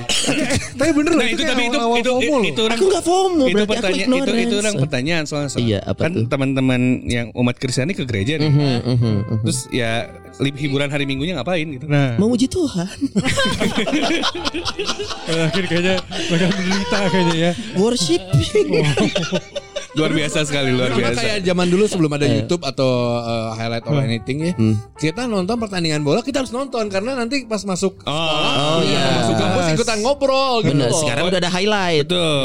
Speaker 2: Tapi bener loh
Speaker 4: Nah itu tapi itu itu itu, itu orang
Speaker 3: aku nggak FOMO
Speaker 4: itu
Speaker 3: berarti aku
Speaker 4: pertanyaan itu
Speaker 3: ignorance.
Speaker 4: itu orang pertanyaan soalnya soal.
Speaker 3: Iya, apa
Speaker 4: kan
Speaker 3: tuh?
Speaker 4: teman-teman yang umat Kristiani ke gereja nih.
Speaker 3: Mhm, mhm, mhm.
Speaker 4: Terus ya lib- hiburan hari Minggunya ngapain gitu.
Speaker 2: Nah,
Speaker 3: Memuji Tuhan,
Speaker 2: akhir kayaknya bakal menderita kayaknya ya.
Speaker 3: worship.
Speaker 4: Luar biasa sekali, luar
Speaker 5: Sama
Speaker 4: biasa.
Speaker 5: kayak zaman dulu sebelum ada YouTube atau eh, highlight or anything ya. Kita nonton pertandingan bola kita harus nonton karena nanti pas masuk
Speaker 4: Oh,
Speaker 5: sekolah, masuk kampus ikutan ngobrol gitu.
Speaker 3: Bener,
Speaker 5: loh.
Speaker 3: sekarang udah ada
Speaker 4: iya.
Speaker 3: highlight.
Speaker 4: Betul.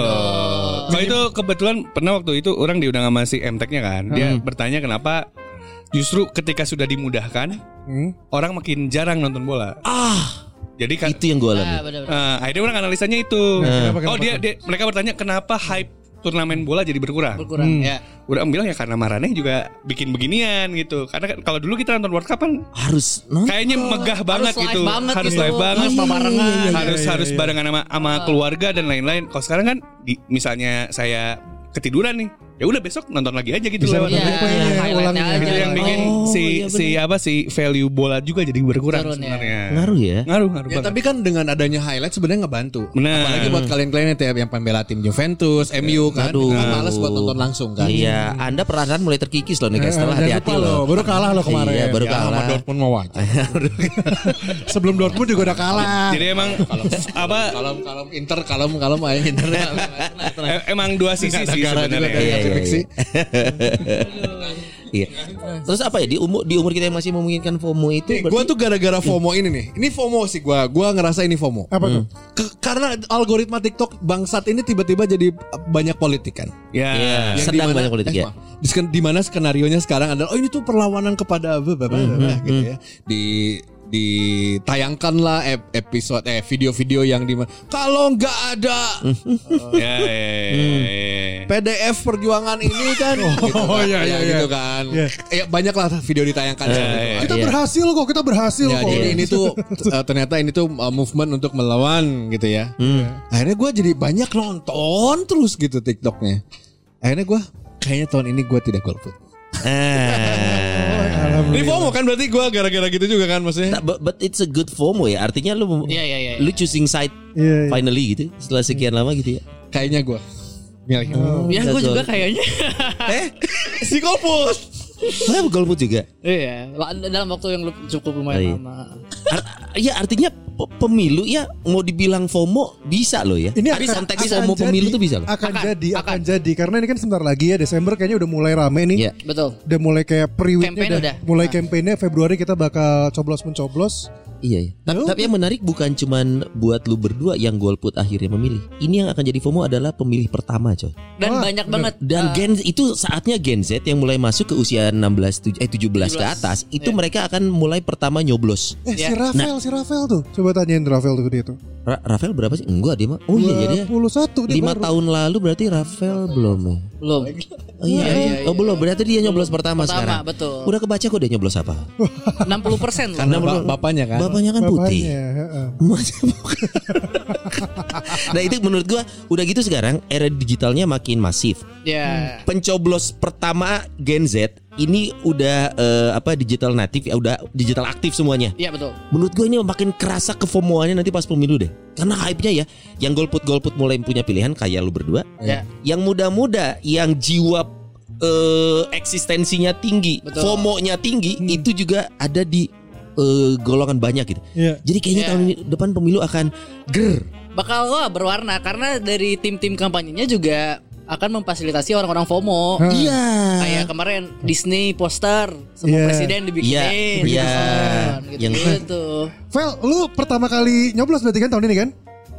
Speaker 4: Kalau itu kebetulan pernah waktu itu orang diundang sama si MTech-nya kan. Dia bertanya kenapa justru ketika sudah dimudahkan, orang makin jarang nonton bola.
Speaker 3: Ah,
Speaker 4: Jadi kan
Speaker 3: itu yang gue alami.
Speaker 6: Ah, bener-bener.
Speaker 4: eh, akhirnya orang analisanya itu. oh, dia, dia mereka bertanya kenapa hype turnamen bola jadi berkurang.
Speaker 6: Berkurang ya.
Speaker 4: Udah bilang ya karena Maraneh juga bikin beginian gitu. Karena kan kalau dulu kita nonton World Cup kan
Speaker 3: Harus nonton.
Speaker 4: kayaknya megah banget
Speaker 6: live
Speaker 4: gitu.
Speaker 6: banget
Speaker 4: harus
Speaker 6: gitu.
Speaker 4: live banget.
Speaker 6: Harus barengan.
Speaker 4: Iya, iya, harus harus barengan sama sama keluarga dan lain-lain. Kalau sekarang kan di, misalnya saya ketiduran nih, ya udah besok nonton lagi aja gitu lewat.
Speaker 6: Iya,
Speaker 2: Replaynya,
Speaker 6: highlightnya
Speaker 2: ulangnya.
Speaker 4: Itu
Speaker 6: aja. Oh.
Speaker 4: yang bikin si si apa si value bola juga jadi berkurang
Speaker 6: Turun ya.
Speaker 4: sebenarnya.
Speaker 3: Ngaruh ya.
Speaker 4: Ngaruh ngaruh
Speaker 5: Ya,
Speaker 4: banget.
Speaker 5: tapi kan dengan adanya highlight sebenarnya ngebantu.
Speaker 4: Benar.
Speaker 5: Apalagi buat kalian-kalian yang tiap- yang pembela tim Juventus, MU kan,
Speaker 3: Aduh.
Speaker 5: kan males buat nonton langsung kan.
Speaker 3: Iya, Anda perasaan mulai terkikis loh nih guys. Setelah
Speaker 2: Jangan
Speaker 3: hati-hati
Speaker 2: lupa
Speaker 3: loh.
Speaker 2: loh, baru kalah loh kemarin.
Speaker 3: Iya, baru
Speaker 5: Ya, sama
Speaker 3: kalah.
Speaker 5: Dortmund mau wajar.
Speaker 2: Sebelum Dortmund juga udah kalah.
Speaker 4: Jadi emang apa
Speaker 5: Kalem kalem Inter kalem kalem aja Inter. kalem, kalem.
Speaker 4: em- emang dua sisi sih
Speaker 5: Negara juga
Speaker 4: sebenarnya.
Speaker 5: kan,
Speaker 3: Iya,
Speaker 5: tapi
Speaker 3: iya,
Speaker 5: fiksi.
Speaker 3: Iya. Terus apa ya di umur di umur kita yang masih memungkinkan FOMO itu
Speaker 5: Nih, gua tuh gara-gara FOMO ini nih. Ini FOMO sih gua. Gua ngerasa ini FOMO.
Speaker 2: Apa tuh?
Speaker 5: Ke- karena algoritma TikTok bangsat ini tiba-tiba jadi banyak politik kan.
Speaker 4: Ya.
Speaker 3: Iya,
Speaker 5: Yang
Speaker 3: sedang
Speaker 5: dimana-
Speaker 3: banyak politik
Speaker 5: eh,
Speaker 3: ya.
Speaker 5: maaf. Di sken- Di mana skenarionya sekarang adalah oh ini tuh perlawanan kepada apa, apa, apa, apa,
Speaker 2: Mm-hmm.
Speaker 5: gitu ya. Di ditayangkanlah ep- episode eh video-video yang di kalau nggak ada
Speaker 2: Mm-hmm.
Speaker 4: Ya, ya,
Speaker 2: Mm.
Speaker 4: ya, ya.
Speaker 5: PDF perjuangan ini kan gitu kan.
Speaker 2: iya, iya,
Speaker 5: Ya, gitu
Speaker 2: iya.
Speaker 5: kan
Speaker 2: Iya. Eh,
Speaker 5: ya banyaklah video ditayangkan Ya, seperti itu.
Speaker 4: iya.
Speaker 2: Kita berhasil kok, kita berhasil
Speaker 5: Ya,
Speaker 2: kok.
Speaker 5: jadi ini tuh eh, ternyata ini tuh eh, movement untuk melawan gitu ya.
Speaker 2: Hmm.
Speaker 5: Akhirnya gue jadi banyak nonton terus gitu TikToknya. Akhirnya gue kayaknya tahun ini gue tidak golput.
Speaker 3: Eh.
Speaker 5: Ini FOMO kan berarti gue gara-gara gitu juga kan maksudnya.
Speaker 3: Nah, but, but it's a good FOMO ya. Artinya lu
Speaker 6: Iya, iya, iya.
Speaker 3: lu choosing side
Speaker 2: Iya, iya.
Speaker 3: finally gitu setelah sekian lama gitu ya.
Speaker 5: Kayaknya gue milih.
Speaker 6: Ya gue
Speaker 3: Gagal.
Speaker 6: juga kayaknya.
Speaker 3: Eh, si golput. Saya golput juga.
Speaker 6: Iya, wa- dalam waktu yang lu- cukup
Speaker 3: Oh, iya.
Speaker 6: lumayan lama.
Speaker 3: Ar- ya artinya pe- pemilu ya mau dibilang FOMO bisa loh ya.
Speaker 2: Ini
Speaker 3: Tapi
Speaker 2: akan-
Speaker 3: sometimes
Speaker 2: akan
Speaker 3: FOMO
Speaker 2: jadi-
Speaker 3: pemilu tuh bisa loh.
Speaker 2: Akan, jadi, akan, jadi karena ini kan sebentar lagi ya Desember kayaknya udah mulai rame nih.
Speaker 3: Iya.
Speaker 6: Betul.
Speaker 2: Udah mulai kayak pre-weeknya
Speaker 6: Campaign
Speaker 2: udah. Nah.
Speaker 6: udah.
Speaker 2: Mulai kampanye Februari kita bakal coblos mencoblos.
Speaker 3: Iya, iya.
Speaker 2: Ya
Speaker 3: Tapi, tapi yang menarik bukan cuman buat lu berdua yang golput akhirnya memilih. Ini yang akan jadi FOMO adalah pemilih pertama, coy.
Speaker 6: Dan
Speaker 2: Wah,
Speaker 6: banyak banget eh,
Speaker 3: Dan gen itu saatnya Gen Z yang mulai masuk ke usia 16 tuj- eh 17 ke
Speaker 6: 17,
Speaker 3: atas, itu
Speaker 6: iya.
Speaker 3: mereka akan mulai pertama nyoblos.
Speaker 2: Eh
Speaker 6: Ya.
Speaker 2: si Rafael,
Speaker 3: Nah.
Speaker 2: si Rafael tuh. Coba tanyain Rafael tuh ke dia tuh.
Speaker 3: Ra- Rafael berapa sih? Enggak dia mah. Oh iya jadi
Speaker 2: 21 dia
Speaker 3: 5
Speaker 2: baru.
Speaker 3: tahun lalu berarti Rafael belum. ya?
Speaker 6: belum.
Speaker 3: Oh iya.
Speaker 6: Iya, iya,
Speaker 3: Oh belum, berarti dia nyoblos pertama, sekarang.
Speaker 6: Pertama, betul.
Speaker 3: Udah kebaca kok dia nyoblos apa?
Speaker 6: 60% loh.
Speaker 5: Karena ba- bapaknya kan.
Speaker 3: Bapaknya kan putih.
Speaker 2: Bapaknya, heeh.
Speaker 3: Emasnya bukan. nah itu menurut gua udah gitu sekarang era digitalnya makin masif. Hmm.
Speaker 6: Ya.
Speaker 3: Pencoblos pertama Gen Z ini udah eh, apa digital natif ya udah digital aktif semuanya.
Speaker 6: Iya, betul.
Speaker 3: Menurut gua ini makin kerasa kefomoannya nanti pas pemilu deh. Karena hype-nya ya yang golput-golput mulai punya pilihan kayak lu berdua.
Speaker 6: Ya.
Speaker 3: Yang muda-muda yang jiwa eh, eksistensinya tinggi,
Speaker 6: Betul. Hmm.
Speaker 3: FOMO-nya tinggi itu juga ada di eh, golongan banyak gitu.
Speaker 2: Iya.
Speaker 3: Jadi kayaknya
Speaker 6: Iya.
Speaker 3: tahun ini- depan pemilu akan ger.
Speaker 6: Bakal wah, berwarna karena dari tim-tim kampanyenya juga akan memfasilitasi orang-orang FOMO.
Speaker 3: Iya.
Speaker 6: Hmm. Kayak kemarin Disney poster semua
Speaker 2: Iya.
Speaker 6: presiden
Speaker 3: Iya.
Speaker 6: dibikinin.
Speaker 3: Iya.
Speaker 6: Gitu,
Speaker 3: Yang-
Speaker 6: gitu.
Speaker 2: Vel, lu pertama kali nyoblos berarti kan tahun ini kan?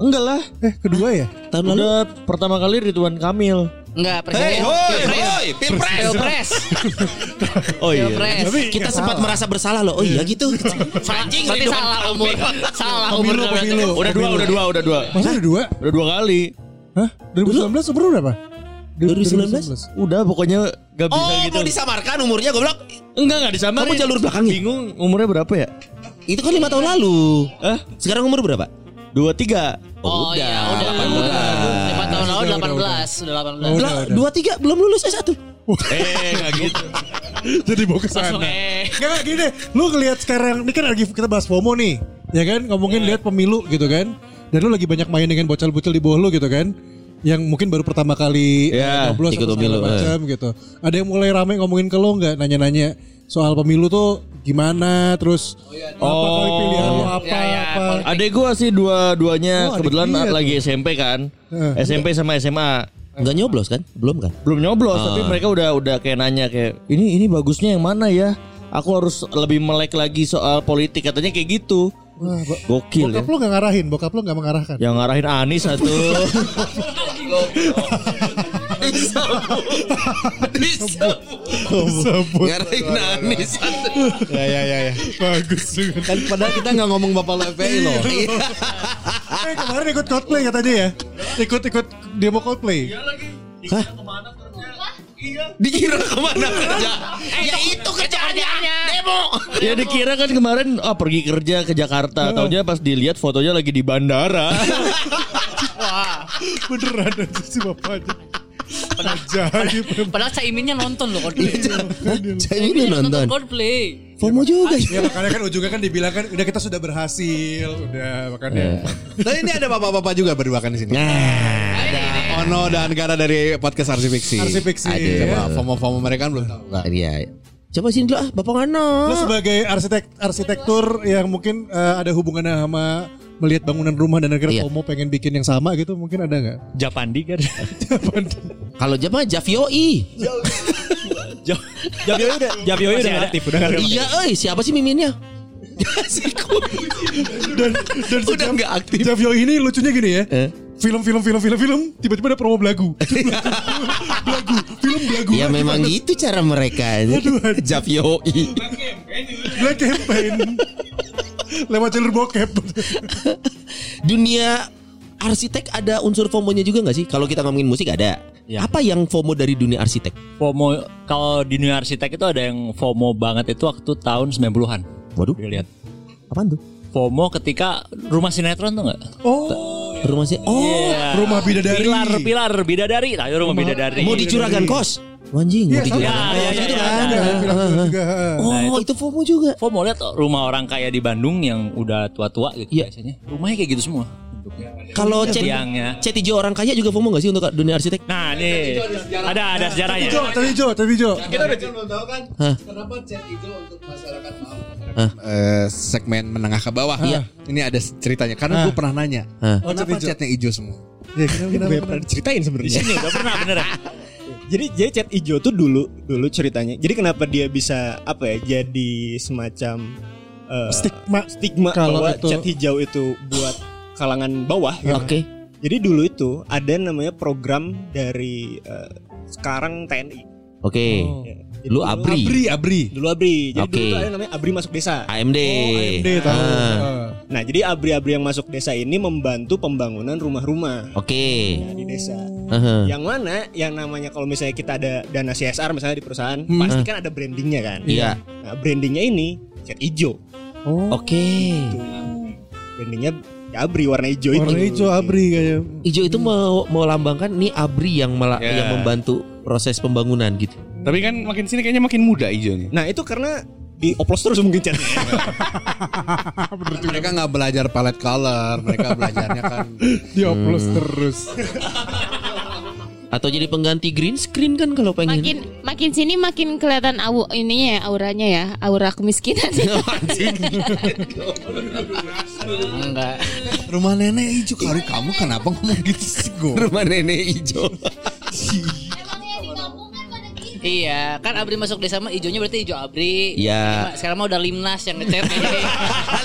Speaker 9: Enggak lah,
Speaker 2: Eh, kedua ya?
Speaker 3: Tahun lalu
Speaker 9: udah pertama kali Ridwan Kamil.
Speaker 6: Enggak presiden. Pilpres.
Speaker 3: Oh iya.
Speaker 6: Pilpres.
Speaker 3: Kita sempat merasa bersalah loh. Oh iya gitu. Anjing
Speaker 6: Berarti
Speaker 3: Ridwan
Speaker 6: salah
Speaker 3: Kamil.
Speaker 6: umur. Salah umur.
Speaker 2: Pemilu, pemilu.
Speaker 4: Udah dua, udah dua, udah dua.
Speaker 2: Masa ada dua?
Speaker 4: Udah dua kali.
Speaker 2: Hah? 2019 umur berapa?
Speaker 3: 2019?
Speaker 4: Udah pokoknya gak bisa
Speaker 3: Oh,
Speaker 4: gitu.
Speaker 3: mau disamarkan umurnya goblok.
Speaker 4: Enggak, enggak disamarin.
Speaker 3: Kamu jalur belakang ya?
Speaker 4: Bingung umurnya berapa ya?
Speaker 3: Itu kan lima tahun lalu.
Speaker 4: Hah?
Speaker 3: Sekarang umur berapa?
Speaker 4: Dua, tiga.
Speaker 6: Oh iya, udah.
Speaker 3: 18.
Speaker 6: 5 tahun lalu
Speaker 2: Udah, udah,
Speaker 6: 18, sudah 18.
Speaker 2: Udah,
Speaker 3: Lah,
Speaker 2: udah.
Speaker 3: dua tiga belum lulus S1.
Speaker 4: Eh, gak gitu.
Speaker 2: Jadi mau
Speaker 6: Langsung
Speaker 2: kesana.
Speaker 6: eh.
Speaker 2: Gak, gak gini deh. Lu ngelihat sekarang ini kan lagi kita bahas FOMO nih. Ya kan
Speaker 3: Iya.
Speaker 2: ngomongin lihat pemilu gitu kan. Dan lu lagi banyak main dengan bocil-bocil di bawah lu gitu kan. Yang mungkin baru pertama kali
Speaker 4: Ya,
Speaker 2: eh, nyoblos
Speaker 3: ikut
Speaker 2: atau segala
Speaker 3: pemilu, eh.
Speaker 2: macam gitu. Ada yang mulai rame ngomongin ke lu nggak nanya-nanya soal pemilu tuh gimana terus
Speaker 3: Oh, iya,
Speaker 2: apa kali pilihan lu Oh, apa
Speaker 6: Ya, ya,
Speaker 2: apa.
Speaker 6: politik.
Speaker 4: Adek gua sih dua-duanya
Speaker 2: Oh, adik
Speaker 4: kebetulan
Speaker 2: dia
Speaker 4: lagi SMP kan.
Speaker 2: Eh.
Speaker 4: SMP sama SMA.
Speaker 3: Enggak nyoblos kan? Belum kan?
Speaker 4: Belum nyoblos tapi mereka udah udah kayak nanya kayak ini ini bagusnya yang mana ya? Aku harus lebih melek lagi soal politik katanya kayak gitu.
Speaker 2: Wah, bo-
Speaker 4: Gokil ya.
Speaker 2: bokap lu nggak ngarahin, bokap lu nggak mengarahkan.
Speaker 4: Yang ngarahin Anis satu.
Speaker 3: Oh,
Speaker 2: Sebut.
Speaker 3: Ngarahin Anis.
Speaker 5: Ya ya ya ya.
Speaker 2: Bagus juga.
Speaker 3: Kan padahal kita nggak ngomong bapak lo FPI loh.
Speaker 2: Eh kemarin ikut cosplay katanya ya. Ikut-ikut demo cosplay.
Speaker 3: Dikira kemana kerja? ya itu
Speaker 6: kerjaannya.
Speaker 3: Demo.
Speaker 4: ya dikira kan kemarin ah pergi kerja ke Jakarta. Taunya pas dilihat fotonya lagi di bandara.
Speaker 2: Beneran aja si bapaknya. gitu. Ajaib.
Speaker 6: Padahal Caiminnya nonton loh Coldplay.
Speaker 3: Iya. Saya ini nonton.
Speaker 6: Coldplay.
Speaker 3: FOMO juga.
Speaker 2: Ya makanya kan ujungnya kan dibilang kan udah kita sudah berhasil, udah makanya. Nah,
Speaker 5: Tapi ini ada bapak-bapak juga berdua kan di sini. Ada Ono dan Gara dari podcast Arsi Fiksi.
Speaker 2: Arsi Fiksi.
Speaker 5: Aduh. Coba
Speaker 2: Aduh.
Speaker 5: FOMO-FOMO mereka kan belum tahu. Nggak.
Speaker 3: Iya. Coba sini dulu ah, bapak ngano.
Speaker 2: Lu sebagai arsitek arsitektur yang mungkin eh, ada hubungannya sama melihat bangunan rumah dan akhirnya
Speaker 3: Iya.
Speaker 2: FOMO pengen bikin yang sama gitu mungkin ada nggak?
Speaker 4: Japandi kan.
Speaker 3: Kalau Java Javioi.
Speaker 4: Japio udah
Speaker 9: Ya,
Speaker 4: Japio udah aktif udah
Speaker 3: Iya, eh siapa sih miminnya?
Speaker 2: Dan dan
Speaker 3: Udah
Speaker 2: sejak-
Speaker 3: nggak aktif.
Speaker 2: Javio ini lucunya gini ya.
Speaker 3: Eh.
Speaker 2: Film-film film-film film tiba-tiba ada promo belagu. belagu, film belagu.
Speaker 3: Ya memang gitu cara mereka. Javioi.
Speaker 2: Black campaign. Lewat jalur bokep.
Speaker 3: Dunia arsitek ada unsur FOMO-nya juga nggak sih? Kalau kita ngomongin musik ada.
Speaker 9: Ya.
Speaker 3: Apa yang FOMO dari dunia arsitek?
Speaker 9: FOMO kalau di dunia arsitek itu ada yang FOMO banget itu waktu tahun 90-an.
Speaker 3: Waduh,
Speaker 9: Dilihat.
Speaker 3: apaan tuh?
Speaker 9: FOMO ketika rumah sinetron tuh enggak?
Speaker 2: Oh,
Speaker 3: Rumah saya. Oh,
Speaker 2: rumah bidadari.
Speaker 9: Pilar, pilar bidadari. Nah, itu rumah
Speaker 4: Iya,
Speaker 9: bidadari.
Speaker 3: mau dicuragan kos. Anjing,
Speaker 2: Iya,
Speaker 3: mau
Speaker 2: sama.
Speaker 3: dicuragan
Speaker 9: Ya,
Speaker 3: kos
Speaker 9: ya,
Speaker 3: gitu
Speaker 9: ya,
Speaker 4: iya.
Speaker 3: kan.
Speaker 9: ya, ya.
Speaker 2: Pilar pilar juga.
Speaker 3: Oh,
Speaker 9: Nah,
Speaker 3: itu FOMO juga.
Speaker 9: FOMO lihat rumah orang kaya di Bandung yang udah tua-tua gitu
Speaker 3: Iya.
Speaker 9: biasanya. Rumahnya kayak gitu semua. bentuknya.
Speaker 3: Kalau cet
Speaker 9: Tiangnya.
Speaker 3: cet hijau orang kaya juga FOMO nggak sih untuk dunia arsitek?
Speaker 9: Nah, nih. Ada ada sejarahnya.
Speaker 2: Jo, tapi Jo, tapi Jo.
Speaker 5: belum tahu kan
Speaker 3: Hah?
Speaker 5: kenapa chat itu untuk masyarakat Eh, segmen menengah ke bawah.
Speaker 3: Iya.
Speaker 5: Ini ada ceritanya karena gue pernah nanya.
Speaker 3: Hah.
Speaker 5: Kenapa Oh, chatnya hijau Iya, semua?
Speaker 2: Ya, kenapa,
Speaker 10: Ini
Speaker 2: kenapa,
Speaker 10: gue
Speaker 2: kenapa?
Speaker 10: pernah diceritain
Speaker 9: Di
Speaker 10: sebenarnya.
Speaker 9: sini udah pernah bener.
Speaker 10: Jadi jadi cat ijo tuh dulu dulu ceritanya. Jadi kenapa dia bisa apa ya? Jadi semacam eh,
Speaker 2: Stigma.
Speaker 10: stigma
Speaker 2: Kalau
Speaker 10: bahwa
Speaker 2: itu-
Speaker 10: cat hijau itu buat kalangan bawah. gitu.
Speaker 3: Oke.
Speaker 10: Jadi dulu itu ada namanya program dari eh, sekarang TNI.
Speaker 3: Oke.
Speaker 10: Ya. Jadi
Speaker 3: Lu
Speaker 10: dulu-
Speaker 3: ABRI,
Speaker 2: Oh. Abri, Abri.
Speaker 10: Dulu abri. Jadi dulu
Speaker 3: Oke.
Speaker 10: tuh ada namanya abri masuk desa.
Speaker 3: AMD.
Speaker 2: AMD tahu.
Speaker 3: Ah,
Speaker 2: Ah.
Speaker 10: Nah jadi abri-abri yang masuk desa ini membantu pembangunan rumah-rumah
Speaker 3: Oke.
Speaker 10: ya, di desa.
Speaker 3: Hmm. Aha.
Speaker 10: Yang mana yang namanya kalau misalnya kita ada dana CSR misalnya di perusahaan, pasti kan ada brandingnya kan.
Speaker 3: Iya.
Speaker 10: Nah, brandingnya ini cat hijau.
Speaker 3: Oke.
Speaker 10: Brandingnya ya abri warna hijau itu.
Speaker 2: Warna hijau Abri kayaknya.
Speaker 3: Ijo itu mau melambangkan nih ABRI yang mela-
Speaker 4: Ya.
Speaker 3: yang membantu proses pembangunan gitu.
Speaker 4: Tapi kan makin sini kayaknya makin muda hijaunya.
Speaker 10: Nah itu karena dioplos terus mungkin catnya.
Speaker 5: Mereka nggak belajar palette color, mereka belajarnya kan.
Speaker 2: Dioplos terus.
Speaker 3: Atau jadi pengganti green screen kan kalau pengen.
Speaker 7: Makin makin sini makin kelihatan au ininya ya auranya ya, aura kemiskinan.
Speaker 6: Enggak.
Speaker 5: Rumah nenek hijau. Kari kamu kenapa ngomong gitu sih gue?
Speaker 3: Rumah nenek hijau.
Speaker 7: Emang yang di kampung kan pada gitu.
Speaker 6: Iya, kan Abri masuk desa mah hijaunya berarti hijau Abri.
Speaker 3: Iya.
Speaker 6: Cuma Sekarang mah udah Limnas yang ngecat jadi.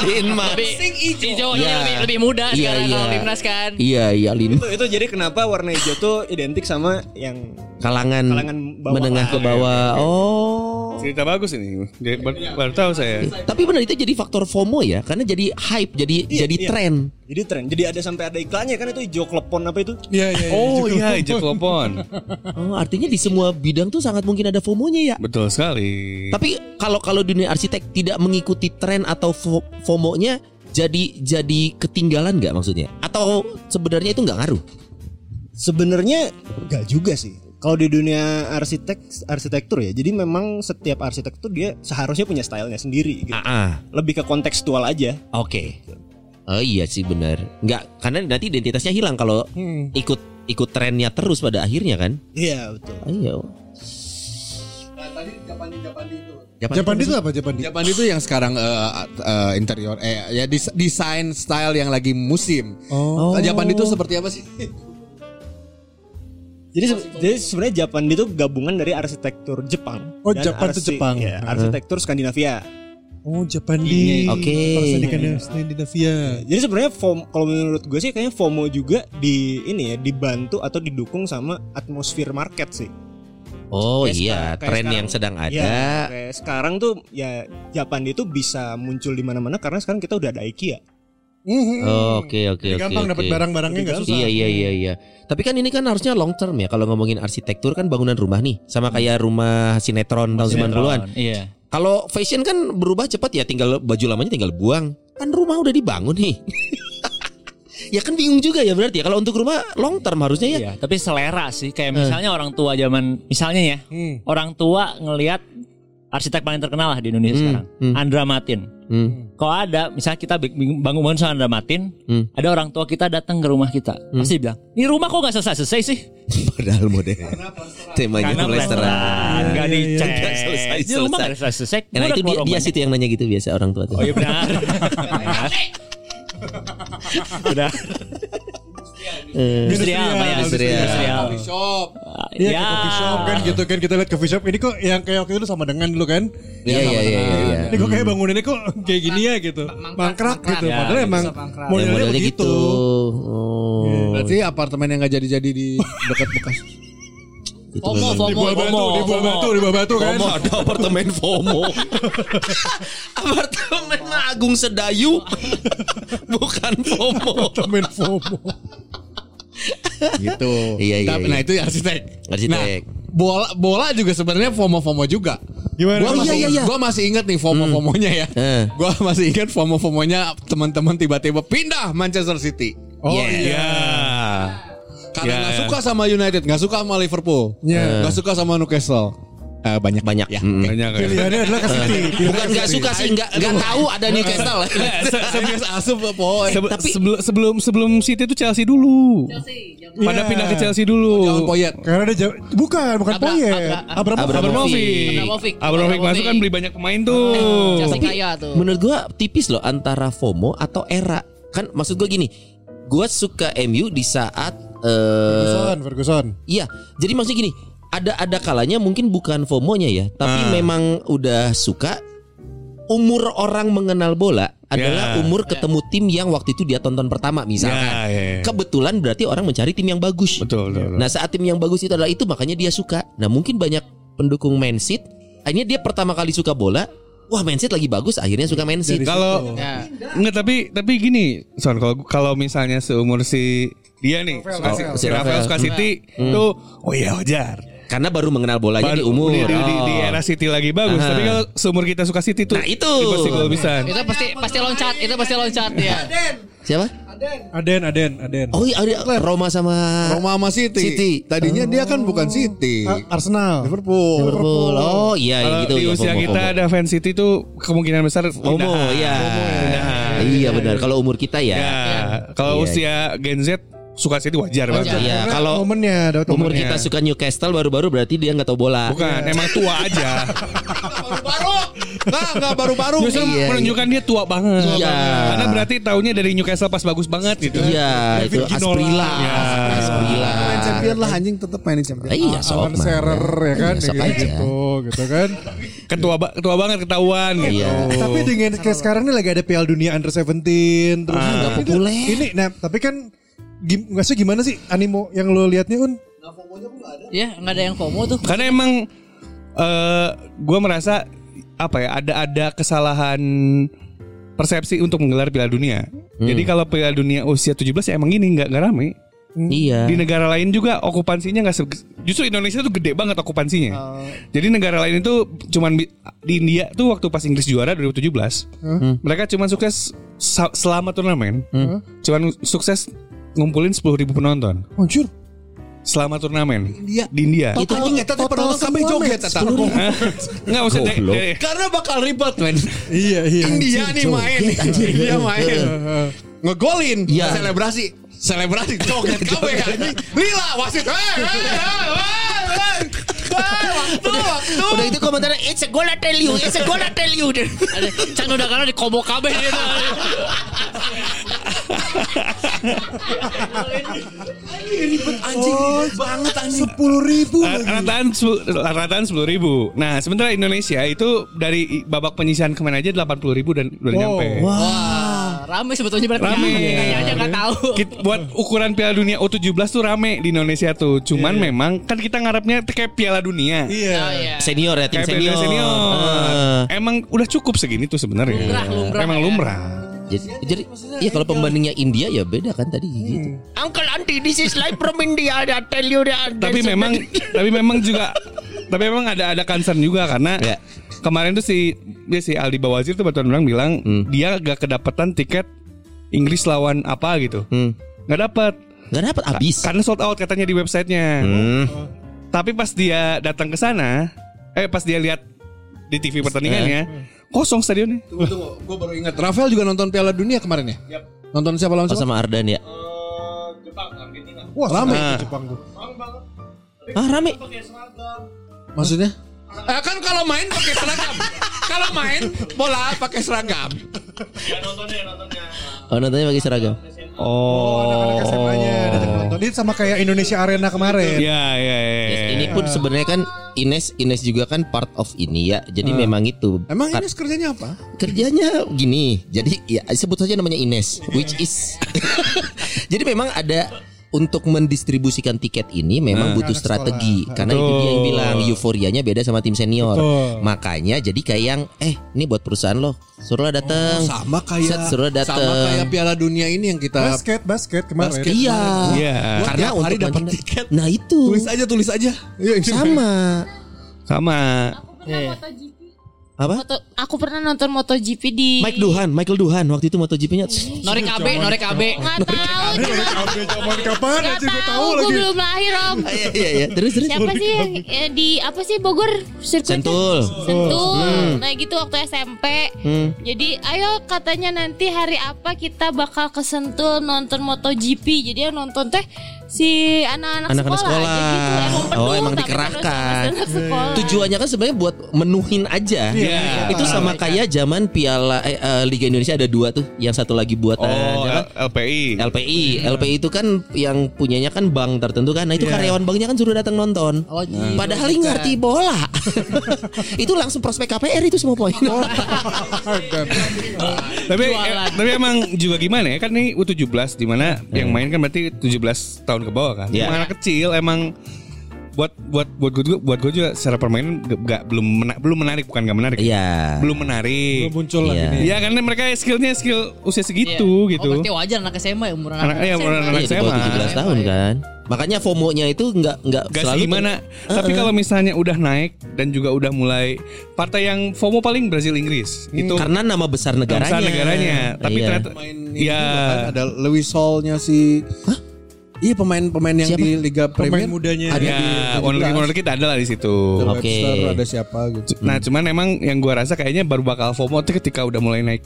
Speaker 3: Linmas.
Speaker 6: Lebih hijau
Speaker 3: Iya.
Speaker 6: lebih, lebih muda
Speaker 3: Iya,
Speaker 6: sekarang kalau
Speaker 3: iya.
Speaker 6: Limnas kan.
Speaker 3: Iya iya Lin
Speaker 10: itu itu jadi kenapa warna hijau tuh identik sama yang
Speaker 3: kalangan,
Speaker 10: Kalangan bawah.
Speaker 3: menengah ke bawah. Oh.
Speaker 4: Cerita bagus ini. Jadi, bar- baru tahu saya.
Speaker 3: Tapi benar itu jadi faktor FOMO ya karena jadi hype jadi
Speaker 10: Iya,
Speaker 3: jadi
Speaker 10: iya.
Speaker 3: tren.
Speaker 10: jadi tren jadi ada sampai ada iklannya kan itu hijau klepon apa itu
Speaker 2: Iya iya.
Speaker 4: Oh iya, hijau telepon.
Speaker 3: Oh, artinya di semua bidang tuh sangat mungkin ada FOMO-nya ya.
Speaker 4: Betul
Speaker 10: Iya.
Speaker 4: sekali.
Speaker 3: Tapi kalau kalau dunia arsitek tidak mengikuti tren atau fo- FOMO-nya jadi jadi ketinggalan nggak maksudnya? Atau sebenarnya itu nggak ngaruh?
Speaker 10: Sebenarnya nggak juga sih. Kalau di dunia arsitek arsitektur ya, jadi memang setiap arsitek tuh dia seharusnya punya stylenya sendiri. Gitu.
Speaker 3: Ah, ah,
Speaker 10: Lebih ke kontekstual aja.
Speaker 3: oke. Oh iya sih benar. Nggak karena nanti identitasnya hilang kalau ikut ikut trennya terus pada akhirnya kan?
Speaker 10: Iya betul.
Speaker 3: Ayo.
Speaker 5: Nah,
Speaker 3: Japan,
Speaker 2: Japan Oh, itu apa Japan
Speaker 5: Japan itu yang sekarang eh, eh, interior eh ya des- desain style yang lagi musim.
Speaker 2: Oh.
Speaker 5: Japan itu seperti apa sih?
Speaker 10: Jadi, se- jadi sebenarnya Japan itu gabungan dari arsitektur Jepang.
Speaker 2: Oh, Japan itu Jepang.
Speaker 10: Iya,
Speaker 2: Heeh.
Speaker 10: arsitektur Skandinavia.
Speaker 2: Oh Japan di.
Speaker 3: Oke.
Speaker 2: Persen di Kandang Skandinavia.
Speaker 10: Jadi sebenarnya FOMO kalau menurut gue sih kayaknya FOMO juga di ini ya dibantu atau didukung sama atmosfer market sih.
Speaker 3: Oh
Speaker 10: Kayak
Speaker 3: iya,
Speaker 10: sekarang- kayak
Speaker 3: tren
Speaker 10: sekarang.
Speaker 3: yang sedang ada.
Speaker 10: Ya, kayak sekarang tuh ya Japan itu bisa muncul di mana-mana karena sekarang kita udah ada IKEA.
Speaker 2: Mhm.
Speaker 3: Oh, Oke oke
Speaker 2: Jadi
Speaker 3: oke.
Speaker 2: gampang
Speaker 3: oke.
Speaker 2: dapat barang-barangnya nggak susah.
Speaker 3: Iya iya iya iya. Tapi kan ini kan harusnya long term ya kalau ngomongin arsitektur kan bangunan rumah nih sama kayak rumah sinetron tahun 90-an.
Speaker 9: Iya.
Speaker 3: Kalau fashion kan berubah cepat ya tinggal baju lamanya tinggal buang. Kan rumah udah dibangun nih. ya kan bingung juga ya berarti ya kalau untuk rumah long term harusnya ya.
Speaker 9: Iya, tapi selera sih. Kayak misalnya orang tua zaman misalnya ya,
Speaker 2: Hmm.
Speaker 9: orang tua ngelihat arsitek paling terkenal lah di Indonesia
Speaker 3: Hmm,
Speaker 9: sekarang,
Speaker 3: hmm.
Speaker 9: Andra Matin.
Speaker 3: Hmm.
Speaker 9: Kalau ada misalnya kita bing- bing- bangun-bangun sama Andra Matin,
Speaker 3: Hmm.
Speaker 9: ada orang tua kita datang ke rumah kita, pasti bilang, "Ini rumah kok nggak selesai-selesai sih?"
Speaker 3: Padahal model. Temanya
Speaker 9: plesteran,
Speaker 3: plesteran.
Speaker 9: nggak dicek.
Speaker 3: Nggak selesai-selesai.
Speaker 9: Ini rumah nggak selesai-selesai.
Speaker 4: Nah,
Speaker 3: Karena
Speaker 9: Gua
Speaker 3: Nah, itu
Speaker 9: udah
Speaker 3: dia,
Speaker 9: keluar
Speaker 3: dia
Speaker 9: rumah.
Speaker 3: situ yang nanya gitu biasa orang tua tuh.
Speaker 9: Oh iya benar. Benar. Benar.
Speaker 3: Eh,
Speaker 9: Industrial, Pak, ya.
Speaker 3: Industrial.
Speaker 9: Industrial.
Speaker 2: Coffee shop. Iya
Speaker 9: Ya.
Speaker 2: kayak coffee shop kan gitu kan kita lihat coffee shop ini kok yang kayak waktu itu sama dengan dulu kan.
Speaker 3: Iya, iya, iya, iya.
Speaker 2: Ini kok kayak bangunannya kok kayak gini ya gitu. Mangkrak gitu.
Speaker 9: ya,
Speaker 2: Padahal emang
Speaker 3: Ya,
Speaker 2: modelnya
Speaker 3: modelnya
Speaker 2: begitu.
Speaker 3: gitu. Oh.
Speaker 2: Iya.
Speaker 5: Berarti apartemen yang nggak jadi-jadi di dekat bekas.
Speaker 3: Itu
Speaker 6: FOMO,
Speaker 3: memang-
Speaker 2: Di
Speaker 6: FOMO,
Speaker 2: buah batu,
Speaker 6: FOMO,
Speaker 2: di buah batu, di buah batu kan.
Speaker 3: FOMO ada apartemen FOMO. apartemen mah Agung Sedayu. Bukan FOMO.
Speaker 2: Apartemen FOMO.
Speaker 5: gitu.
Speaker 3: Iya, iya,
Speaker 5: Tapi
Speaker 3: iya.
Speaker 5: nah itu arsitek.
Speaker 3: Arsitek.
Speaker 5: Nah, bola bola juga sebenarnya FOMO-FOMO juga.
Speaker 2: Gimana?
Speaker 5: Gua
Speaker 3: Oh, iya,
Speaker 5: masih,
Speaker 3: iya, iya.
Speaker 5: gua masih inget nih FOMO-FOMOnya ya.
Speaker 3: Eh.
Speaker 5: Gua masih inget FOMO-FOMOnya teman-teman tiba-tiba pindah Manchester City.
Speaker 2: Oh
Speaker 3: Yeah.
Speaker 2: iya.
Speaker 5: Karena
Speaker 4: Ya.
Speaker 5: nggak suka sama United, nggak suka sama Liverpool,
Speaker 2: Iya.
Speaker 5: nggak suka sama Newcastle. Eh, banyak
Speaker 3: Banyak.
Speaker 5: Ya.
Speaker 3: Mm.
Speaker 4: Banyak ya.
Speaker 2: Pilihannya adalah ke City.
Speaker 3: Bukan
Speaker 2: Iya,
Speaker 3: nggak suka sih, nggak nggak tahu ada Newcastle.
Speaker 5: Serius asup poin.
Speaker 4: Sebe-
Speaker 3: Tapi-
Speaker 4: sebelum sebelum sebelum City itu Chelsea dulu. Pada
Speaker 2: Iya.
Speaker 4: pindah ke Chelsea dulu.
Speaker 5: Oh, Jangan poyet.
Speaker 2: Karena ada jauh- bukan bukan
Speaker 6: Abra-
Speaker 2: proyek.
Speaker 6: Abra-
Speaker 2: Abramovich.
Speaker 6: Abramovich.
Speaker 4: Abramovich. Abramovich masuk kan beli banyak pemain tuh.
Speaker 6: Chelsea kaya tuh.
Speaker 3: Menurut gua tipis loh antara FOMO atau era. Kan maksud gua gini, gua suka MU di saat eh
Speaker 2: Ferguson, Ferguson.
Speaker 3: Iya, jadi maksudnya gini, ada ada kalanya mungkin bukan FOMO-nya ya,
Speaker 4: Ah.
Speaker 3: tapi memang udah suka umur orang mengenal bola adalah
Speaker 4: Ya.
Speaker 3: umur ketemu tim yang waktu itu dia tonton pertama misalkan.
Speaker 4: Ya, ya, ya.
Speaker 3: Kebetulan berarti orang mencari tim yang bagus.
Speaker 4: Betul, betul, betul.
Speaker 3: Nah, saat tim yang bagus itu adalah itu makanya dia suka. Nah, mungkin banyak pendukung Man City akhirnya dia pertama kali suka bola, wah Man City lagi bagus, akhirnya suka Man City.
Speaker 4: Kalau
Speaker 6: Ya.
Speaker 4: Enggak tapi tapi gini, Son kalau kalau misalnya seumur si dia nih suka si, si Rafael suka City tuh oh iya wajar.
Speaker 3: Karena baru mengenal bolanya Hmm. di
Speaker 4: Baru-
Speaker 3: umur.
Speaker 4: di, di, di- di
Speaker 3: Oh.
Speaker 4: era City lagi bagus, tapi kalau seumur kita suka City tuh
Speaker 3: Nah, itu.
Speaker 4: itu pasti gol bisa.
Speaker 6: Nah, Itu pasti pasti loncat, itu pasti loncat ya.
Speaker 3: Siapa?
Speaker 2: Aden, Aden, Aden.
Speaker 3: Oh, iya, ada Roma sama
Speaker 5: Roma sama City.
Speaker 3: City.
Speaker 5: Tadinya dia kan bukan City.
Speaker 2: A- Arsenal.
Speaker 5: Liverpool.
Speaker 3: Liverpool. Oh, iya
Speaker 4: Kalau
Speaker 3: gitu.
Speaker 4: di
Speaker 3: ya,
Speaker 4: usia
Speaker 3: FOMO,
Speaker 4: kita
Speaker 3: FOMO.
Speaker 4: ada fan City tuh kemungkinan besar
Speaker 3: Homo
Speaker 4: pindahan.
Speaker 3: ya.
Speaker 4: Pindahan.
Speaker 3: Iya benar. Kalau umur kita
Speaker 4: Ya,
Speaker 3: ya.
Speaker 4: kalau
Speaker 3: Iya,
Speaker 4: usia Gen Z suka City wajar banget.
Speaker 3: Iya,
Speaker 2: Karena
Speaker 3: kalau
Speaker 2: kan momennya ada
Speaker 3: umur
Speaker 2: momennya.
Speaker 3: kita suka Newcastle baru-baru berarti dia nggak tahu bola.
Speaker 4: Bukan, emang tua aja.
Speaker 3: Enggak, enggak baru-baru.
Speaker 4: Justru menunjukkan dia tua banget.
Speaker 3: Tua Iya. banget.
Speaker 4: Karena berarti tahunnya dari Newcastle pas bagus banget gitu.
Speaker 3: Iya, itu Asprilla.
Speaker 4: Iya.
Speaker 3: Asprilla.
Speaker 11: Main champion lah anjing tetap mainin champion.
Speaker 3: Eh, Iya, sok.
Speaker 2: Alan
Speaker 3: man.
Speaker 2: Shearer ya kan
Speaker 3: Iya, sok
Speaker 2: kayak
Speaker 3: aja.
Speaker 2: gitu, gitu kan.
Speaker 4: Ketua ba- ketua banget ketahuan gitu.
Speaker 3: Iya.
Speaker 2: Tapi dengan kayak sekarang ini lagi ada Piala Dunia Under 17 terus
Speaker 3: Ah, nggak
Speaker 2: Itu-
Speaker 3: populer.
Speaker 2: Ini nah, tapi kan gim, nggak sih gimana sih animo yang lo liatnya Un?
Speaker 6: Ya nggak ada yang FOMO tuh.
Speaker 4: Karena emang eh gue merasa apa ya ada ada kesalahan persepsi untuk menggelar Piala Dunia.
Speaker 3: Hmm.
Speaker 4: Jadi kalau Piala Dunia usia 17 ya emang gini nggak nggak rame.
Speaker 3: Iya.
Speaker 4: Di negara lain juga okupansinya nggak se- justru Indonesia tuh gede banget okupansinya. Jadi negara lain itu cuman bi- di India tuh waktu pas Inggris juara 2017, mereka cuman sukses sa- selama turnamen, cuman sukses ngumpulin 10.000 penonton
Speaker 2: Anjir.
Speaker 4: selama turnamen
Speaker 11: India.
Speaker 4: di India.
Speaker 11: Itu anjing eta teh penonton sampai joget eta.
Speaker 4: Hah? Nggak eh, usah dari,
Speaker 3: Goblok.
Speaker 4: dari-
Speaker 11: Karena bakal ribet men.
Speaker 2: Iya iya.
Speaker 11: India nih main.
Speaker 5: Iya.
Speaker 11: India main. Ngegolin,
Speaker 3: Iya.
Speaker 11: selebrasi. Selebrasi joget kabeh anjing. Lila wasit. Eh, eh, eh, eh, eh, waktu, waktu.
Speaker 3: Udah
Speaker 6: gitu
Speaker 3: itu komentarnya it's a goal I tell you, it's a goal I tell you.
Speaker 6: Ada Can udah karena di kobo kabeh dia tuh.
Speaker 11: Anjing banget anjing.
Speaker 2: Oh, Sepuluh ribu.
Speaker 4: Ra- rataan sepul- rataan sepuluh ribu. Nah sementara Indonesia itu dari i- babak penyisian kemarin aja delapan puluh ribu dan udah nyampe.
Speaker 6: Rame sebetulnya berarti.
Speaker 4: Rame. Gitu.
Speaker 6: ya. Nanya aja nggak tahu.
Speaker 4: Kit- buat ukuran Piala Dunia U17 tuh rame di Indonesia tuh. Cuman memang kan kita ngarepnya tuh kayak Piala Dunia.
Speaker 2: Iya.
Speaker 6: Oh, iya.
Speaker 3: Senior ya, tim
Speaker 4: Kayak Piala
Speaker 3: senior.
Speaker 4: senior.
Speaker 3: Eh,
Speaker 4: Emang udah cukup segini tuh sebenarnya.
Speaker 6: Lumrah, lumrah
Speaker 4: Emang
Speaker 6: ya.
Speaker 4: lumrah.
Speaker 3: jadi, jadi iya kalau pembandingnya India ya beda kan tadi gitu.
Speaker 4: Hmm.
Speaker 3: Uncle Auntie, this is live from India. I tell you that.
Speaker 4: Tapi memang tapi memang juga tapi memang ada ada concern juga karena
Speaker 3: Ya.
Speaker 4: kemarin tuh si dia si Aldi Bawazir tuh batuan bilang bilang dia gak kedapetan tiket Inggris lawan apa gitu.
Speaker 3: hmm.
Speaker 4: nggak dapat
Speaker 3: Gak dapat habis.
Speaker 4: karena sold out katanya di websitenya
Speaker 3: Hmm.
Speaker 4: tapi pas dia datang ke sana eh pas dia lihat di TV
Speaker 3: Eh.
Speaker 4: pertandingannya ya, kosong stadionnya
Speaker 5: Tunggu, tunggu. Gue baru ingat. Rafael juga nonton Piala Dunia kemarin ya? Nonton siapa lawan
Speaker 3: Oh,
Speaker 5: siapa?
Speaker 3: sama Ardan ya.
Speaker 2: Wah lama itu
Speaker 3: Ah.
Speaker 2: Jepang tuh.
Speaker 3: Ah rame.
Speaker 5: Maksudnya?
Speaker 11: Eh, kan kalau main pakai seragam. kalau main bola pakai seragam.
Speaker 3: Oh nontonnya pakai seragam.
Speaker 2: Anak-anak SMA-nya datang nonton. Ini sama kayak Indonesia Arena kemarin.
Speaker 4: ya ya ya
Speaker 3: Yes, ini pun sebenarnya kan Ines Ines juga kan part of ini ya. Jadi
Speaker 2: Ah.
Speaker 3: memang itu.
Speaker 5: Emang
Speaker 3: Kar-
Speaker 5: ini kerjanya apa?
Speaker 3: kerjanya gini. Jadi ya sebut saja namanya Ines, which is Jadi memang ada untuk mendistribusikan tiket ini
Speaker 5: Ah.
Speaker 3: memang butuh strategi karena itu dia yang bilang euforianya beda sama tim senior. Makanya jadi kayak yang eh ini buat perusahaan loh. Suruh lo datang.
Speaker 5: Oh, Sama kayak
Speaker 3: Set, suruh datang.
Speaker 5: sama kayak Piala Dunia ini yang kita
Speaker 2: Basket basket kemarin.
Speaker 5: Basket.
Speaker 3: Iya.
Speaker 4: Iya.
Speaker 3: Karena
Speaker 5: Tiap hari
Speaker 3: untuk
Speaker 5: dapat
Speaker 3: menjual-
Speaker 5: tiket.
Speaker 3: Nah, itu.
Speaker 5: tulis aja tulis aja. Iya, ini-
Speaker 3: sama.
Speaker 4: sama
Speaker 7: Aku pernah
Speaker 2: Iya,
Speaker 7: MotoGP.
Speaker 3: Apa?
Speaker 7: Moto- aku pernah nonton MotoGP di
Speaker 3: Mike Duhan, Michael Duhan waktu itu MotoGP-nya.
Speaker 6: Norek KB, Norek KB.
Speaker 7: Nggak tahu, cuma
Speaker 2: Zaman kapan
Speaker 7: nggak
Speaker 2: aja
Speaker 7: tahu.
Speaker 2: gue tahu
Speaker 7: Gue
Speaker 2: lagi.
Speaker 7: belum lahir om.
Speaker 3: Iya iya iya. Terus terus.
Speaker 7: Siapa sih yang eh, di apa sih Bogor sirkuit?
Speaker 3: Sentul. Hmm.
Speaker 7: Sentul. Nah gitu waktu SMP. Jadi ayo katanya nanti hari apa kita bakal ke Sentul nonton MotoGP. Jadi yang nonton teh si anak-anak
Speaker 3: Anak-anak
Speaker 7: sekolah. aja
Speaker 3: sekolah.
Speaker 7: gitu. Emang
Speaker 3: Oh,
Speaker 7: penuh,
Speaker 3: emang
Speaker 7: tapi
Speaker 3: dikerahkan. Hmm.
Speaker 7: terus anak sekolah.
Speaker 3: Tujuannya kan sebenarnya buat menuhin aja.
Speaker 4: Iya.
Speaker 3: Itu sama kayak zaman Piala eh, eh, Liga Indonesia ada dua tuh, yang satu lagi buatan
Speaker 4: oh L-
Speaker 3: apa?
Speaker 4: Iya. LPI
Speaker 3: LPI. LPI itu kan yang punyanya kan bank tertentu kan. Nah, itu
Speaker 4: Iya.
Speaker 3: karyawan banknya kan suruh datang nonton.
Speaker 6: Oh, iya.
Speaker 4: Nah.
Speaker 3: Padahal ini ngerti bola. itu langsung prospek KPR itu semua poin.
Speaker 4: tapi eh, tapi emang juga gimana ya kan ini U17 dimana yang main kan berarti 17 tahun ke bawah kan
Speaker 3: Eh. Iya.
Speaker 4: Emang anak kecil emang buat buat buat gue juga buat gue juga secara permainan nggak- nggak belum mena- belum menarik bukan nggak menarik
Speaker 3: Iya.
Speaker 4: belum menarik
Speaker 2: Muncul lagi
Speaker 3: Iya.
Speaker 2: nih.
Speaker 4: Iya karena mereka skillnya skill usia segitu gitu.
Speaker 6: Oh, berarti wajar anak SMA ya umuran
Speaker 4: Anak- iya, umuran anak
Speaker 3: Iya, di bawah
Speaker 4: SMA.
Speaker 3: 17 tahun kan. Makanya FOMO-nya itu nggak nggak Eh,
Speaker 4: Gak
Speaker 3: selalu
Speaker 4: sih gimana Tapi kalau misalnya udah naik Dan juga udah mulai Partai yang FOMO paling Brasil Inggris Itu
Speaker 3: Hmm. karena nama besar negaranya.
Speaker 4: bangsa negaranya Tapi
Speaker 3: Iya.
Speaker 4: ternyata
Speaker 5: Main ini
Speaker 4: Ya
Speaker 5: juga kan, ada Louis Saul-nya si Iya pemain-pemain yang
Speaker 3: Siapa?
Speaker 5: di Liga Premier
Speaker 2: Pemain mudanya. Iya,
Speaker 5: ada
Speaker 4: Ya
Speaker 5: di
Speaker 4: Owner owner kita ada lah di situ
Speaker 5: Oke.
Speaker 3: Oke.
Speaker 5: ada siapa gitu.
Speaker 4: Nah cuman emang Yang gua rasa kayaknya Baru bakal FOMO tuh ketika udah mulai naik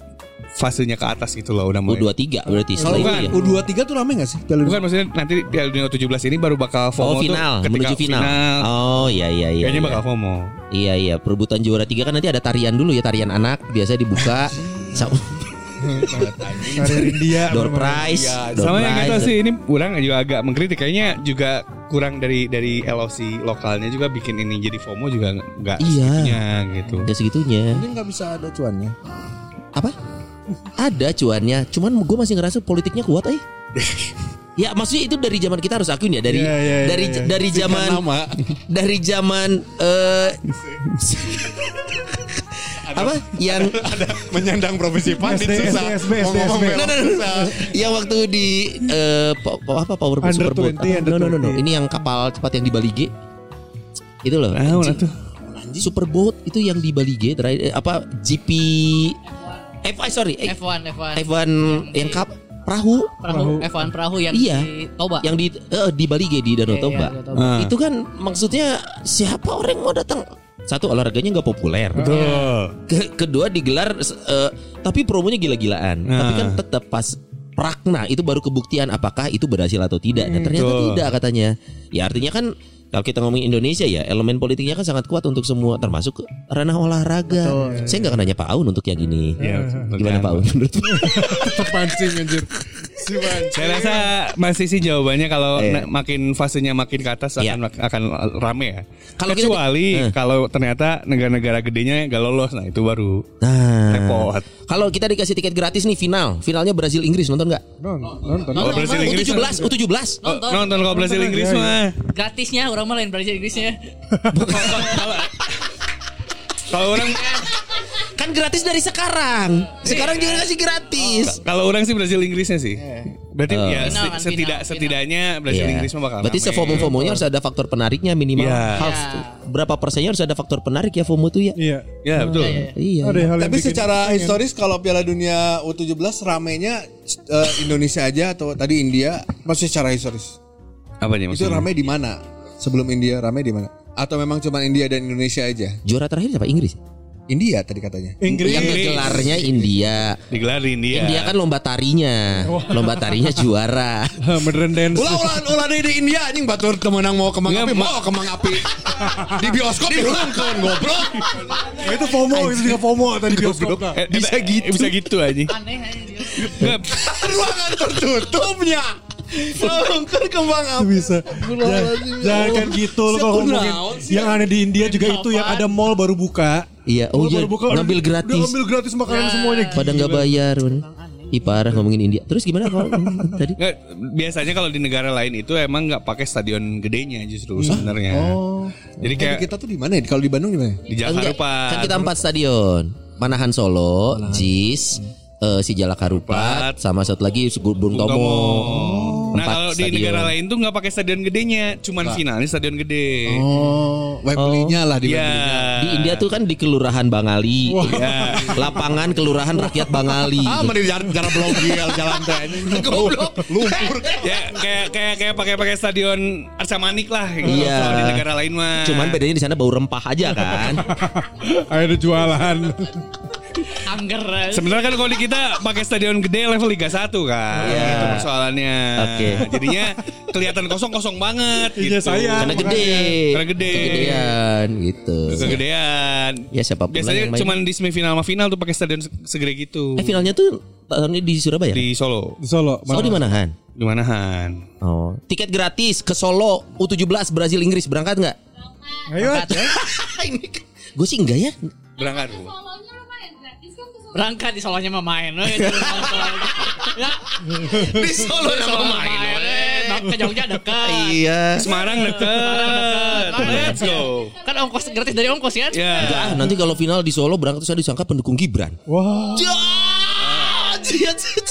Speaker 4: fasenya ke atas gitu loh udah mulai.
Speaker 3: U23 berarti
Speaker 4: Kalau
Speaker 3: setelah itu
Speaker 4: bukan,
Speaker 3: ya.
Speaker 2: U23 tuh rame gak sih? Piala
Speaker 4: Bukan maksudnya nanti Piala Dunia 17 ini baru bakal FOMO
Speaker 3: Oh
Speaker 4: tuh
Speaker 3: final,
Speaker 4: ketika
Speaker 3: menuju final. Oh iya iya iya.
Speaker 4: Kayaknya
Speaker 3: iya.
Speaker 4: bakal FOMO.
Speaker 3: Iya iya, perebutan juara tiga kan nanti ada tarian dulu ya tarian anak biasa dibuka. Sa-
Speaker 2: India
Speaker 3: door prize, door
Speaker 4: gitu Sama yang
Speaker 3: prize.
Speaker 4: nggak tahu sih ini kurang juga agak mengkritik kayaknya juga kurang dari dari LOC lokalnya juga bikin ini jadi FOMO juga nggak
Speaker 3: Iya.
Speaker 4: segitunya gitu.
Speaker 3: Nggak segitunya.
Speaker 5: Ini nggak bisa ada cuannya.
Speaker 3: Apa? Ada cuannya, cuman gue masih ngerasa politiknya kuat eh. Ya maksudnya itu dari zaman kita harus akuin ya dari
Speaker 5: Iya, iya, iya,
Speaker 3: dari
Speaker 5: iya.
Speaker 3: dari
Speaker 5: Singkat
Speaker 3: zaman
Speaker 5: nama.
Speaker 3: dari zaman eh apa yang
Speaker 11: Menyandang profesi pandit
Speaker 2: SD,
Speaker 11: susah.
Speaker 2: SD, SD,
Speaker 11: Ngomong
Speaker 2: SD.
Speaker 11: merah
Speaker 3: No, no, no, no.
Speaker 11: susah.
Speaker 3: yang Ya, waktu di eh, po- po- apa Power
Speaker 2: Under
Speaker 3: Super Bowl.
Speaker 2: 20,
Speaker 3: Apa?
Speaker 2: under
Speaker 3: No, no, no, no.
Speaker 2: 20.
Speaker 3: Ini yang kapal cepat yang di Bali G. Itu loh.
Speaker 4: Ah, mana tuh?
Speaker 3: Superboat itu yang di Bali G terakhir eh, apa GP F1 sorry eh,
Speaker 6: F1 F1
Speaker 3: F1 yang kap perahu
Speaker 6: perahu F1 perahu yang
Speaker 3: Iya.
Speaker 6: di Toba.
Speaker 3: yang di eh, di Bali G di Danau
Speaker 6: Iya,
Speaker 3: Toba.
Speaker 6: iya, Danau Toba.
Speaker 4: Ah.
Speaker 3: Itu kan maksudnya siapa orang yang mau datang? Satu olahraganya nggak populer.
Speaker 6: Iya.
Speaker 4: Betul.
Speaker 3: Ke- kedua digelar eh, tapi promonya gila-gilaan.
Speaker 4: Nah.
Speaker 3: Tapi kan tetap pas Prakna itu baru kebuktian apakah itu berhasil atau tidak dan ternyata
Speaker 4: betul.
Speaker 3: tidak katanya. Ya artinya kan kalau kita ngomongin Indonesia ya elemen politiknya kan sangat kuat untuk semua termasuk ranah olahraga. Saya nggak akan nanya Pak Aun untuk yang ini.
Speaker 6: Iya.
Speaker 4: Ya,
Speaker 3: Gimana Pak Aun? Menurut
Speaker 11: Terpancing anjir. Si
Speaker 4: Saya rasa masih sih jawabannya kalau na-
Speaker 3: Iya.
Speaker 4: makin fasenya makin ke atas
Speaker 3: Iya.
Speaker 4: akan akan rame ya.
Speaker 3: Kalau kita-
Speaker 4: Kecuali
Speaker 3: Eh.
Speaker 4: kalau ternyata negara-negara gedenya gak lolos, nah itu baru
Speaker 3: Nah,
Speaker 4: repot.
Speaker 3: kalau kita dikasih tiket gratis nih final, finalnya Brazil Inggris nonton nggak?
Speaker 2: Nonton
Speaker 4: Kalau
Speaker 6: Nonton,
Speaker 4: Brazil
Speaker 6: nonton.
Speaker 4: Inggris
Speaker 3: U17, U17.
Speaker 4: Oh,
Speaker 6: Nonton.
Speaker 4: nonton kalau Brazil Inggris
Speaker 3: iya,
Speaker 4: mah.
Speaker 6: gratisnya orang malah yang belajar Inggrisnya.
Speaker 4: Kalau orang
Speaker 3: Kan gratis dari sekarang. Sekarang juga ngasih gratis.
Speaker 4: kalau orang sih Oh, Brazil Inggrisnya sih. Berarti
Speaker 3: Oh.
Speaker 6: Final
Speaker 4: ya
Speaker 6: kan, final,
Speaker 4: setidak
Speaker 6: final.
Speaker 4: setidaknya Brazil
Speaker 3: Iya.
Speaker 4: Inggris mah bakal
Speaker 3: Berarti
Speaker 4: rame.
Speaker 3: sefomo-fomonya harus ada faktor penariknya minimal
Speaker 4: Iya.
Speaker 3: half berapa persennya harus ada faktor penarik ya FOMO tuh ya.
Speaker 2: Iya
Speaker 4: Ya, betul.
Speaker 3: Iya.
Speaker 2: Ada hal yang
Speaker 5: Tapi
Speaker 2: bikin
Speaker 5: secara historis kalau Piala Dunia U17 ramenya eh, Indonesia aja atau tadi India masih secara historis.
Speaker 4: Apa nih
Speaker 2: Iya,
Speaker 5: Itu
Speaker 4: maksudnya?
Speaker 5: rame di mana? Sebelum India rame di mana? Atau memang cuma India dan Indonesia aja?
Speaker 3: Juara terakhir siapa? Inggris.
Speaker 5: India tadi katanya.
Speaker 2: Inggris
Speaker 3: Yang gelarnya India.
Speaker 4: Digelarin iya. dia.
Speaker 3: India kan lomba tarinya. Lomba tarinya juara.
Speaker 2: Modern dance
Speaker 11: Ulah ulah ulah deui di India anjing batur temenang mau kemang
Speaker 4: Nggak,
Speaker 11: api
Speaker 4: ma-
Speaker 11: mau kemang api. Di bioskop dihungkeun goblok.
Speaker 2: Nah, Itu FOMO Itu juga FOMO tadi bioskop Kak.
Speaker 4: Eh, bisa gitu. Bisa gitu aja.
Speaker 6: Aneh aja dia.
Speaker 11: Ruangan tertutupnya. Lengkeun kembang
Speaker 2: Itu
Speaker 11: api.
Speaker 2: bisa Jangan- Jangan kan gitu loh kalau ngomongin Yang ada di India juga itu Yang ada mall baru buka
Speaker 3: Iya, oh
Speaker 2: Mall
Speaker 3: iya,
Speaker 2: baru buka,
Speaker 3: ngambil
Speaker 2: udah- udah
Speaker 3: gratis.
Speaker 2: Ngambil gratis makanan
Speaker 5: Nah.
Speaker 2: semuanya
Speaker 3: Pada nggak bayar. bener. Ih parah ngomongin India. Terus gimana kalau tadi?
Speaker 4: Nggak, biasanya kalau di negara lain itu emang nggak pakai stadion gedenya justru sebenarnya. Jadi kayak
Speaker 5: Tapi kita tuh di mana? ya? Kalau di Bandung di mana?
Speaker 4: di Jakarta
Speaker 3: Enggak, Kan kita empat stadion. Manahan Solo, JIS,
Speaker 4: iya.
Speaker 3: eh, si Jalak Harupat, sama satu lagi si Burung Tomo.
Speaker 4: Nah
Speaker 3: Empat
Speaker 4: kalau di
Speaker 3: stadion.
Speaker 4: negara lain tuh nggak pakai stadion gedenya, cuman finalnya stadion gede.
Speaker 5: Oh, Wembley-nya lah di
Speaker 4: Iya.
Speaker 5: Wembley.
Speaker 3: di India tuh kan di kelurahan Bangali. Iya. Lapangan kelurahan rakyat Bangali.
Speaker 11: Ah, mending jalan jalan blogil jalan teh anjing. Goblok. Lumpur.
Speaker 4: ya kayak kayak kayak pakai pakai stadion Arca Manik lah. Gitu.
Speaker 3: Iya.
Speaker 4: Kalau di negara lain mah.
Speaker 3: Cuman bedanya di sana bau rempah aja kan.
Speaker 2: Ada jualan
Speaker 6: Angger.
Speaker 4: Sebenarnya kan kalau di kita pakai stadion gede level Liga 1 kan.
Speaker 3: Iya.
Speaker 4: Itu persoalannya. Nah,
Speaker 3: Oke.
Speaker 4: Jadinya kelihatan kosong-kosong banget gitu.
Speaker 2: Iya, saya.
Speaker 3: Karena gede.
Speaker 4: Karena gede.
Speaker 3: Kegedean gitu.
Speaker 4: Kegedean.
Speaker 3: Ya siapa pun
Speaker 4: Biasanya
Speaker 3: yang main.
Speaker 4: cuman di semifinal sama final tuh pakai stadion se- segede gitu.
Speaker 3: eh, finalnya tuh tahun ini di Surabaya.
Speaker 4: Di Solo.
Speaker 2: Di Solo
Speaker 3: Oh di Manahan.
Speaker 4: Di mana Han?
Speaker 3: Oh, tiket gratis ke Solo U17 Brazil Inggris berangkat nggak?
Speaker 2: Ayo
Speaker 3: Gue sih enggak ya.
Speaker 4: Berangkat.
Speaker 7: Solonya lumayan gratis kan ke Solo.
Speaker 6: Berangkat di solonya mah main. Oh, iya, weh. Di iya.
Speaker 11: Di Solo nama
Speaker 6: Solo
Speaker 11: main.
Speaker 6: main.
Speaker 11: weh.
Speaker 6: weh. Ke Jogja dekat.
Speaker 3: Iya.
Speaker 4: Semarang deket. Let's go.
Speaker 6: Kan ongkos gratis dari ongkos kan?
Speaker 4: Ya.
Speaker 3: Enggak, nanti kalau final di Solo berangkat terus saya disangka pendukung Gibran.
Speaker 2: Wah
Speaker 4: Ah.
Speaker 3: Jat, jat, jat.